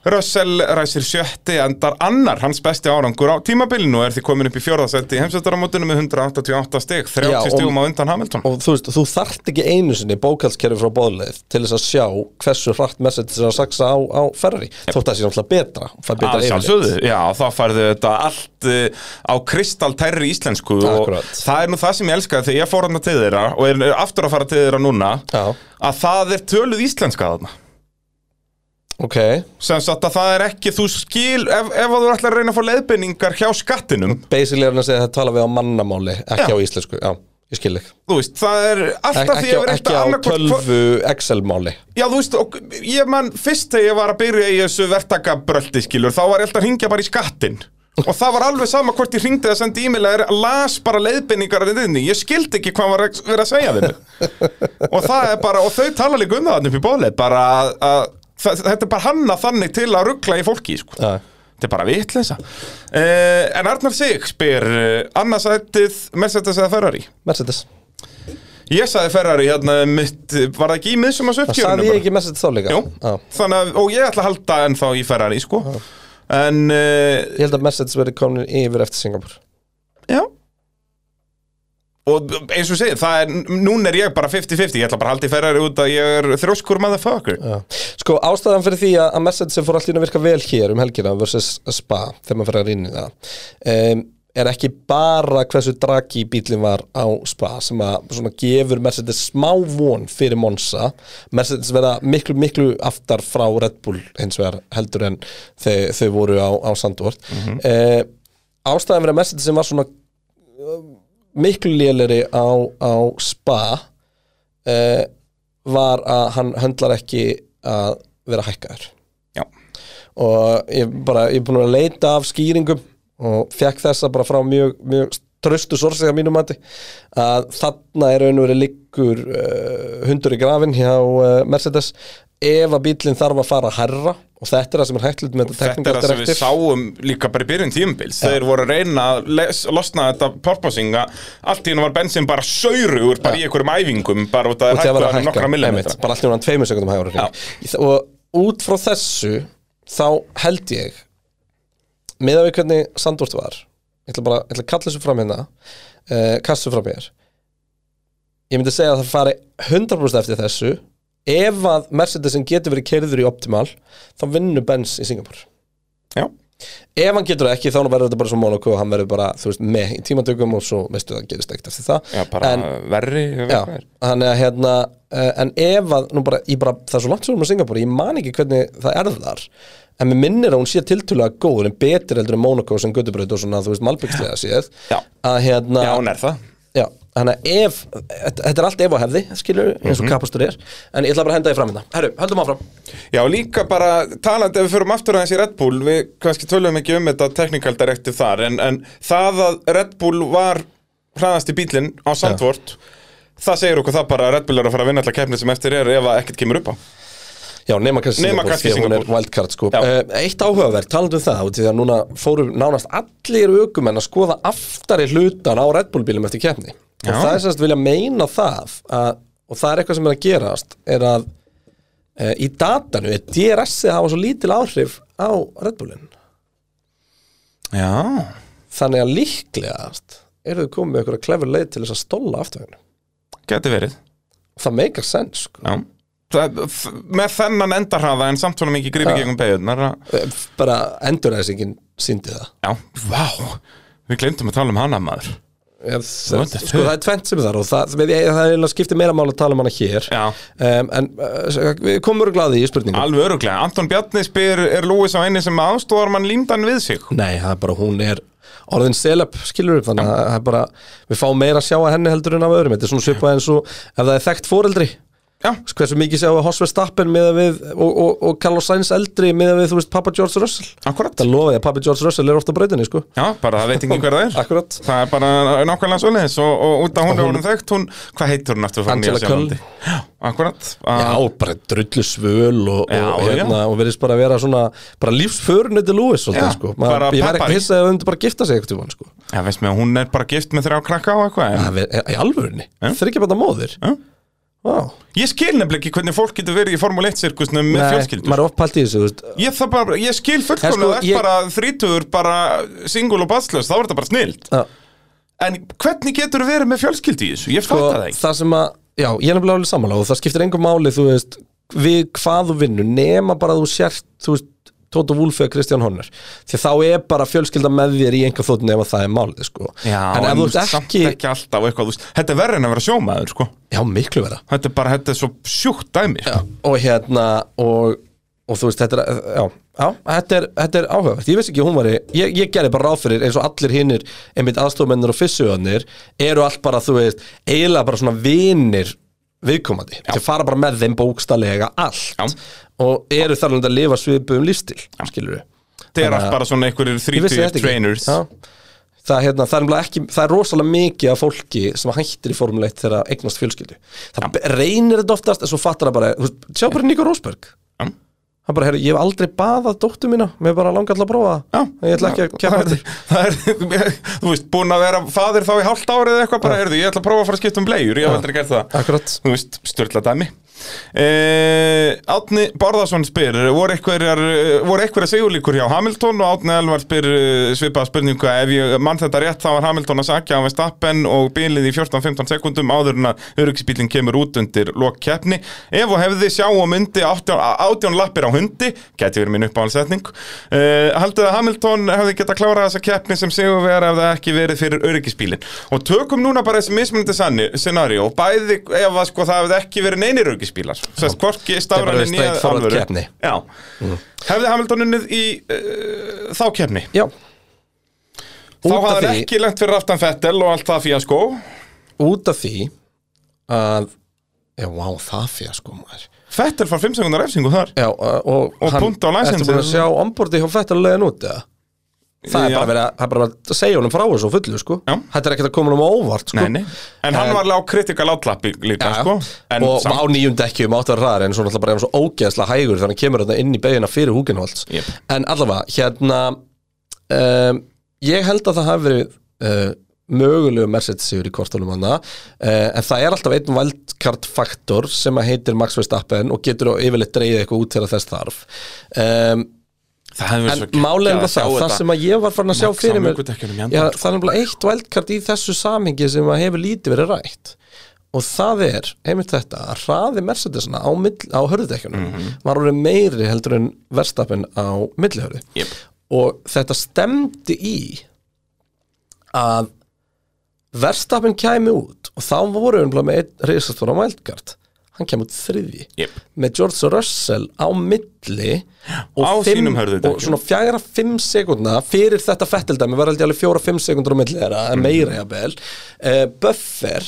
Speaker 2: Russell ræsir sjötti endar annar hans besti árangur á tímabilinu og er því komin upp í fjórðasetti í heimsvöldaramótinu með 188 stig, 30
Speaker 1: Já, og-
Speaker 2: stigum á undan Hamilton
Speaker 1: og þú veist, þú þarft ekki einu sinni bókalskerfi frá bóðleif til þess að sjá hversu hratt Mercedes er að saksa á, á Ferrari þótt að sé náttúrulega betra, fær betra
Speaker 2: Að
Speaker 1: yfirlit.
Speaker 2: sjálfsögðu, já, þá færðu þetta allt uh, á kristaltærri íslensku
Speaker 1: Akkurat.
Speaker 2: og það er nú það sem ég elska þegar ég fór hann til þeirra og er er aftur að fara til þeirra núna
Speaker 1: Já.
Speaker 2: að það er töluð íslenska þarna
Speaker 1: Ok,
Speaker 2: sem sagt að það er ekki, þú skil ef, ef að þú ætlar að reyna að fá leiðbeiningar hjá skattinum
Speaker 1: basically er hann að segja að tala við á mannamáli ekki
Speaker 2: Já.
Speaker 1: á íslensku, já, ég skil þig
Speaker 2: þú veist, það er alltaf
Speaker 1: ekki,
Speaker 2: því að
Speaker 1: á-
Speaker 2: vera
Speaker 1: ekki á tölvu Excel-máli
Speaker 2: Já, þú veist, og, ég mann, fyrst þegar ég var að byrja í þessu verktakabröldi, skilur, þá var ég alltaf að ringja bara í skattinn. Og það var alveg sama hvort ég ringdi að senda e-mail að er las bara leiðbeiningar að reyndinni. Ég skildi ekki hvað var að vera að segja við mig.
Speaker 1: [laughs]
Speaker 2: og það er bara, og þau tala líka um það þarna upp í bóðleif, bara að, að það- þetta er bara hanna þannig til að ruggla í fólki, sko.
Speaker 1: Já.
Speaker 2: Þetta er bara vitleisa. Uh, en Arnar Sig spyr, uh, annars ættið Mercedes eða Ferrari?
Speaker 1: Mercedes,
Speaker 2: Ég sagði Ferrari hérna, mitt, var það ekki í miðsum að
Speaker 1: það sagði ég ekki Mercedes þá líka
Speaker 2: Jú,
Speaker 1: Já.
Speaker 2: þannig að, og ég ætla að halda ennþá í Ferrari, sko En, uh,
Speaker 1: ég held að Mercedes verið komin yfir eftir Singapur
Speaker 2: já Og eins og segið, það er, núna er ég bara 50-50, ég ætla bara að haldi ferrari út að ég er þrjóskur motherfucker.
Speaker 1: Já. Sko, ástæðan fyrir því að að Mercedes sem fór allir að virka vel hér um helgina versus Spa, þegar maður fyrir að rýna í það um, er ekki bara hversu dragi bílinn var á Spa sem að svona gefur Mercedes smá von fyrir Monza Mercedes verða miklu, miklu aftar frá Red Bull hins vegar heldur en þau, þau voru á, á Sandvort mm ástæðan fyrir að Mercedes sem var svona um, miklu léleri á, á Spa uh, var að hann höndlar ekki að vera hækkaður
Speaker 2: Já.
Speaker 1: og ég bara, ég er búin að leita af skýringum og fekk þessa bara frá mjög, mjög tröstu sorsi að mínum mati að þarna er raun og verið liggur uh, hundur í grafin hjá uh, Mercedes ef að bílinn þarf að fara hærra og þetta er það sem er hægt með þetta
Speaker 2: Þetta er
Speaker 1: teknikar
Speaker 2: það sem við sáum líka bara í byrjun tímabils. Þeir voru að reyna að les, losna þetta porpoisinga. Allt í hennu var bensin bara saurugur, bara í einhverjum æfingum, bara út að
Speaker 1: og það var
Speaker 2: hætta
Speaker 1: að
Speaker 2: hann
Speaker 1: hækka
Speaker 2: nokkra millimetra.
Speaker 1: einmitt, bara allir hann tveimur sekundum hægur og út frá þessu þá held ég með að við hvernig Sandvort var ég ætla bara ég ætla að kalla þessu fram hérna uh, kassu fram hér ég myndi segja að það fari 100% eftir þessu ef að Mercedesin getur verið kerður í optimal þá vinnur Benz í Singapur
Speaker 2: Já.
Speaker 1: ef hann getur það ekki þá verður þetta bara svo Monaco og hann verður bara, þú veist, með í tímatökum og svo veistu það gerist ekkert eftir það
Speaker 2: Já, bara
Speaker 1: En-
Speaker 2: verri.
Speaker 1: Já, þannig að hérna uh, en ef að, nú bara, ég bara það er svo langt svo um að Singapur, ég man ekki hvernig það er þar en mér minnir að hún sé tiltölulega góð en betur heldur en Monaco sem Götubraut og svona, þú veist, Malbyggslega séð
Speaker 2: Já.
Speaker 1: að hérna,
Speaker 2: Já, hún er það.
Speaker 1: já, þannig að ef þetta þetta er allt ef og hefði, skilur eins og
Speaker 2: Mhm.
Speaker 1: kapastur er, en ég ætla bara að henda því fram hérna Herru, höldum áfram
Speaker 2: Já, líka bara talandi ef við förum aftur aðeins í Red Bull við kannski tölum ekki um þetta technical directive þar en, en það að Red Bull var hraðast í bílinn á Sandvort það segir okkur það bara að Red Bull er að fara að vinna alltaf keppni sem eftir er ef að ekkert kemur upp á
Speaker 1: Já, nema kannski
Speaker 2: Nema
Speaker 1: Singapore,
Speaker 2: kannski
Speaker 1: því að hún er
Speaker 2: Singapore.
Speaker 1: wildcard sko.
Speaker 2: Já.
Speaker 1: uh, Eitt áhugaverð, talandum um það út í því að núna fóru nánast allir aukumenn að skoða aftari hlutan á Red Bull bílum eftir keppni og
Speaker 2: Já.
Speaker 1: það er semst vilja meina það að, og það er eitthvað sem er að gerast er að uh, í datanu er DRS-ið að hafa svo lítil áhrif á Red Bullin
Speaker 2: Já,
Speaker 1: þannig að líklegast eru þau komið með einhverja klefur leið til þess að stóla afturhægnu
Speaker 2: geti verið
Speaker 1: Það meikar sens sko.
Speaker 2: Já Það, f- með þennan endarhraða en samt svona mikið grífi gegum beigurnar að-
Speaker 1: Eh, bara enduræsingin síndi það
Speaker 2: Já, vá, við glemtum að tala um hana maður
Speaker 1: Já, það,
Speaker 2: what the
Speaker 1: sko,
Speaker 2: fuck?
Speaker 1: það er tvennt sem er þar og það, það, það, það er eiginlega skiptir meira mál að tala um hana hér
Speaker 2: Já.
Speaker 1: um, en uh, við komum örugglega að því í spurningum
Speaker 2: Alveg öruglega, Anton Bjarni spyr er Lúis á eini sem aðstóðar mann límdan við sig
Speaker 1: Nei, það er bara hún er orðin selab skilur upp þannig að það er bara við fáum meira að sjá að henni heldur en af öðrum þetta er svona svipað eins og ef það er þekkt foreldri
Speaker 2: Já,
Speaker 1: hversu mikið sjáum við Hoss Verstappen miðað við, og, og, og Carlos Sainz eldri miðað við þú veist pappa George Russell
Speaker 2: akkurat
Speaker 1: þetta lofa ég að pappa George Russell er ofta brautinni sko
Speaker 2: Já, bara það veit ekki hver það
Speaker 1: [laughs]
Speaker 2: er
Speaker 1: Akkurat
Speaker 2: Það er bara nákvæmlega svoleiðis og, og út af hún
Speaker 1: Sko,
Speaker 2: er
Speaker 1: Hún-
Speaker 2: orðin þekkt, hún, hvað heitur hún aftur frá
Speaker 1: Angela
Speaker 2: Nýja-Sjálandi? Já, akkurat Ah,
Speaker 1: Já,
Speaker 2: að-
Speaker 1: bara drullu svöl og,
Speaker 2: Já,
Speaker 1: og,
Speaker 2: já.
Speaker 1: hérna, og verðist bara að vera svona bara lífsförunni til Lewis svolítið,
Speaker 2: Já,
Speaker 1: sko.
Speaker 2: bara
Speaker 1: Maður, ég væri
Speaker 2: peppari.
Speaker 1: ekki hissað að þau myndi bara gifta sig eitthvað tímann, sko.
Speaker 2: Já, veist mér, hún er bara gift með þrjá krakka og eitthvað en...
Speaker 1: Það ver- í alvörunni, þryggja bara móðir
Speaker 2: Já.
Speaker 1: Vá.
Speaker 2: Ég skil nefnilega ekki hvernig fólk getur verið í Formule 1-sirkusnum með
Speaker 1: Nei,
Speaker 2: fjölskyldur
Speaker 1: maður er opphælt í þessu, þú veist
Speaker 2: Ég, það bara, ég skil
Speaker 1: En sko,
Speaker 2: fullkomlega sko,
Speaker 1: ég-
Speaker 2: bara þrítugur, bara single og basslaus, þá er þetta bara snilt
Speaker 1: Já.
Speaker 2: En hvernig getur verið með fjölskyldu í þessu? Ég sko,
Speaker 1: og
Speaker 2: það ekki
Speaker 1: það sem að, já, ég er nefnilega alveg sammála og það skiptir engum máli, þú veist við hvað þú vinnu, nema bara að þú sért þú veist, Tóta Wulf eða Kristján Horner því að þá er bara fjölskylda með þér í einhver þóttin ef að það er málið, sko
Speaker 2: Já,
Speaker 1: en ef þú
Speaker 2: veist,
Speaker 1: ert
Speaker 2: samt
Speaker 1: ekki,
Speaker 2: ekki alltaf eitthvað, þú veist, þetta er verri en að vera sjómaður, sko
Speaker 1: já, miklu vera
Speaker 2: Þetta er bara, þetta er svo sjúkt dæmi, sko.
Speaker 1: og hérna og, og þú veist, þetta er já, já, þetta er, þetta er áhugavert, ég veist ekki að hún var ég, ég gerði bara ráð fyrir eins og allir hinnir einmitt aðstofmennir og fyssuðanir eru allt bara, þú veist, eiginlega bara svona vinir viðkomandi þau fara bara með þeim bókstallega allt
Speaker 2: Já.
Speaker 1: og eru þar alveg að lifa svipu um lífstil, skilur við
Speaker 2: Þetta er allt bara svona einhverjir
Speaker 1: Ég vissi þetta
Speaker 2: 30
Speaker 1: ekki.
Speaker 2: trainers
Speaker 1: Já. Það, hérna, það, er nefnilega ekki, það er rosalega mikið af fólki sem hættir í formuleitt þegar það eignast fjölskyldu það be- reynir þetta oftast en svo fattar það bara þú veist, sjá bara Nico Rosberg
Speaker 2: Já.
Speaker 1: hann bara, heyrðu, ég hef aldrei baðað dóttu mína mér er bara langar til að prófa
Speaker 2: Já.
Speaker 1: það ég ætla ekki að keppa
Speaker 2: það
Speaker 1: þetta
Speaker 2: er, [laughs] það er, þú veist, búin að vera fadir þá í halvt árið eða eitthvað bara, heyrðu, ég ætla að prófa að fara að skipta um bleiur, ég hef aldrei gert það
Speaker 1: Akkurat.
Speaker 2: Þú veist, störla dæmi Eh, Átni Barðarsson spyr voru einhverjar, eh, voru einhverjar sigurlíkur hjá Hamilton og Átni Elvar spyr eh, svipaða spurningu ef ég mann þetta rétt þá var Hamilton að sakja á Vestappen og bilið í 14-15 sekundum áður en að öryggisbílinn kemur út undir lokkeppni ef og hefði sjá og myndi 18, 18 lappir á hundi geti verið minn uppáhaldsetning eh, haldið að Hamilton hefði geta klárað þessa keppni sem sigur verið ef það ekki verið fyrir öryggisbílinn og tökum núna bara þessi mismunandi sanni scenario, bæði ef að sko það hefði ekki verið neinir öryggisbílar sérst hvorki
Speaker 1: bara
Speaker 2: stafræði
Speaker 1: alveg
Speaker 2: nýja
Speaker 1: straight forward
Speaker 2: alvöru
Speaker 1: keppni. Mm.
Speaker 2: Já. hefði Hamilton unnið í uh, þá keppni
Speaker 1: Já
Speaker 2: þá
Speaker 1: Út af
Speaker 2: hafði
Speaker 1: því-
Speaker 2: ekki lent fyrir aftan Fettel og allt það fíaskó
Speaker 1: Út af því að Já, vá, það fyrir sko maður
Speaker 2: Fettel far 5 sekundar efsingu þar
Speaker 1: Já, og,
Speaker 2: Og punkt á license.
Speaker 1: Ertu búin að sjá ombordi hjá Fettel leiðin út, eða? Það er
Speaker 2: Já.
Speaker 1: bara verið að, það er bara verið að segja honum frá þessu á fullu, sko
Speaker 2: Já.
Speaker 1: Þetta er ekkert að koma honum á óvart, sko
Speaker 2: Nei, nei. En hann
Speaker 1: En-
Speaker 2: var alveg á kritikal átlappi líka,
Speaker 1: Já,
Speaker 2: sko. En
Speaker 1: og
Speaker 2: samt-
Speaker 1: á um nýjum dekkjum átt að vera ræðar en svo náttúrulega bara er hann svo ógeðslega hægur þegar hann kemur þarna inn í beginna fyrir Húkinholtz
Speaker 2: Jep.
Speaker 1: en allavega, hérna um, ég held að það hafi verið uh, mögulegu Mercedes sigur í kortunum hana uh, en það er alltaf einn wildcard faktor sem að heitir Max Verstappen og getur á yfirleitt dreigð eitthvað út þegar þess þarf um,
Speaker 2: það hefði verið
Speaker 1: en
Speaker 2: svo geggjað
Speaker 1: málega
Speaker 2: að sjá
Speaker 1: það, það
Speaker 2: þetta.
Speaker 1: sem að ég var farin að sjá
Speaker 2: Max á
Speaker 1: fyrir mér
Speaker 2: mjúkudekkjunum í
Speaker 1: Já,
Speaker 2: andan,
Speaker 1: það er nefnilega eitt wildcard í þessu samhengi sem að hefur lítið verið rætt og það er, einmitt þetta að hraði Mercedesna á, mill, á hörðudekkjunum
Speaker 2: Mhm.
Speaker 1: var orðið meiri heldur en verstapin á millihörðu
Speaker 2: Jep.
Speaker 1: og þetta stemdi í að verstapin kæmi út og þá voru við með einn risastóra wildcard hann kemur út þriði
Speaker 2: Jep.
Speaker 1: með George Russell á milli og,
Speaker 2: Á
Speaker 1: fimm,
Speaker 2: sínum hörðudekkjum.
Speaker 1: og svona fjagra fimm sekundna fyrir þetta fetteldæmi var held ég alveg fjóra fimm sekundur á milli þeirra,
Speaker 2: Mhm.
Speaker 1: en meira jafnvel uh, buffer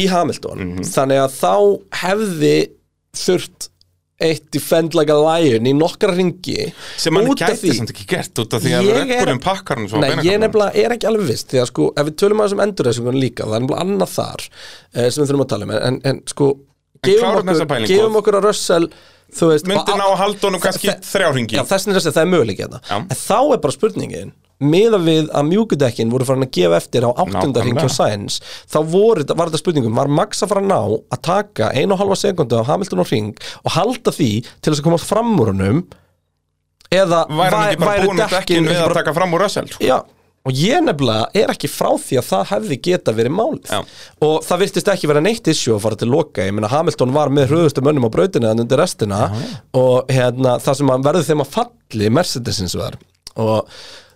Speaker 1: í Hamilton,
Speaker 2: Mhm.
Speaker 1: þannig að þá hefði þurft eitt defend like a lion í nokkra ringi
Speaker 2: Sem hann
Speaker 1: út af
Speaker 2: gæti
Speaker 1: því-
Speaker 2: samt ekki gert út af því að
Speaker 1: Ég er-
Speaker 2: rekkurinn pakkar hann svo á
Speaker 1: Nei, ég
Speaker 2: beinakaflanum.
Speaker 1: nefnilega er ekki alveg vist því að sko, ef við tölum að þessum endurreysingun líka það er nefnilega annað þar eh, sem við þurfum að tala um en, en, en sko, gefum
Speaker 2: klárum þessa
Speaker 1: okkur,
Speaker 2: pælingu.
Speaker 1: gefum okkur að rössal þú veist
Speaker 2: Myndi ná að halda honum kannski
Speaker 1: Þe-
Speaker 2: þrjá hringi.
Speaker 1: Já, þessin er þess að það er möguleik hérna
Speaker 2: Já.
Speaker 1: en þá er bara spurningin miða við að mjúkudekkin voru farin að gefa eftir á áttunda hringi og sæns þá voru, þetta- var þetta spurningum, var Max að fara að ná að taka einu og halva sekundu á Hamilton og hring og halda því til þess að komast fram úr honum eða
Speaker 2: Væri hann ekki bara
Speaker 1: væru
Speaker 2: búin
Speaker 1: dekkin
Speaker 2: með dekkin við
Speaker 1: ekki
Speaker 2: að
Speaker 1: bara-
Speaker 2: taka fram úr Russell? sko?
Speaker 1: Já, og ég nefnilega er ekki frá því að það hefði geta verið málið
Speaker 2: Já.
Speaker 1: og það virtist ekki vera neitt issue að fara til loka ég meina Hamilton var með hröðustu mönnum á brautinu en undir restina og hérna, það sem hann verður þeim að falli Mercedesins var og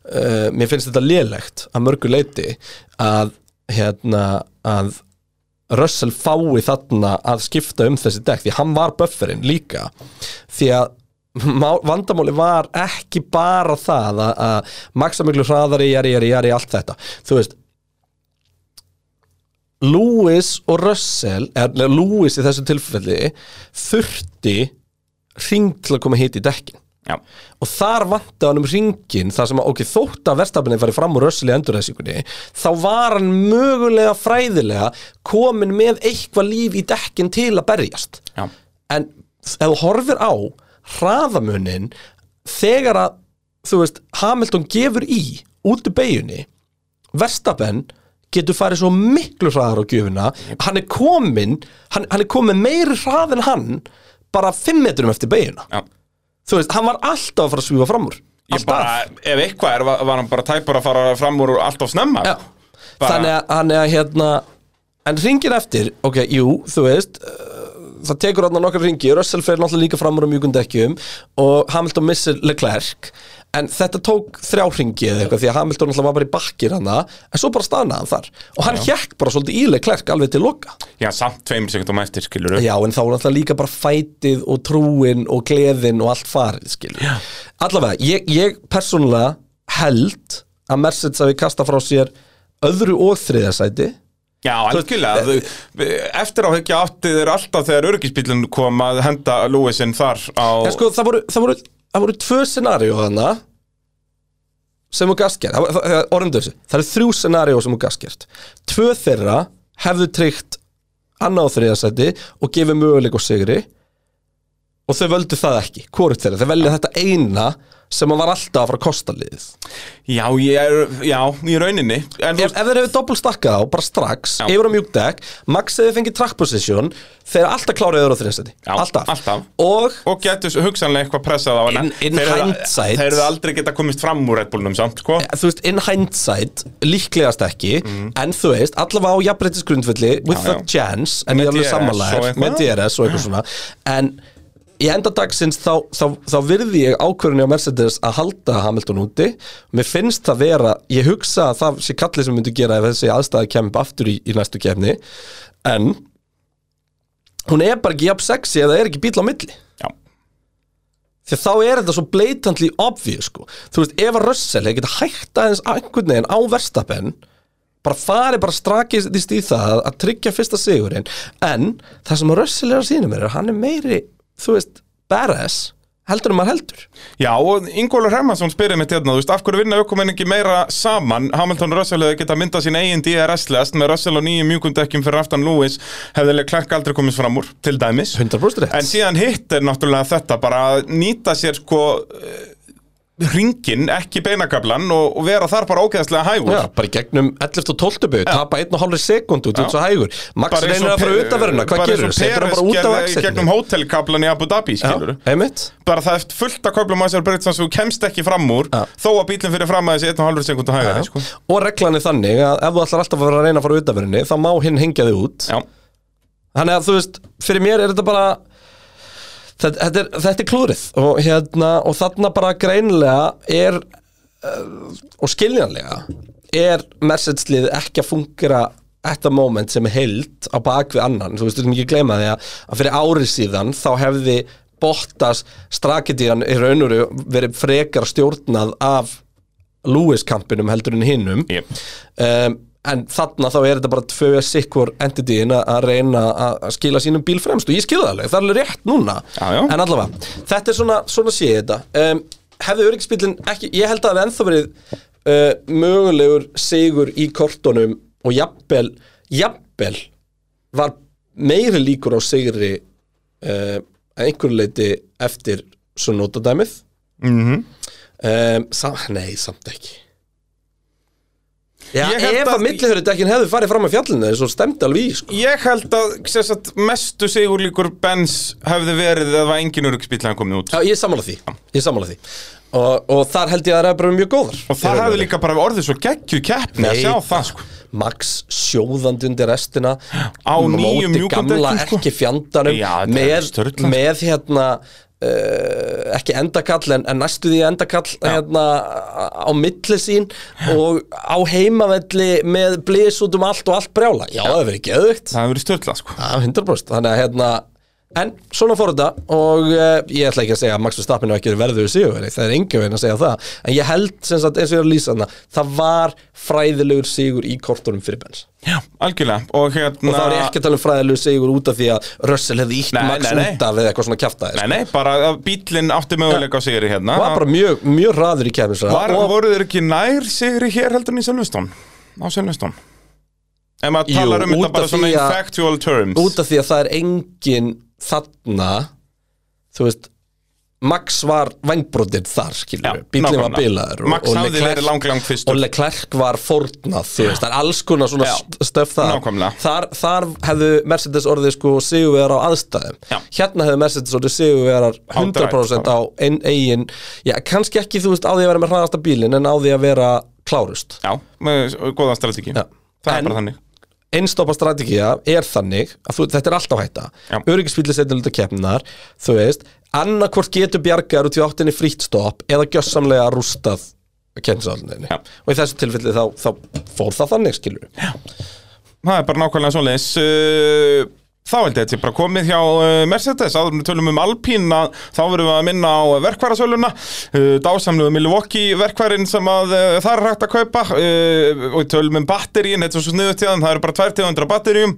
Speaker 1: uh, mér finnst þetta lélegt að mörgu leiti að hérna að Russell fái þarna að skipta um þessi dekk því hann var bufferinn líka því að má- vandamáli var ekki bara það að, að maksa miklu hraðari, jari, jari, jari, allt þetta þú veist Lewis og Russell er, Lewis í þessu tilfelli þurfti hring til að koma hitt í dekkin
Speaker 2: Já.
Speaker 1: og þar vantaði hann um ringin þar sem að, ok, þótt að verstafinni farið fram úr rössli endurreysingunni, þá var hann mögulega fræðilega komin með eitthvað líf í dekkin til að berjast
Speaker 2: Já.
Speaker 1: en ef þú horfir á hraðamunin þegar að, þú veist, Hamilton gefur í út úr beigjunni Verstappen getur farið svo miklu hraðar á gjöfuna hann er komin, hann, hann er komin meiri hrað en hann bara 5 metrum eftir beigjuna
Speaker 2: Já.
Speaker 1: þú veist, hann var alltaf að fara að svífa fram úr
Speaker 2: Ég
Speaker 1: alltaf
Speaker 2: bara, ef eitthvað er, var var hann bara tæpur að fara fram úr allt of snemma.
Speaker 1: Já.
Speaker 2: Bara-
Speaker 1: þannig að hann er hérna en ringin eftir, ok, jú, þú veist uh, það tekur hann nokkar ringi Russell fer náttúrulega líka fram úr á mjúkum dekkjum og Hamilton missir Leclerc en þetta tók þrjá ringi eða eitthvað því að Hamilton náttúrulega var bara í bakkir hana en svo bara stanaði hann þar og hann hjekk bara svolítið í Leclerc alveg til loka
Speaker 2: Já, samt tveim sekundum eftir, skilur
Speaker 1: Já, en þá er alltaf líka bara fætið og trúin og gleðin og allt farið, skilur. Já. Allavega, ég, ég persónulega held að Mercedes hafi kasta frá sér öðru og þriðasæti.
Speaker 2: Já, algjörlega Þú- Eftir á ekki átti þeir alltaf þegar örgisbílun kom að henda Lewisinn þar á
Speaker 1: En sko, það voru, það voru, það voru tvö scenaríu þarna sem þú gaskert. Orðum þessu, það eru þrjú scenaríu sem þú gaskert. Tvö þeirra hefðu tryggt annað og þriðasæti og gefið möguleik og sigri. og þau völdu það ekki, hvorut þeirra þau velja þetta eina sem að var alltaf að fara að kosta liðið
Speaker 2: Já, ég er, já, í rauninni En þú
Speaker 1: ef, ef þeir hefur doppelstakkað á, bara strax
Speaker 2: Já.
Speaker 1: yfir á mjúk dekk, max hefur fengið track position þeir alltaf kláraði öðru á þriðastæti
Speaker 2: Já,
Speaker 1: alltaf.
Speaker 2: alltaf.
Speaker 1: og
Speaker 2: og getur hugsanlega eitthvað pressað á hana
Speaker 1: In- in
Speaker 2: Þeir hefðu-
Speaker 1: hindsight.
Speaker 2: Þeir eru aldrei geta komist fram úr Red Bullnum samt, sko
Speaker 1: þú veist, in hindsight líklegast ekki, en þú veist allavega á jafnbreytisgrundfulli with
Speaker 2: Já,
Speaker 1: the
Speaker 2: já.
Speaker 1: chance, en
Speaker 2: Með
Speaker 1: ég er alveg
Speaker 2: DRS og
Speaker 1: samanlægir
Speaker 2: eitthvað. Mm.
Speaker 1: með DRS og eitthvað svona en í endadagsins þá, þá, þá virði ég ákvörðunni á Mercedes að halda Hamilton úti mér finnst það vera, ég hugsa að það sé kallið sem myndi gera ef þessi aðstæða kemur aftur í, í næstu kemni en hún er bara ekki jafn sexy eða er ekki bíl á milli
Speaker 2: Já,
Speaker 1: því að þá er þetta svo blatantly obvious sko. þú veist, ef að Russell hefði getað hægt aðeins einhvern veginn á verstapenn bara farið bara strakist í það að tryggja fyrsta sigurinn en það sem að Russell er að sína mér er að hann er meiri, þú veist, badass heldur en maður heldur
Speaker 2: já og Ingólfur Hermansson spyrir mig til þarna, hérna, þú veist, af hverju vinna aukumenn ekki meira saman Hamilton og Russell hefði geta myndað sín eigin DRS-lest með Russell og nýjum mjúkundekkjum fyrir aftan Lewis hefði klakk aldrei komist fram úr, til dæmis
Speaker 1: 100%
Speaker 2: En síðan hitt er náttúrulega þetta bara að nýta sér sko ringin, ekki beinakablan og, og vera þar bara ógeðslega hægur
Speaker 1: Já, bara í gegnum 11 og 12 bygg, tapa 1,5 sekundu út
Speaker 2: Já.
Speaker 1: eins og hægur, Max
Speaker 2: Bara eins
Speaker 1: reynir
Speaker 2: og
Speaker 1: að fara
Speaker 2: Pe-
Speaker 1: út af verðuna, hvað
Speaker 2: bara eins og
Speaker 1: gerur, setur hann bara út
Speaker 2: Peres
Speaker 1: af
Speaker 2: gerði í
Speaker 1: exitinu
Speaker 2: gegnum hótelkablan í Abu Dhabi, skilur
Speaker 1: Já, einmitt
Speaker 2: bara það er fullt að köflum að þessar breytt sem þú kemst ekki fram úr
Speaker 1: Já.
Speaker 2: þó að bílinn fyrir fram að þessi 1,5 sekundu hægari sko.
Speaker 1: og reglan er þannig að ef þú ætlar alltaf að vera að reyna að fara út af verðinni þá má hinn hengja þig út
Speaker 2: Já,
Speaker 1: Þannig að þú veist, fyrir mér er þetta bara þetta, þetta, er, þetta er klúrið og, hérna, og þarna bara greinilega er uh, og skiljanlega er message-lið ekki að fungera þetta moment sem er heild á bak við annan, þú veist, þú veist ekki gleyma því að, að fyrir ári síðan þá hefði Bottas strakidíran í raunuru verið frekar stjórnað af Lewis-kampinum heldur en hinnum
Speaker 2: Jep.
Speaker 1: um, en þarna þá er þetta bara tvö sikkur entityin að- að reyna að að skila sínum bíl fremst og ég skilða alveg, það er alveg rétt núna
Speaker 2: Já, já.
Speaker 1: en allavega, þetta er svona, svona sé ég þetta um, hefði öryggisbílinn ekki, ég held að það er ennþá verið uh, mögulegur sigur í kortunum og jafnvel jafnvel var meiri líkur á sigri uh, að einhverju leiti eftir svo notadæmið
Speaker 2: Mhm.
Speaker 1: um, sam, Nei, samt ekki Já,
Speaker 2: Ég held
Speaker 1: ef
Speaker 2: að-
Speaker 1: að millihörudekkin hefði farið fram að fjallinu svo stemdi alveg í, sko
Speaker 2: ég held að sem sagt, mestu sigurlíkur Benz hefði verið að það var engin öryggsbíl hann komið út
Speaker 1: Já, ég er sammála því, ég er sammála því og, og þar held ég að það er bara mjög góðar
Speaker 2: og það hefði líka bara orðið svo geggju keppni að
Speaker 1: Nei,
Speaker 2: sjá það sko
Speaker 1: Max sjóðandi undir restina
Speaker 2: Á
Speaker 1: móti
Speaker 2: nýjum mjúkum
Speaker 1: gamla
Speaker 2: dekkum, sko.
Speaker 1: ekki fjandanum
Speaker 2: Já, þetta er
Speaker 1: með,
Speaker 2: störtlað.
Speaker 1: með hérna uh, ekki endakall en, en næstu því endakall hérna, á milli sín og á heimavelli með blís út um allt og allt brjála Já, það hefur verið geðugt
Speaker 2: það hefði verið störla sko
Speaker 1: Já, 100% Þannig að hérna En svona fór þetta og uh, ég ætla ekki að segja að Max Verstappen er ekki verður sigurveri, það er engin veginn að segja það en ég held sem sagt eins og ég er að lýsa þarna það var fræðilegur sigur í kortunum fyrir Benz
Speaker 2: Já, algjörlega og hérna
Speaker 1: og það var ég ekki að tala um fræðilegur sigur út af því að Russell hefði ítt
Speaker 2: Nei,
Speaker 1: Max
Speaker 2: nei, nei.
Speaker 1: út af eða eitthvað svona kjaftaði
Speaker 2: Nei, nei, bara að bílinn átti möguleika á sigri hérna
Speaker 1: var bara mjög, mjög raður í
Speaker 2: Var,
Speaker 1: kefnisra og
Speaker 2: voru þeir ekki nær sigri hér heldur en í Selvestón? Á Selvestón? Ef maður
Speaker 1: Jú,
Speaker 2: talar um
Speaker 1: út
Speaker 2: þetta bara
Speaker 1: af
Speaker 2: svona
Speaker 1: því
Speaker 2: in
Speaker 1: að-
Speaker 2: factual terms
Speaker 1: út af því að það er engin þarna þú veist Max var vangbrotin þar, skilur við,
Speaker 2: Já,
Speaker 1: bílinn var
Speaker 2: nákvæmlega.
Speaker 1: bilaður og-
Speaker 2: Max
Speaker 1: og
Speaker 2: hafði
Speaker 1: Leclerc-
Speaker 2: verið lang, lang fyrstur.
Speaker 1: Og Leclerc var fórnað, þú veist, það er alls konar svona
Speaker 2: Já,
Speaker 1: st- stöf það
Speaker 2: nákvæmlega.
Speaker 1: Þar, þar hefðu Mercedes orðið sko sigurvegar á aðstæðum
Speaker 2: Já. sko.
Speaker 1: Hérna hefðu Mercedes orðið sigurvegar 100% á ein, eigin Já, kannski ekki, þú veist, á því að vera með hraðasta bílinn en á því að vera klárust
Speaker 2: Já, með góða strategi
Speaker 1: Já.
Speaker 2: Það
Speaker 1: En-
Speaker 2: er bara þannig
Speaker 1: einstoppa strategía er þannig að þú, þetta er alltaf
Speaker 2: Já.
Speaker 1: hætta öryggisbíli setjum hluta keppnar þú veist, annarkvort getur bjargar út í áttinni frítt stopp eða gjössamlega rústað kennsálninni
Speaker 2: Já.
Speaker 1: og í þessu tilfelli þá, þá fór það þannig skilur Já.
Speaker 2: Það er bara nákvæmlega svoleiðis uh, Þá held ég þetta sé bara komið hjá uh, Mercedes áður en við tölum um Alpín að þá verðum við að minna á verkværasöluna uh, dásamluðu Milwaukee verkværin sem að uh, það er hægt að kaupa uh, og við tölum um batterín þetta er svo sniðut í það, það eru bara 200 batteríum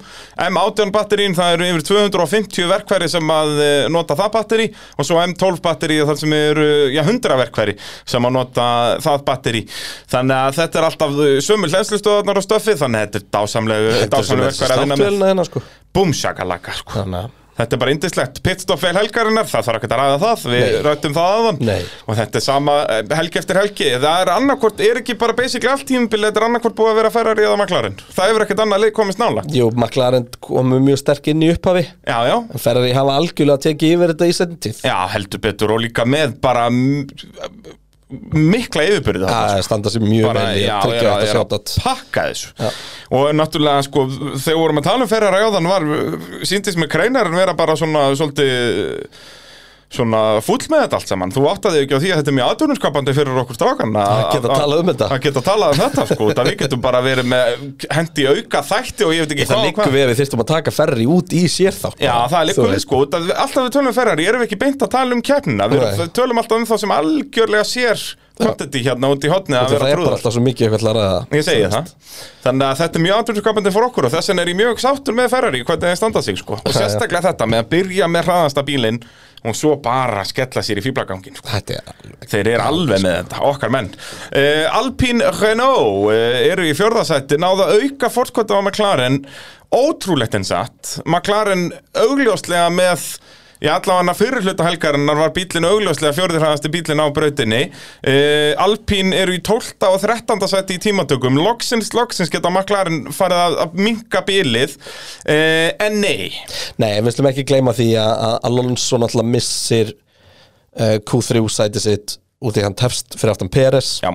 Speaker 2: M18 batterín, það eru yfir 250 verkværi sem að uh, nota það batteri og svo M12 batteri þar sem eru uh, já, 100 verkværi sem að nota það batteri þannig að þetta er alltaf eh, sömul hlænslustöðarnar og stöfið þannig að þetta er dásamlega dásamlega verkværi að vinna með
Speaker 1: hérna, sko.
Speaker 2: Búmsjakalaka sko.
Speaker 1: þannig að
Speaker 2: Þetta er bara indislegt pitstoff vel helgarinnar, það þarf ekki að ræða það, við
Speaker 1: Nei.
Speaker 2: rættum það aðan
Speaker 1: Nei.
Speaker 2: og þetta er sama eh, helgi eftir helgi, það er annarkvort, er ekki bara basically allt tímubil, þetta er annarkvort búið að vera Ferrari eða McLaren, það hefur ekkert annað leið komist nála.
Speaker 1: Jú, McLaren komu mjög sterk inn í upphafi
Speaker 2: Já, já,
Speaker 1: en Ferrari hafa algjörlega tekið yfir þetta í setjum tíð
Speaker 2: já, heldur betur og líka með bara m- mikla yfirbyrði þarna,
Speaker 1: Það standa sér mjög
Speaker 2: bara,
Speaker 1: vel í að
Speaker 2: já, er,
Speaker 1: tryggja þetta
Speaker 2: að- er að
Speaker 1: sjátt
Speaker 2: pakka þessu og náttúrulega sko þegar vorum að tala um ferra ráðan var síndist með kreinarinn vera bara svona svolítið svona fúll með þetta allt saman þú áttaði ekki á því að þetta er mjög aðdunumskapandi fyrir okkur strákan
Speaker 1: Að geta talað um þetta.
Speaker 2: að geta talað um þetta sko það við getum bara verið með hendi auka þætti og ég veit ekki
Speaker 1: Það
Speaker 2: hvað og
Speaker 1: liggur
Speaker 2: hvað
Speaker 1: við að við þyrstum að taka Ferrari út í sér þá
Speaker 2: Já, það er
Speaker 1: Þú
Speaker 2: líka við
Speaker 1: veist.
Speaker 2: sko, út af- alltaf við tölum um Ferrari, erum við ekki beint að tala um kjarnina, við
Speaker 1: Nei.
Speaker 2: erum- tölum alltaf um þá sem algjörlega sér kvantiti hérna út í hotni að
Speaker 1: Það
Speaker 2: vera
Speaker 1: er bara
Speaker 2: trúðar.
Speaker 1: alltaf svo mikið eitthvað til að ræða
Speaker 2: Ég segi það. Þannig að þetta er mjög andrunskapandi fyrir okkur og þess vegna er ég mjög sáttur með Ferrari hvernig þeir standa sig sko. Og
Speaker 1: Já, já.
Speaker 2: sérstaklega þetta með að byrja með hraðasta bílinn og svo bara skella sér í fýblagangin sko.
Speaker 1: Þetta er alveg
Speaker 2: Þeir eru alveg með þetta, okkar menn. Uh, Alpine Renault uh, eru í fjörðasætti, náða auka fórtkvölda á McLaren, ótrúlegt en satt. McLaren augljóslega með, já allavega fyrir hluta helgarinnar var bílinn augljóslega fjörðirhæðasti bílinn á brautinni. Uh, Alpine eru í 12. og 13. sætti í tímatökum, loksins, loksins geta McLaren farið að, að minka bílið, uh, en nei.
Speaker 1: Nei, við slum ekki gleyma því að að Alonso náttúrulega missir uh, Q3 sæti sitt út í hann tefst fyrir aftan Peres
Speaker 2: Já.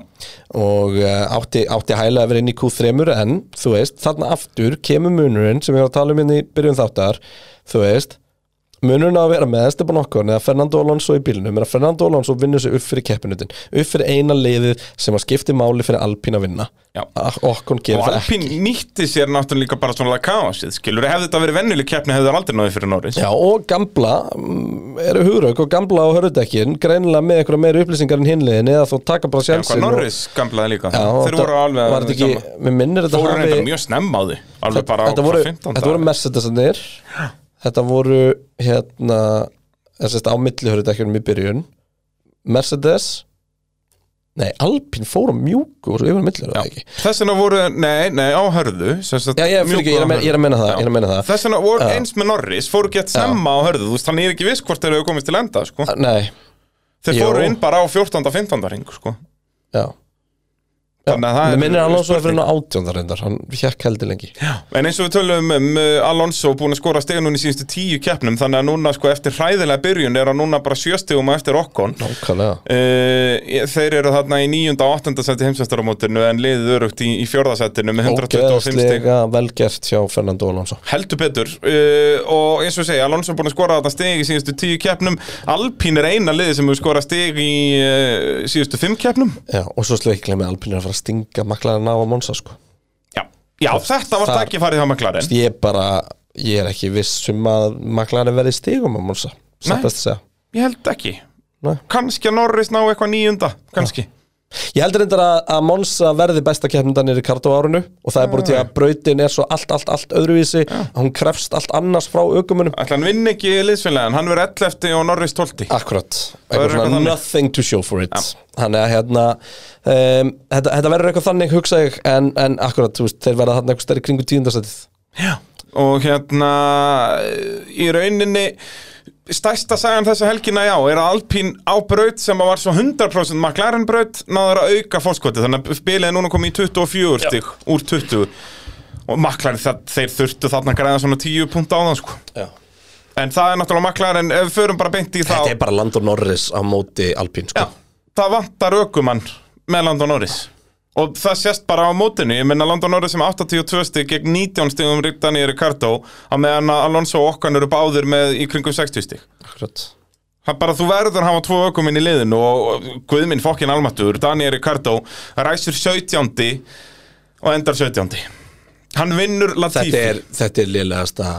Speaker 1: og uh, átti, átti hæla að vera inn í Q3 en þú veist, þarna aftur kemur munurinn sem við varum að tala um inn í byrjun þáttar þú veist munurinn á að vera með Esteban Okkon eða Fernando Alonso í bílnum er að Fernando Alonso vinnur sig upp fyrir keppinutin upp fyrir eina liðið sem að skipti máli fyrir Alpín að vinna
Speaker 2: Já.
Speaker 1: Okkon gerir
Speaker 2: Og
Speaker 1: það ekki
Speaker 2: Alpín nýtti sér náttúrulega líka bara svona kaosið, skilur, hefði þetta verið vennileg keppni hefði það aldrei náði fyrir Norris
Speaker 1: Já, og gamla mm, eru hugrauk og gamla á hörðdekkin greinilega með einhverja meiri upplýsingar en hinliðin eða þú taka bara
Speaker 2: En hvað
Speaker 1: sjansin
Speaker 2: Norris gamlaði líka,
Speaker 1: Já,
Speaker 2: þeir
Speaker 1: þetta-
Speaker 2: voru alveg
Speaker 1: var þetta ekki, mér minnir þetta
Speaker 2: fóru reynda
Speaker 1: hafi
Speaker 2: mjög snemma á því, alveg bara á
Speaker 1: þetta voru,
Speaker 2: 15.
Speaker 1: þetta voru Mercedesanir þetta voru hérna eða sérst á milli hörðdekkinum í byrjun Mercedes nei, Alpín fór á mjúku og svo yfir á milli
Speaker 2: Já.
Speaker 1: hörðdekki
Speaker 2: Þess vegna voru, nei, nei, á hörðu sem sagt,
Speaker 1: Já, ég, fyrir ekki,
Speaker 2: mjúkur
Speaker 1: ég, er að
Speaker 2: á
Speaker 1: men- ég er að menna það,
Speaker 2: Já.
Speaker 1: ég er að menna það.
Speaker 2: Þess vegna voru
Speaker 1: Já.
Speaker 2: eins með Norris, fóru gett snemma á hörðu, þú veist, þannig ég er ekki viss hvort þeir eru komist til enda, sko.
Speaker 1: Nei,
Speaker 2: Þeir
Speaker 1: Jú.
Speaker 2: fóru inn bara á 14. 15. ring, sko.
Speaker 1: já
Speaker 2: Þannig að það
Speaker 1: Mér
Speaker 2: er
Speaker 1: minnir Alonso að
Speaker 2: spurning.
Speaker 1: fyrir hann á átjóndar reyndar, hann hjekk heldur lengi
Speaker 2: En eins og við tölum um uh, Alonso búin að skora stegin núna í síðustu tíu keppnum þannig að núna sko eftir hræðilega byrjun er hann núna bara sjöstegum eftir okkon uh,
Speaker 1: Nákvæmlega
Speaker 2: Þeir eru þarna í níunda og áttunda seti heimsvæstaramótinu en liðið örugt í, í fjórðasettinu með 125 steg
Speaker 1: Ógeðslega vel gert hjá Fernando Alonso
Speaker 2: Heldur betur uh, og eins og segja, Alonso er búin að skora þetta steg í síðustu tíu keppnum Alpín er eina liðið sem hefur skorað steg í uh, síðustu fimm keppnum
Speaker 1: Já, og svo sleiklega með Alpinir að fara að stinga maklarinn á á Monsa sko.
Speaker 2: Já, Já þetta var
Speaker 1: Þar-
Speaker 2: takkifærið hjá McLaren
Speaker 1: Ég er bara, ég er ekki viss um að maklarinn verði í stigum á Monsa
Speaker 2: Nei.
Speaker 1: Satt best að segja
Speaker 2: Ég held ekki
Speaker 1: Nei.
Speaker 2: Kannski að Norris ná eitthvað nýjunda, kannski
Speaker 1: Ég heldur reyndar að, að Monsa verði besta keppnindan í Ricardo árinu og það er bara út í að brautin er svo allt, allt, allt öðruvísi að hún krefst allt annars frá aukumunum
Speaker 2: Ætla hann vinn ekki liðsfélagin, hann verður 11. og Norris 12.
Speaker 1: Akkurat,
Speaker 2: verður
Speaker 1: eitthvað svona
Speaker 2: eitthvað þannig.
Speaker 1: nothing to show for it Þannig að hérna um, þetta, þetta verður eitthvað þannig hugsa ég en, en akkurat, þú veist, þeir verða þarna eitthvað stærri kringu tíundasætið
Speaker 2: Já. Og hérna, í rauninni, stærsta sagan þessa helgina, já, er að Alpín á braut sem að var svo 100% McLaren braut, náður að auka fórskoti, þannig að bilið er núna komið í 24 stig úr 20. Og McLaren, það, þeir þurftu þarna að græða svona 10 punkt á það, sko.
Speaker 1: Já
Speaker 2: En það er náttúrulega McLaren, ef við förum bara beint í þá,
Speaker 1: Þetta er bara Landon Norris á móti Alpín sko.
Speaker 2: já, það vantar aukumann með Landon Norris. Og það sést bara á mótinu, ég menna Landon Norris sem 82 stig gegn 19 stigum Ritani Ricardo á meðan að Alonso og Okkan eru báðir með í kringum 60 stig.
Speaker 1: Akkurat
Speaker 2: Það er bara þú verður að hafa tvo ökuminn í liðinu og og Guðminn fokkin almatur, Daniel Ricardo, ræsir 17. og endar 17. Hann vinnur Latifi.
Speaker 1: Þetta er, þetta er liðlegasta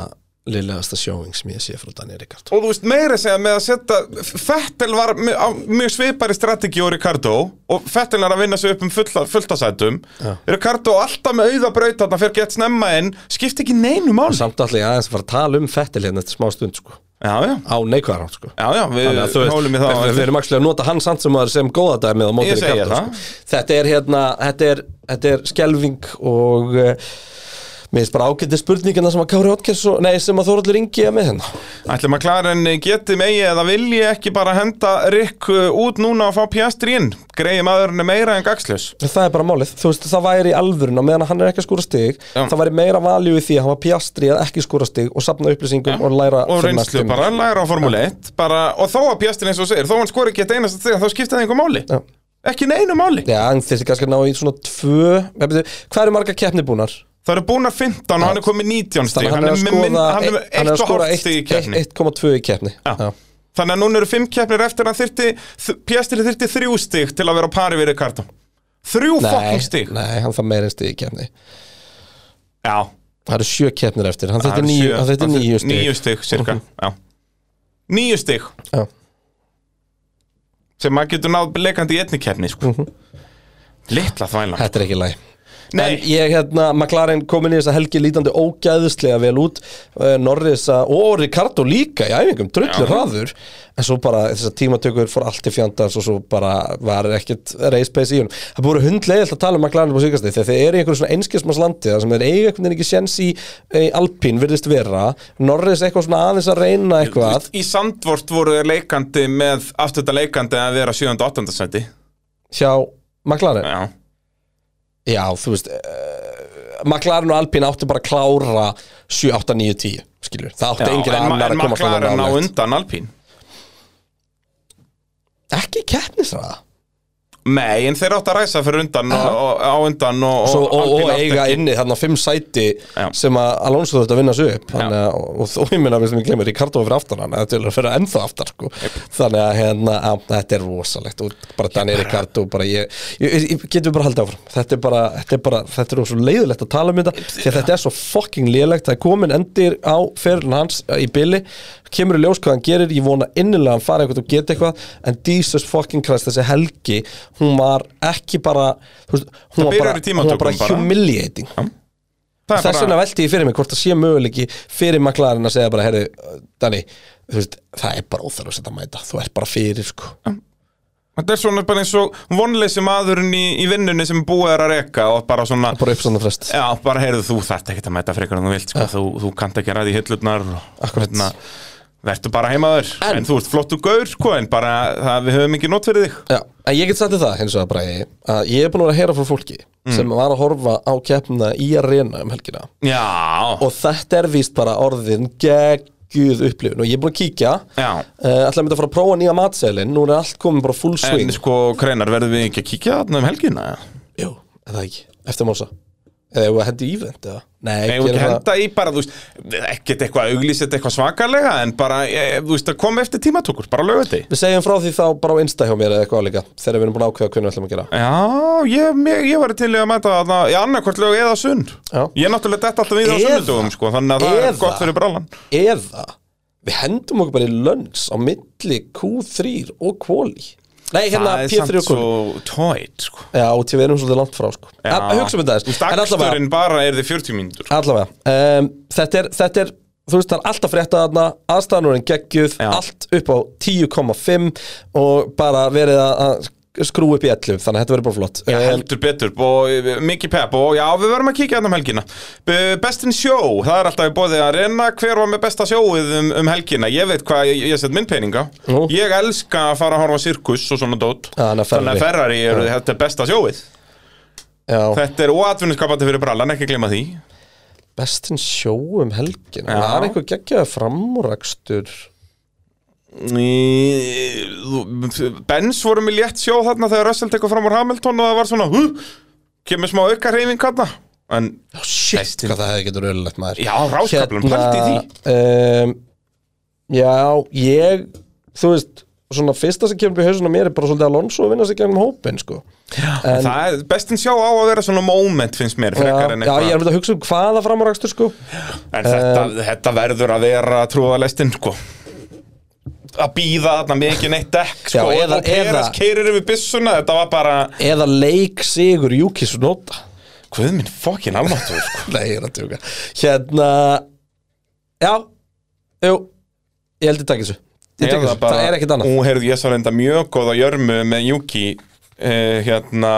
Speaker 1: liðlegasta sjóing sem ég sé frá Daniel Ricard
Speaker 2: Og þú veist meira að segja með að setja Fettel var mj- á mjög svipari strategi og Ricardo og Fettel er að vinna sig upp um fulla, fulltasætum
Speaker 1: Já.
Speaker 2: Ricardo alltaf með auða braut þarna fyrir gett snemma inn skipti ekki neinu mál Já,
Speaker 1: Samt allir aðeins að fara að tala um Fettil hérna eftir smá stund sko.
Speaker 2: já,
Speaker 1: á neikvæðarátt sko.
Speaker 2: já, já við
Speaker 1: Þannig að þú
Speaker 2: hólum í
Speaker 1: veist,
Speaker 2: það á
Speaker 1: við, við
Speaker 2: eftir.
Speaker 1: erum actually að nota hann samt sem maður sem góða dæmið á móti
Speaker 2: Ég segi
Speaker 1: Ricardo
Speaker 2: það.
Speaker 1: sko. Þetta er hérna, þetta er, þetta er skelving og uh, Mér finnst bara ágætti spurningina sem að Kári Otkers Nei, sem að Þóraldur Ingi er með hérna
Speaker 2: Ætlum að klara en eh, geti megi eða vilji ekki bara henda Rick uh, út núna og fá Piastri inn Greiði maðurinn er meira en gagsljus
Speaker 1: Það er bara málið, þú veist, það væri í alvörun og meðan hann er ekki að skúra stig
Speaker 2: Já.
Speaker 1: það væri meira valjú í því að hafa pjastri að ekki skúra stig og safna upplýsingum og læra
Speaker 2: og
Speaker 1: fyrir næstu
Speaker 2: reynslu
Speaker 1: tíma.
Speaker 2: bara, læra á Formule 1 bara, og þó að Piastri eins og þú segir, þó hann skori ekki eitt einast þegar þá skipta það einhver máli
Speaker 1: Já.
Speaker 2: ekki neinu máli,
Speaker 1: Já, en þessi kannski að ná í svona tvö Nei, byrju, Hvað eru marga keppni búnar?
Speaker 2: það eru búnar 15 og hann er komið 19 stíg,
Speaker 1: Þannig að hann er að
Speaker 2: með minn-
Speaker 1: skoða
Speaker 2: hann er
Speaker 1: hann er að
Speaker 2: 1,5
Speaker 1: eitt-
Speaker 2: stíg í
Speaker 1: eitt-
Speaker 2: keppni
Speaker 1: 1,2 í keppni
Speaker 2: Já.
Speaker 1: Já.
Speaker 2: Þannig að núna eru fimm keppnir eftir að þyrti, Piastri þyrti þrjú stig til að vera á pari við Ricardo Þrjú
Speaker 1: Nei,
Speaker 2: fucking stig
Speaker 1: nei, hann þarf meira en stig í keppni
Speaker 2: Já,
Speaker 1: Það eru sjö keppnir eftir, hann
Speaker 2: það
Speaker 1: þetta
Speaker 2: eru sjö-
Speaker 1: er
Speaker 2: það eru
Speaker 1: nýju stig Mhm.
Speaker 2: Níu stig, cirka, já Níu stig
Speaker 1: Já.
Speaker 2: sem maður getur náð leikandi í einni keppni sko.
Speaker 1: Mhm.
Speaker 2: Litla þvæla
Speaker 1: Þetta er ekki læg En
Speaker 2: Nei,
Speaker 1: ég hérna, McLaren komin í þessa helgi lítandi ógæðislega vel út eh, Norris að- og Ricardo líka í æfingum,
Speaker 2: Já.
Speaker 1: drullu hraður en svo bara þessar tímatökur fór allt til fjandans og svo bara var ekkit race pace í honum. Það búið hundlegilegt að tala um McLaren på síkastig þegar þeir eru í einhverju svona einskismaslandi þar sem þeir eiga einhvern veginn ekki séns í e, Alpín virðist vera, Norris eitthvað svona aðeins að reyna
Speaker 2: þú veist,
Speaker 1: eitthvað
Speaker 2: í sandvort voru þeir leikandi með afturta leikandi að vera 7. og 8. seti
Speaker 1: hjá McLaren
Speaker 2: Já,
Speaker 1: Já, þú veist uh, McLaren og Alpine áttu bara að klára 7, 8, 9, 10 skilur Það átti
Speaker 2: Já,
Speaker 1: enginn
Speaker 2: en, ma-
Speaker 1: annar
Speaker 2: en
Speaker 1: að koma
Speaker 2: McLaren á undan Alpín
Speaker 1: Ekki keppnisraða
Speaker 2: Nei, en þeir átt að ræsa fyrir undan og, og, á undan og,
Speaker 1: Svo, og, og,
Speaker 2: Alpine átti
Speaker 1: eiga
Speaker 2: ekki.
Speaker 1: inni þarna fimm sæti
Speaker 2: Já.
Speaker 1: sem að Alonso þurfti að vinna sig upp Þannig, að- og, og þó ég minna við sem ég glemur Ricardo var fyrir aftan hann, þetta er að fyrir ennþá aftar sko. þannig að hérna, að, þetta er rosalegt og bara Daniel Ricardo bara ég, ég, ég, getum við bara haldið áfram þetta er bara, þetta er bara, þetta er svo leiðilegt að tala um þetta því að þetta er svo fucking lélægt það er komin endir á ferilin hans eh, í billi, kemur í ljós hvað hann gerir ég vona innilega að hann fara eitthvað og geta eitthvað en Jesus fucking Christ, þessi helgi hún var ekki bara þú veist, hún var
Speaker 2: byrjar
Speaker 1: bara,
Speaker 2: í
Speaker 1: hún var bara
Speaker 2: tímatökum bara.
Speaker 1: humiliating
Speaker 2: Það er
Speaker 1: þess
Speaker 2: bara-
Speaker 1: vegna velti ég fyrir mig hvort það sé möguleiki fyrir McLaren að segja bara herri, Dani, þú veist, það er bara óþarf að setja mæta, þú ert bara fyrir sko.
Speaker 2: Þetta er svona bara eins og vonleysi maðurinn í, í vinnunni sem búið er að reka og bara svona,
Speaker 1: bara upp svona frest
Speaker 2: já, bara heyrðu þú þarft ekkert að mæta frekar en þú vilt, sko, þú, þú kannt ekki að ræði hillurnar og
Speaker 1: Akkurat.
Speaker 2: verður bara heimaður,
Speaker 1: En-
Speaker 2: en, þú ert flottu gaur, sko, en bara það, við höfum ekki nót fyrir þig.
Speaker 1: Já, en ég get sagt þér það hins vegar bara að ég er búin að vera að heyra frá fólki
Speaker 2: Mm.
Speaker 1: sem var að horfa á keppna í arena um helgina
Speaker 2: Já,
Speaker 1: og þetta er víst bara orðin gegguð upplifun og ég er búin að kíkja uh,
Speaker 2: já,
Speaker 1: ætlaði mér að fara að prófa nýja matseðlin nú er allt komin bara full swing
Speaker 2: en sko, Kreinar, verðum við ekki að kíkja þarna um helgina?
Speaker 1: Jú, er það ekki, eftir morsa Eða eigum við að hendi ívend eða? Nei,
Speaker 2: Eða
Speaker 1: gerum
Speaker 2: ekki
Speaker 1: það-
Speaker 2: henda í bara, þú veist, ekkert eitthvað að auglýsa þetta eitthvað svakalega, en bara, eh, þú veist, að koma eftir tímatökur, bara lögu þetta
Speaker 1: Við segjum frá því þá bara á Insta hjá mér eða eitthvað líka Þegar við erum búin að ákveða hvernig við ætlum að gera
Speaker 2: Já, ég, ég, ég var til í að mæta þarna í annarkvort lög eða sund
Speaker 1: Já.
Speaker 2: Ég er náttúrulega dett alltaf í það á
Speaker 1: Eða-
Speaker 2: sunnudögum sko, þannig að það er
Speaker 1: eða-
Speaker 2: gott fyrir brallan
Speaker 1: Eða við hendum okkur bara í lönns á milli Q3 og kvóli Nei, hérna
Speaker 2: Það
Speaker 1: P3
Speaker 2: er samt
Speaker 1: og kvóli
Speaker 2: svo tóit sko.
Speaker 1: Já, og til við erum svolítið langt frá sko
Speaker 2: Já.
Speaker 1: En Hugsa um þetta
Speaker 2: Þú
Speaker 1: aðeins
Speaker 2: veist,
Speaker 1: En allavega,
Speaker 2: Aksturinn bara er þið 40 mínútur
Speaker 1: allavega um, þetta, er, þetta er, þú veist, það er alltaf frétta þarna Aðstæðanurinn geggjuð,
Speaker 2: Já.
Speaker 1: allt upp á 10,5 Og bara verið að- að skrú upp í 11 Þannig að þetta verður bara flott
Speaker 2: Já,
Speaker 1: Em,
Speaker 2: Eh, heldur betur, og eh, mikið pepp og já, við verðum að kíkja hérna um helgina B- Best in show, það er alltaf í bóði að reyna hver var með besta sjóið um, um helgina ég veit hvað, ég, ég set minn peninga
Speaker 1: Nú.
Speaker 2: ég elska að fara að horfa á sirkus og svona dót
Speaker 1: Já, þannig að
Speaker 2: þannig að
Speaker 1: Ferrari.
Speaker 2: Ferrari eru þetta er besta sjóið
Speaker 1: Já.
Speaker 2: þetta er óatvinniskapandi fyrir brallan, ekki gleyma því
Speaker 1: Bestin sjó um helgin
Speaker 2: Já.
Speaker 1: Var einhver geggjaði framúrakstur
Speaker 2: Í- þú- Benz voru með létt sjó þarna þegar Russell tekur fram úr Hamilton og það var svona huh, kemur smá auka reyfing þarna en
Speaker 1: Já, shit,
Speaker 2: Bestin-
Speaker 1: hvað það hefði getur öllulegt maður
Speaker 2: já, ráskaflum, hérna... pælti
Speaker 1: um, Já, ég Þú veist, svona fyrsta sem kemur upp í hausuna mér er bara svolítið Alonso að vinna sig gegnum hópin sko.
Speaker 2: í því það er bestin sjó á að vera svona moment finnst mér
Speaker 1: já,
Speaker 2: frekar en
Speaker 1: já, ég Eh. er
Speaker 2: eitthvað
Speaker 1: að mynda að hugsa um hvaða framúrakstur sko.
Speaker 2: en þetta, þetta verður að vera trúðalestin sko að býða þarna mikið neitt dekk sko,
Speaker 1: Já,
Speaker 2: og-
Speaker 1: eða-
Speaker 2: og Peres
Speaker 1: eða-
Speaker 2: keirir yfir byssuna þetta var bara,
Speaker 1: Eða leik sigur Júkis nota [laughs]
Speaker 2: hvað minn fokkin almáttur sko.
Speaker 1: Nei, ég er að tjóka Hérna Já, jú Ég held ég takk þessu Ég tek þessu. Það er ekkert annað
Speaker 2: Ú, heyrðu, ég sá reynda mjög góða jörmu með Juki uh, hérna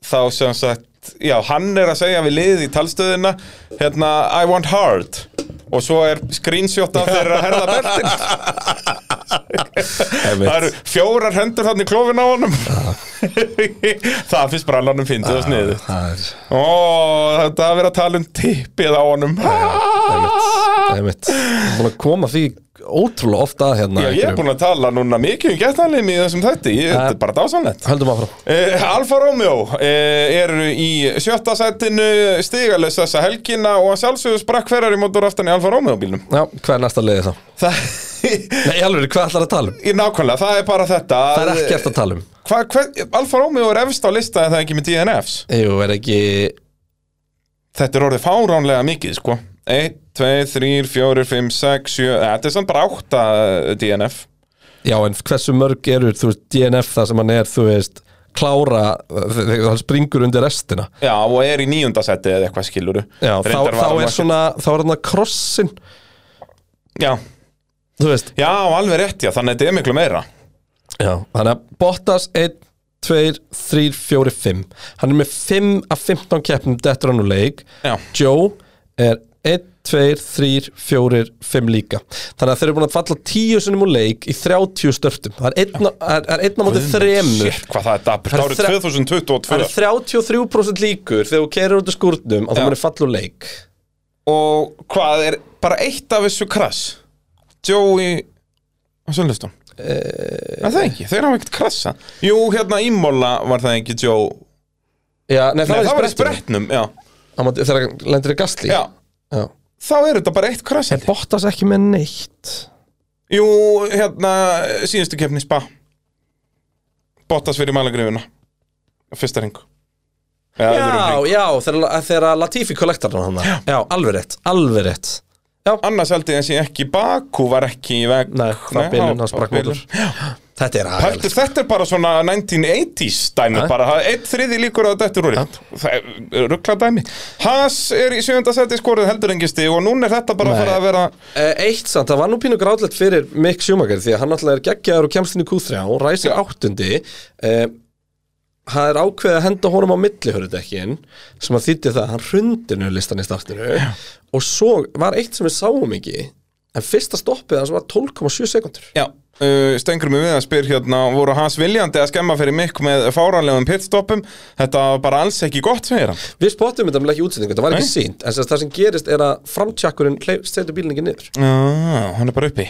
Speaker 2: þá sem sagt já, hann er að segja við liðið í talstöðina hérna, I want hard og svo er screenshot af þeirra að herða beltin
Speaker 1: [laughs]
Speaker 2: það eru fjórar hendur þannig klófin á honum
Speaker 1: [laughs]
Speaker 2: það finnst brallanum fyndið
Speaker 1: Ah.
Speaker 2: og sniðið
Speaker 1: Það er
Speaker 2: ó, þetta að vera að tala um tippið á honum
Speaker 1: Ah. Það er mitt Búin að koma því ótrúlega oft að hérna
Speaker 2: já, ég er búin að tala núna mikið um getnarlim í þessum þætti, ég, þetta er bara dásanlegt
Speaker 1: Höldum áfram
Speaker 2: Uh, Alfa Romeo uh, eru í sjötta setinu stigaless þessa helgina og að sjálfsögur sprakk Ferrari mótor aftan í Alfa Romeo bílnum [laughs]
Speaker 1: Já, hvað er næsta leiði það?
Speaker 2: Það,
Speaker 1: Nei, alveg, hvað ætlar að tala um?
Speaker 2: í nákvæmlega, það er bara þetta
Speaker 1: Það er ekkert að tala um
Speaker 2: hva, hva, Alfa Romeo er efst á lista en það er ekki með DNFs
Speaker 1: Jú, er ekki
Speaker 2: Þetta er orðið fáránlega mikið sko 1, 2, 3, 4, 5, 6, 7 eh, Þetta er samt bara eh, 8 DNF
Speaker 1: Já, en hversu mörg eru, þú veist, DNF það sem hann er, þú veist klára, þegar hann springur undir restina
Speaker 2: Já, og er í níunda seti eða eitthvað skiluru
Speaker 1: Já, þá, þá er svona, þá er hann að krossin
Speaker 2: Já,
Speaker 1: þú veist,
Speaker 2: já, alveg rétt, já, þannig að þetta er miklu meira
Speaker 1: já, þannig að Bottas 1, 2, 3, 4, 5 hann er með 5 af 15 keppnum dettur hann úr leik
Speaker 2: Já.
Speaker 1: Joe er 1, 2, 3, 4, 5 líka þannig að þeir eru búin að falla 10 sinum úr leik í 30 störtum það er einna- það er einn á móti þremur
Speaker 2: Shit, hvað það er dapur,
Speaker 1: Það er
Speaker 2: árið
Speaker 1: þre-
Speaker 2: 2022
Speaker 1: Það er 33% líkur þegar þú kerir út af skúrnum að
Speaker 2: Já.
Speaker 1: það muni falla úr leik
Speaker 2: Og hvað er bara eitt af þessu krass Joey á Sönlustum
Speaker 1: Eh,
Speaker 2: e... Það er ekki, þeir hafa ekkert krassa Jú, hérna í Móla var það ekki Joe
Speaker 1: Já, nei, það,
Speaker 2: Nei, það var í
Speaker 1: sprettinum.
Speaker 2: spretnum já.
Speaker 1: Á móti- Þegar hann lendir í gasli
Speaker 2: já,
Speaker 1: Já.
Speaker 2: þá er þetta bara eitt krass held ég.
Speaker 1: Bottas ekki með neitt
Speaker 2: Jú, hérna síðustu kefni spa Bottas fyrir malagrifuna Fyrsta ring Já, öðrum
Speaker 1: Já,
Speaker 2: hring.
Speaker 1: já, þegar, þegar Latifi kollektar hann hann Já, alveg rétt, alveg rétt
Speaker 2: Annars held ég að sé ekki Baku var ekki í veg
Speaker 1: Nei, það bilun, hann sprakk
Speaker 2: bilun.
Speaker 1: mótur Þetta er
Speaker 2: Heldur,
Speaker 1: aðeins
Speaker 2: þetta er bara svona 1980s dæmi
Speaker 1: Ja.
Speaker 2: bara, það er eitt þriði líkur á þetta úr það er ruggla dæmi Haas er í sjönda seti skorið heldur engin stig og núna er þetta bara að
Speaker 1: Nei.
Speaker 2: fara að vera
Speaker 1: Eh, Eitt samt, það var nú pínu gráðlegt fyrir Mick Schumacher því að hann alltaf er geggjaður og kemst inn í Q3 og ræsir áttundi eh, Það er ákveðið að henda honum á millihörudekkin sem að þýtti það að hann hrundinu listan í startinu og svo var eitt sem við sáum ekki en fyrsta stoppið hans var 12,7 sekundur
Speaker 2: Já. Uh, stengur mig við að spyr hérna voru Haas viljandi að skemma fyrir mikk með fáranlegum pitstoppum þetta var bara alls ekki gott segir hann
Speaker 1: Við spottum þetta með ekki í útsendingu, þetta var ekki
Speaker 2: Nei.
Speaker 1: sínt En sem sagt, það sem gerist er að framtjakkurinn setur bílinn ekki niður
Speaker 2: Já, hann er bara uppi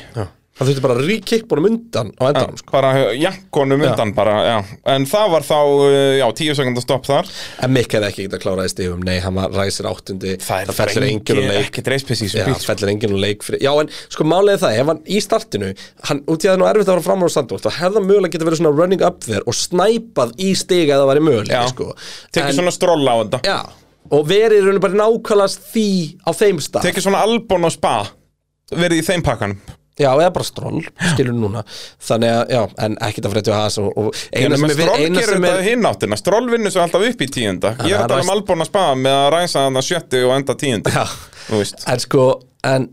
Speaker 1: Það þurfti bara að ríkikkbólum undan á endanum sko.
Speaker 2: bara jankonum undan bara, já. en það var þá, uh, já, tíu sekundar stopp þar
Speaker 1: En Mikk hefði ekki getað klárað í stífum Nei, hann var ræsir áttundi Það, fellur enginn úr leik
Speaker 2: ekki dreispiss í
Speaker 1: Já,
Speaker 2: þessu bíl
Speaker 1: það fellur enginn úr leik fyrir Já, en sko málið er það, ef hann í startinu hann, Út í að það er nú erfitt að vera framar á sandvort þá hefði hann mögulega getað verið svona running up there og snæpað í stiga eða það væri mögulega
Speaker 2: Já.
Speaker 1: sko.
Speaker 2: tekið svona stróla á þetta
Speaker 1: Já, og verið í rauninu bara nákvæmast því á þeim stað
Speaker 2: tekið svona albón og spa verið í þeim pakkanum
Speaker 1: Já, eða bara stról, skilur núna Þannig að, já, en ekkert að frétta á Haas og, og
Speaker 2: En
Speaker 1: eina sem
Speaker 2: með
Speaker 1: er,
Speaker 2: stról
Speaker 1: eina
Speaker 2: Hérna, gerir
Speaker 1: sem
Speaker 2: þetta
Speaker 1: er
Speaker 2: hinn áttina Stról vinnur svo alltaf upp í tíunda Ég er
Speaker 1: hann
Speaker 2: að tala um
Speaker 1: ræst-
Speaker 2: albón og spa með að ræsa hann að sjötti og enda tíundi
Speaker 1: já,
Speaker 2: Þú veist
Speaker 1: En sko, en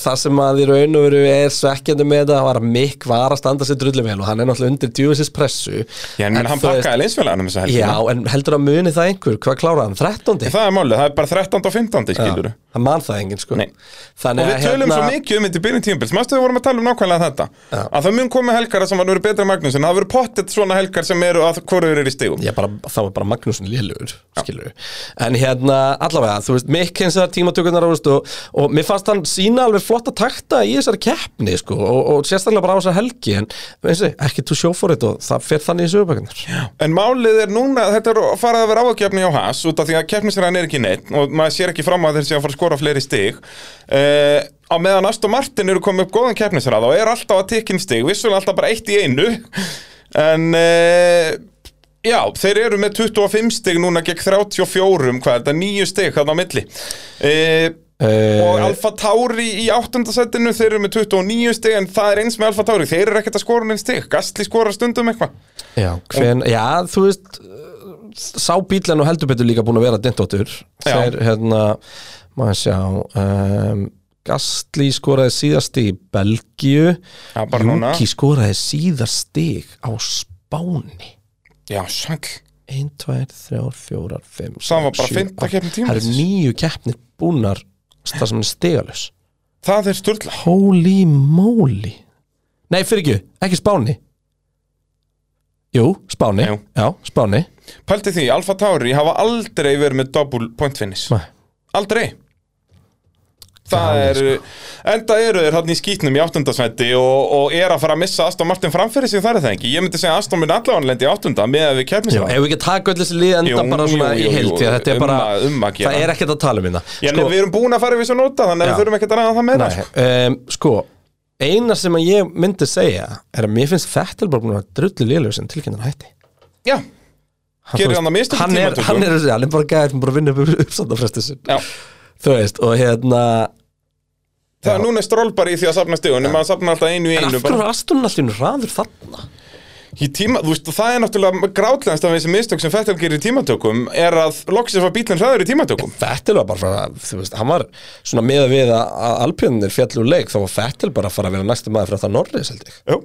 Speaker 1: það sem að í raun og veru er svekkjandi með þetta var að Mick var að standa sér drullu vel og hann er náttúrulega undir djúfisins pressu
Speaker 2: Já, en, hann
Speaker 1: þú veist-
Speaker 2: pakkaði linsfélaganum þessa
Speaker 1: Já,
Speaker 2: helgina
Speaker 1: en heldur að muni það einhver, hvað kláraði hann? 13.
Speaker 2: Það er málið, það er bara 13. og 15. skilur
Speaker 1: Það man það enginn, sko
Speaker 2: Nei.
Speaker 1: Þannig
Speaker 2: Og við
Speaker 1: að hérna-
Speaker 2: tölum svo mikið um þetta í byrjun tímabils Mástu við vorum að tala um nákvæmlega þetta
Speaker 1: Já.
Speaker 2: Að það mun komið helgar sem var verið betra en Magnúsin Það verið pottet svona helgar sem eru að hvoru eru í stigum
Speaker 1: Já, bara, þá er bara Magnúsin lélugur, skilur En hérna, allavega, þú veist, Mikk hins vegar tímatökurnar, þú veist, og, og mér fannst hann sína alveg flotta takta í þessari keppni, sko, og, og sérstaklega bara á þessari helgi, en eins og, ekki to show for it og það fer þannig í sögubækunar.
Speaker 2: En málið er núna, þetta er farið að vera ágefni á Haas út af því að keppnisræðan er ekki neitt og maður sér ekki fram að þeir sé að fara að skora fleiri stig uh, á meðan Aston Martin eru komið upp góðan keppnisræð og er alltaf að tekinn stig, vissulega alltaf bara eitt í einu en uh, já, þeir eru með 25 stig núna gegn 34 hvað er þetta, 9 stig hann á milli uh,
Speaker 1: Eh,
Speaker 2: Og Alfa Tauri í áttundasettinu, þeir eru með 29 stig en það er eins með Alfa Tauri, þeir eru ekkert að skora neinn stig, Gastli skorar stundum eitthvað
Speaker 1: Já, hven, já, þú veist, uh, sá bílan og heldur betur líka búin að vera dindóttur.
Speaker 2: Já.
Speaker 1: Þeir, hérna, maður sjá, um, Gastli skoraði síðast í Belgíu,
Speaker 2: Já, bara núna.
Speaker 1: Juki skoraði síðast stig á Spáni.
Speaker 2: Já, sæll
Speaker 1: 1, 2, 3, 4, 5
Speaker 2: Saman var bara fimmta keppni tímabilsins.
Speaker 1: Það eru nýju keppnir búnar það sem er stegalus
Speaker 2: Það er sturla
Speaker 1: Holy moly Nei, fyrir ekki, ekki Spáni Jú, Spáni
Speaker 2: Jú.
Speaker 1: Já, Spáni
Speaker 2: Pælti því, Alfa Tauri hafa aldrei verið með double point finish
Speaker 1: Nei.
Speaker 2: Aldrei Það
Speaker 1: Já,
Speaker 2: er,
Speaker 1: sko-
Speaker 2: enda eru þeir hann í skýtnum í áttundasvætti og, og er að fara að missa Aston Martin framfyrir sig þar er það ekki Ég myndi segja að Aston minn allavega lendi í áttunda með að við keppnum
Speaker 1: Já, ef við ekki taka öll þessi lið enda
Speaker 2: Jú,
Speaker 1: bara svona
Speaker 2: jú, jú,
Speaker 1: í heild
Speaker 2: jú,
Speaker 1: því að þetta er
Speaker 2: um
Speaker 1: bara,
Speaker 2: að- um að gera.
Speaker 1: það er ekkert að tala um hérna
Speaker 2: Já, sko, við erum búin að fara við svo nota þannig
Speaker 1: Já.
Speaker 2: að við þurfum ekkert að ræða það meira
Speaker 1: Nei,
Speaker 2: sko.
Speaker 1: um, sko eina sem að ég myndi segja er að mér finnst Fettel bara búin að vera drullu liðlega sem tilkynnar hætti
Speaker 2: Já,
Speaker 1: hann,
Speaker 2: Gerir
Speaker 1: þú veist,
Speaker 2: hann að mistök í
Speaker 1: hann, er,
Speaker 2: tímatökum?
Speaker 1: hann, er, hann er bara gæðir sem bara vinna upp uppsandafresti sin
Speaker 2: já,
Speaker 1: þú veist og hérna
Speaker 2: það er núna stról bara í því að safna stíðunum maður safna alltaf einu í
Speaker 1: en af
Speaker 2: einu
Speaker 1: hverju
Speaker 2: bara,
Speaker 1: var Aston alltaf einu hraður þarna
Speaker 2: í tíma, Þú veist, það er náttúrulega grátlegast af þessi mistök sem Fettel gerir í tímatökum er að loksins var bílinn hraður í tímatökum
Speaker 1: Fettel var bara frá, þú veist, hann var svona með að við að að Alpjörnir fjallu leik þá var Fettel bara að fara að vera næstu maður fyrir það Norris held ég
Speaker 2: Jú.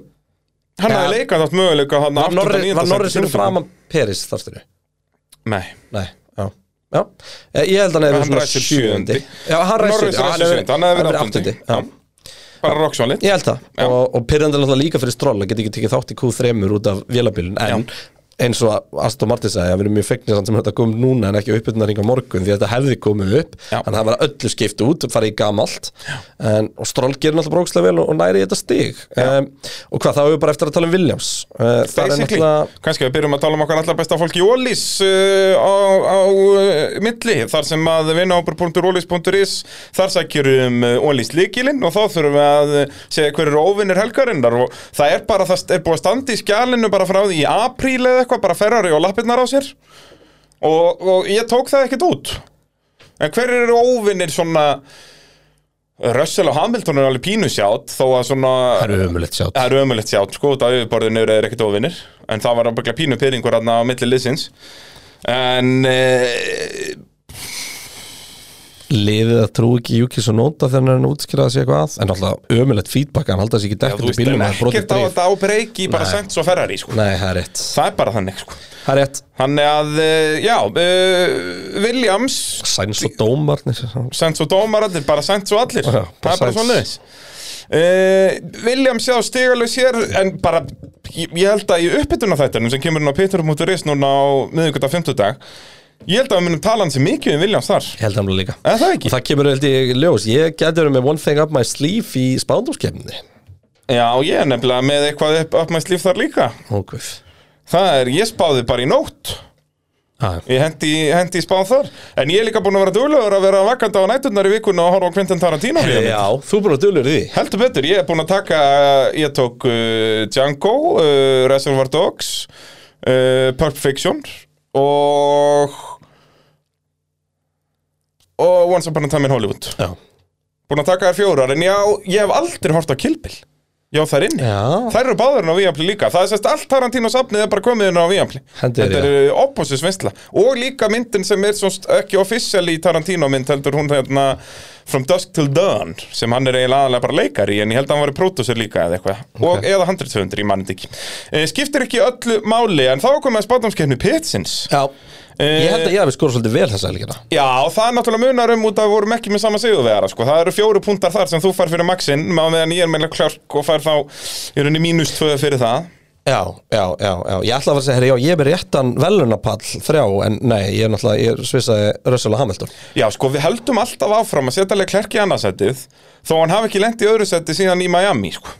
Speaker 2: Hann
Speaker 1: Ja.
Speaker 2: hafði leikað átt möguleika hann
Speaker 1: var Norris, var Norris fyrir framan Peris þarstinu
Speaker 2: Nei
Speaker 1: Nei, já Já, Eh, ég ég held hann hefur
Speaker 2: Hann
Speaker 1: verið
Speaker 2: ræsir
Speaker 1: svona sjöundi
Speaker 2: sjöundi.
Speaker 1: Já, hann ræsir
Speaker 2: Norris
Speaker 1: sjöundi, já,
Speaker 2: ræsir sjöundi, hann hefði verið áttundi.
Speaker 1: Já,
Speaker 2: Bara roksvalið
Speaker 1: ég held það
Speaker 2: Já.
Speaker 1: Og, og pyrrandi náttúrulega líka fyrir stról að geta ekki tekið þátt í Q3 út af vélabilun En eins og Aston Martin sagði að við erum mjög fegnir samt sem þetta kom núna en ekki uppbytunar hringa morgun því að þetta hefði komið upp
Speaker 2: Já.
Speaker 1: Þannig að það var öllu skipt út, farið í gamalt en, Og stról gerir náttúrulega brókslega vel og, og næri í þetta stig um, Og hvað, þá hefur bara eftir að tala um Williams uh, Það er
Speaker 2: Basically,
Speaker 1: náttúrulega
Speaker 2: kannski við byrjum að tala um okkar allar besta fólk í Ólís uh, á, á uh, milli, þar sem að vinahópur.ólís.is þar sækjur um Ólís líkilinn og þá þurfum við að uh, segja hver eru óvinnir helgarinnar og það er bara, það er búið að standa í skjálinu bara frá því í apríl eða eitthvað, bara ferrari og lappirnar á sér og, og ég tók það ekkert út en hver eru óvinnir svona Russell og Hamilton er alveg pínu sjátt þó að svona
Speaker 1: Það er umulegt sjátt
Speaker 2: Það er ömulegt sjátt, sko, út af yfirborðinu eru þeir ekkert óvinnir En það var ábyggla pínu pyrringur aðna á milli liðsins En e,
Speaker 1: liðið að trú ekki Júkis og nota þegar hann er að útskýra að sé eitthvað að en alltaf ömulegt feedback, hann halda sér ekki
Speaker 2: þú
Speaker 1: dekkandi
Speaker 2: veist,
Speaker 1: bílum
Speaker 2: en
Speaker 1: að brotið
Speaker 2: ekkert á
Speaker 1: drif
Speaker 2: þetta á breyki bara
Speaker 1: Nei.
Speaker 2: sent svo Ferrari, sko
Speaker 1: Nei, það er rétt
Speaker 2: Það er bara þannig, sko
Speaker 1: Það er rétt
Speaker 2: Þannig að, e, já, e, Williams
Speaker 1: Sæns og dómarnir Já,
Speaker 2: Sent svo dómarallir, bara sent svo allir
Speaker 1: Já,
Speaker 2: Það
Speaker 1: bara
Speaker 2: er bara
Speaker 1: sent.
Speaker 2: svona þess Williams já, stigalus hér En bara, ég, ég held að í uppbytuna þættunum sem kemur inn á Peter.is núna á miðvikudag 50 dag Ég held að við munum tala hann sem mikið um Williams þar
Speaker 1: Ég held hann alveg líka
Speaker 2: Er það
Speaker 1: Og
Speaker 2: ekki?
Speaker 1: það kemur held ég í ljós Ég gæti verið með one thing up my sleeve í spándúmskefni
Speaker 2: Já, ég er nefnilega með eitthvað upp, upp mæst líf þar líka
Speaker 1: Ógvöf
Speaker 2: Það er, ég spáði bara í nótt Ég hendi, hendi í spáð þar En ég er líka búin að vera duglegur að vera vakandi á næturnar í vikuna og horfa á Quentin Tarantino hey,
Speaker 1: Já, þú búin að dölur því
Speaker 2: Heldur betur, ég er búin að taka Ég tók uh, Django uh, Reservoir Dogs uh, Pulp Fiction og og Once Upon a Time in Hollywood
Speaker 1: Já
Speaker 2: Búin að taka þær fjórar En já, ég hef aldrei hort á Kill Bill Já, það er inni
Speaker 1: Já
Speaker 2: Þær eru báðurinn á Víampli líka Það er sérst allt Tarantino safnið er bara komið inn á Víampli
Speaker 1: Hendur
Speaker 2: Þetta
Speaker 1: þér,
Speaker 2: er opposis vinsla Og líka myndin sem er svo st- ekki official í Tarantino mynd heldur hún hérna From Dusk Till Dawn sem hann er eiginlega aðalega bara leikari en ég held að hann var í pródusur líka eða eitthvað og eða 100-200 í mannend ekki e, Skiptir ekki öllu máli en þá komið að spátumskeppni Petsins
Speaker 1: Já Ég held að
Speaker 2: Eh,
Speaker 1: ég hafi skorað svolítið vel þessa helgina
Speaker 2: Já, það er náttúrulega munar um út að við vorum ekki með sama sigurvegara sko. Það eru fjóru puntar þar sem þú fær fyrir maxinn á meðan ég er meðlega klörk og fær þá í rauninni mínus tvö fyrir það
Speaker 1: Já, já, já, já, ég ætla að vera að segja, herri, já, ég er með réttan velunapall þrjá, en nei, ég er náttúrulega, ég svissaði Russell og Hamilton.
Speaker 2: Já, sko, við höldum alltaf áfram að setja Leclerc í annarsætið þó hann hafi ekki lent í öðru sæti síðan í Miami, sko.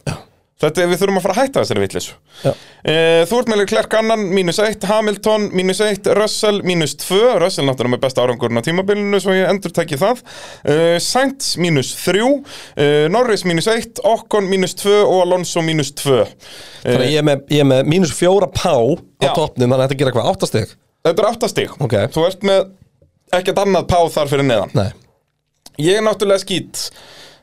Speaker 2: Þetta er, við þurfum að fara að hætta þessari vitleysu.
Speaker 1: Já.
Speaker 2: E, þú ert með Leclerc annan, mínus 1, Hamilton, mínus 1, Russell, mínus 2, Russell náttúrulega með besta árangurinn á tímabilinu, svo ég endur tekið það, e, Sainz mínus 3, e, Norris mínus 1, Okkon mínus 2 og Alonso mínus 2. E,
Speaker 1: Þannig að ég er með, ég er með mínus fjóra pá á
Speaker 2: Já.
Speaker 1: toppnum, þannig að þetta gera hvað, áttastig?
Speaker 2: þetta er áttastig.
Speaker 1: Ok.
Speaker 2: Þú ert með ekkert annað pá þar fyrir neðan.
Speaker 1: Nei,
Speaker 2: Ég er náttúrulega skýt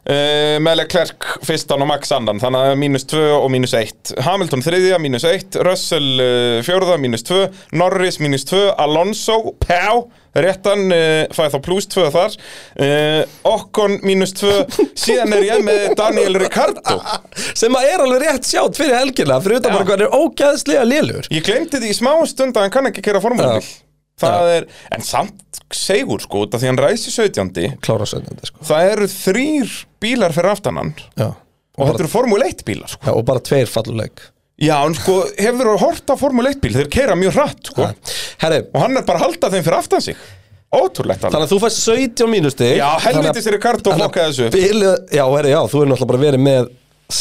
Speaker 2: Uh, með Leclerc fyrstan og Max annan þannig að mínus 2 og mínus 1 Hamilton þriðja, mínus 1, Russell uh, fjórða, mínus 2, Norris mínus 2 Alonso, Pau réttan, uh, fæði þá plus 2 þar uh, Okkon mínus
Speaker 1: [laughs]
Speaker 2: 2 síðan er ég með Daniel Ricardo
Speaker 1: sem að er alveg rétt sjátt fyrir helgina fyrir utan
Speaker 2: Já.
Speaker 1: bara hvað hann er ógæðslega lélur
Speaker 2: ég glemdi því í smá stund að hann kann ekki kera formúlbíl
Speaker 1: Já.
Speaker 2: það er, en samt segur sko, út af því hann ræsi 17
Speaker 1: klára sögnandi sko
Speaker 2: það eru þrýr bílar fyrir aftan hann
Speaker 1: já.
Speaker 2: og þetta eru formúl 1 bílar sko
Speaker 1: Já, og bara tveir falluleik
Speaker 2: Já, en sko, hefur þú hort á Formule 1 bíl, þeir keira mjög hratt, sko
Speaker 1: herri,
Speaker 2: Og hann er bara að halda þeim fyrir aftan sig Ótrúlegt alveg
Speaker 1: þannig að þú fæst 17 mínustig
Speaker 2: Já, helvitis er Ricardo flokkað þessu
Speaker 1: bilið, já, herri, já, þú er náttúrulega bara verið með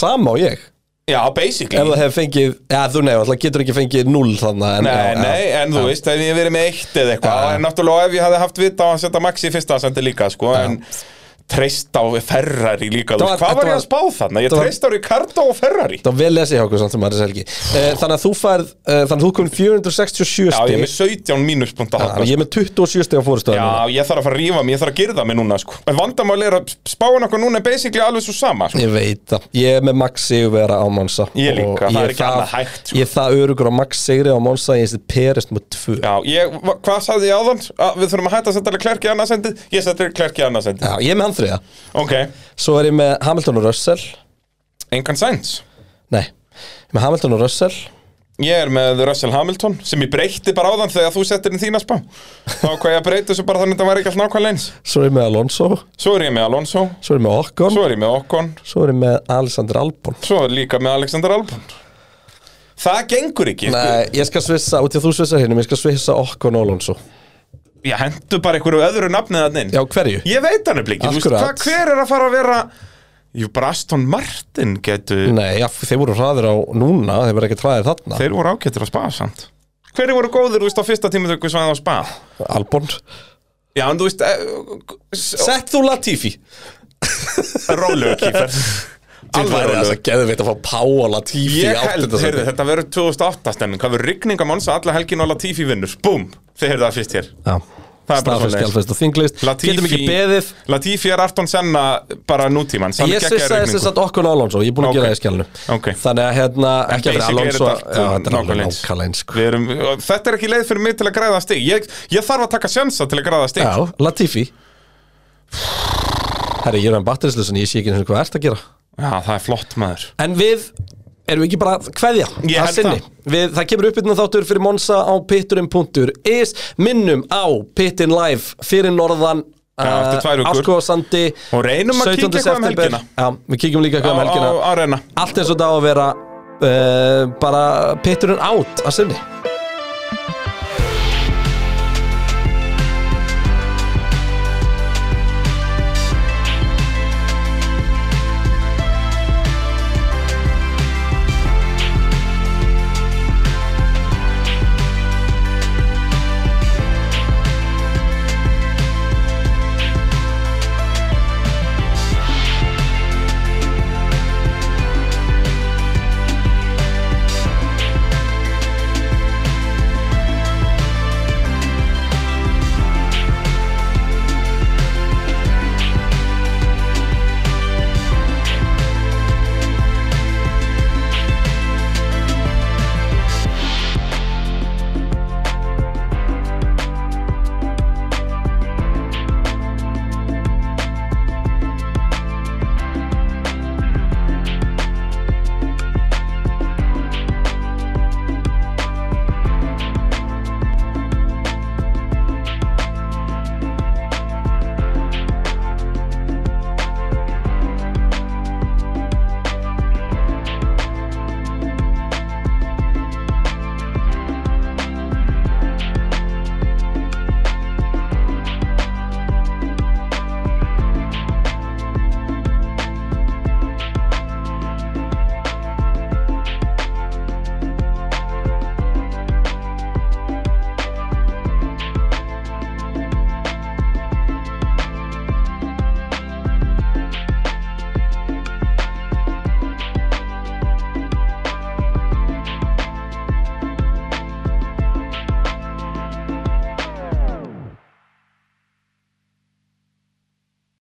Speaker 1: sama og ég
Speaker 2: Já,
Speaker 1: ef
Speaker 2: basically
Speaker 1: það hefur fengið, já, þú nei, alltaf getur ekki fengið 0 þannig en,
Speaker 2: Nei,
Speaker 1: já,
Speaker 2: nei, en þú veist, ef ég hef verið með eitt eða eitthvað
Speaker 1: Já.
Speaker 2: En náttúrulega ef ég hafði haft vita á að setja Maxi í fyrsta sendi líka, sko En treyst á Ferrari líka, þú
Speaker 1: Það
Speaker 2: veist,
Speaker 1: var-
Speaker 2: hvað var
Speaker 1: þetta
Speaker 2: ég að spá þarna? Ég
Speaker 1: þetta var-
Speaker 2: treyst á Ricardo og Ferrari
Speaker 1: Það var vel lesið hjá okkur samt sem Aris Helgi Eh, Þannig að þú færð, eh, þannig að þú komin 467
Speaker 2: Já, ég er
Speaker 1: stig
Speaker 2: með 17 mínuspunkt að
Speaker 1: Já,
Speaker 2: hafna
Speaker 1: Ég er með 27 stig á
Speaker 2: sko. Já,
Speaker 1: fóristöðunum
Speaker 2: ég þarf að fara að rífa mig, ég þarf að girða mig núna, sko En vandamáli er að spáin okkur núna er basically alveg svo sama, sko
Speaker 1: Ég veit það, ég er með Max Sigurvera á Monsa
Speaker 2: Ég líka,
Speaker 1: Og
Speaker 2: það
Speaker 1: ég
Speaker 2: er ekki annað hægt, sko.
Speaker 1: Ég er það örugur á Max Sigurvera á Monsa Ég sé perist með tvö Já.
Speaker 2: Já, ég, hva- hvað sagði ég áðan? Að við þurfum að hætta að setja klerk í annarsendið Ég setja klerk í annarsendið
Speaker 1: ég er með hann þriða
Speaker 2: Ok,
Speaker 1: Svo er ég með Hamilton og Russell
Speaker 2: engan sæns
Speaker 1: Nei, ég er með Hamilton og Russell
Speaker 2: Ég er með Russell Hamilton sem ég breytti bara áðan þegar þú settir inn þína spá Þá hvað ég að breyta þessu bara þannig að það væri ekki alltaf nákvæmlega eins
Speaker 1: Svo er ég með Alonso
Speaker 2: Svo er ég með Alonso
Speaker 1: Svo er ég með Okkon Svo,
Speaker 2: Svo er ég með Okkon
Speaker 1: er ég með Alexander Albon
Speaker 2: Svo er líka með Alexander Albon Það gengur ekki
Speaker 1: Nei, ég skal svissa, út í að þú svissa hinnum Ég skal svissa Okkon og Alonso
Speaker 2: Ég hendur bara einhverju öðru nafnið þannig inn
Speaker 1: Já, hverju?
Speaker 2: Ég veit hann ekki, þú veist
Speaker 1: Akkurat.
Speaker 2: hvað, hver er að fara að vera Jú, bara Aston Martin getur
Speaker 1: Nei, já, þeir voru hraðir á núna, þeir voru ekki hraðir þarna
Speaker 2: Þeir voru ágættir að spa samt Hverju voru góðir, þú veist, á fyrsta tímatöku svæði á spa?
Speaker 1: Albon
Speaker 2: Já, en þú veist, eh, s-
Speaker 1: Sett þú Latifi
Speaker 2: [laughs] rólegur kýfer
Speaker 1: Alveg
Speaker 2: Alveg
Speaker 1: er þess að
Speaker 2: rólegur
Speaker 1: geðu veit að fá Páa Latifi
Speaker 2: Ég held, heyrðu, þetta verður 2008 stemming Hvað verður rigning á Monsa, alla helgin og Latifi vinnur Búm, þeir heyrðu það fyrst hér Það er bara
Speaker 1: Staðfest,
Speaker 2: svoleiðis.
Speaker 1: skjálfest og þinglist
Speaker 2: Latifi-
Speaker 1: Getum ekki beðið
Speaker 2: Latifi er Arton Senna bara nútímann Sann
Speaker 1: Ég
Speaker 2: geggjaði
Speaker 1: svissaði þess
Speaker 2: rigningu
Speaker 1: að okkur Alonso, ég er búin að
Speaker 2: Ok.
Speaker 1: gera það í skjálnu
Speaker 2: Ok.
Speaker 1: Þannig að hérna, ekki að fyrir
Speaker 2: Basically er
Speaker 1: Alonso
Speaker 2: þetta
Speaker 1: Já,
Speaker 2: allt,
Speaker 1: þetta
Speaker 2: uh,
Speaker 1: er alveg
Speaker 2: nákvæmlega eins.
Speaker 1: nákvæmlega eins sko.
Speaker 2: Við erum, Þetta er ekki leið fyrir mig til að græða stig Ég, ég þarf að taka sjensa til að græða stig
Speaker 1: Já, Latifi Herri, ég er með batterislusin, ég sé ekki einu sinni hvað ert að gera
Speaker 2: Já, það er flott maður
Speaker 1: En við erum við ekki bara að kveðja
Speaker 2: Ég
Speaker 1: að
Speaker 2: held
Speaker 1: sinni.
Speaker 2: það.
Speaker 1: Við, það kemur uppbytna þáttur fyrir Monsa á pitturinn.is Minnum á Pittin Live fyrir norðan eh,
Speaker 2: eftir tvær vikur.
Speaker 1: Áskóðsandi
Speaker 2: Og reynum að kíkja eitthvað um helgina.
Speaker 1: Já, við kíkjum líka
Speaker 2: Á,
Speaker 1: eitthvað um
Speaker 2: á,
Speaker 1: helgina
Speaker 2: á reyna
Speaker 1: eh, Allt eins og það á að vera uh, bara pitturinn átt að sinni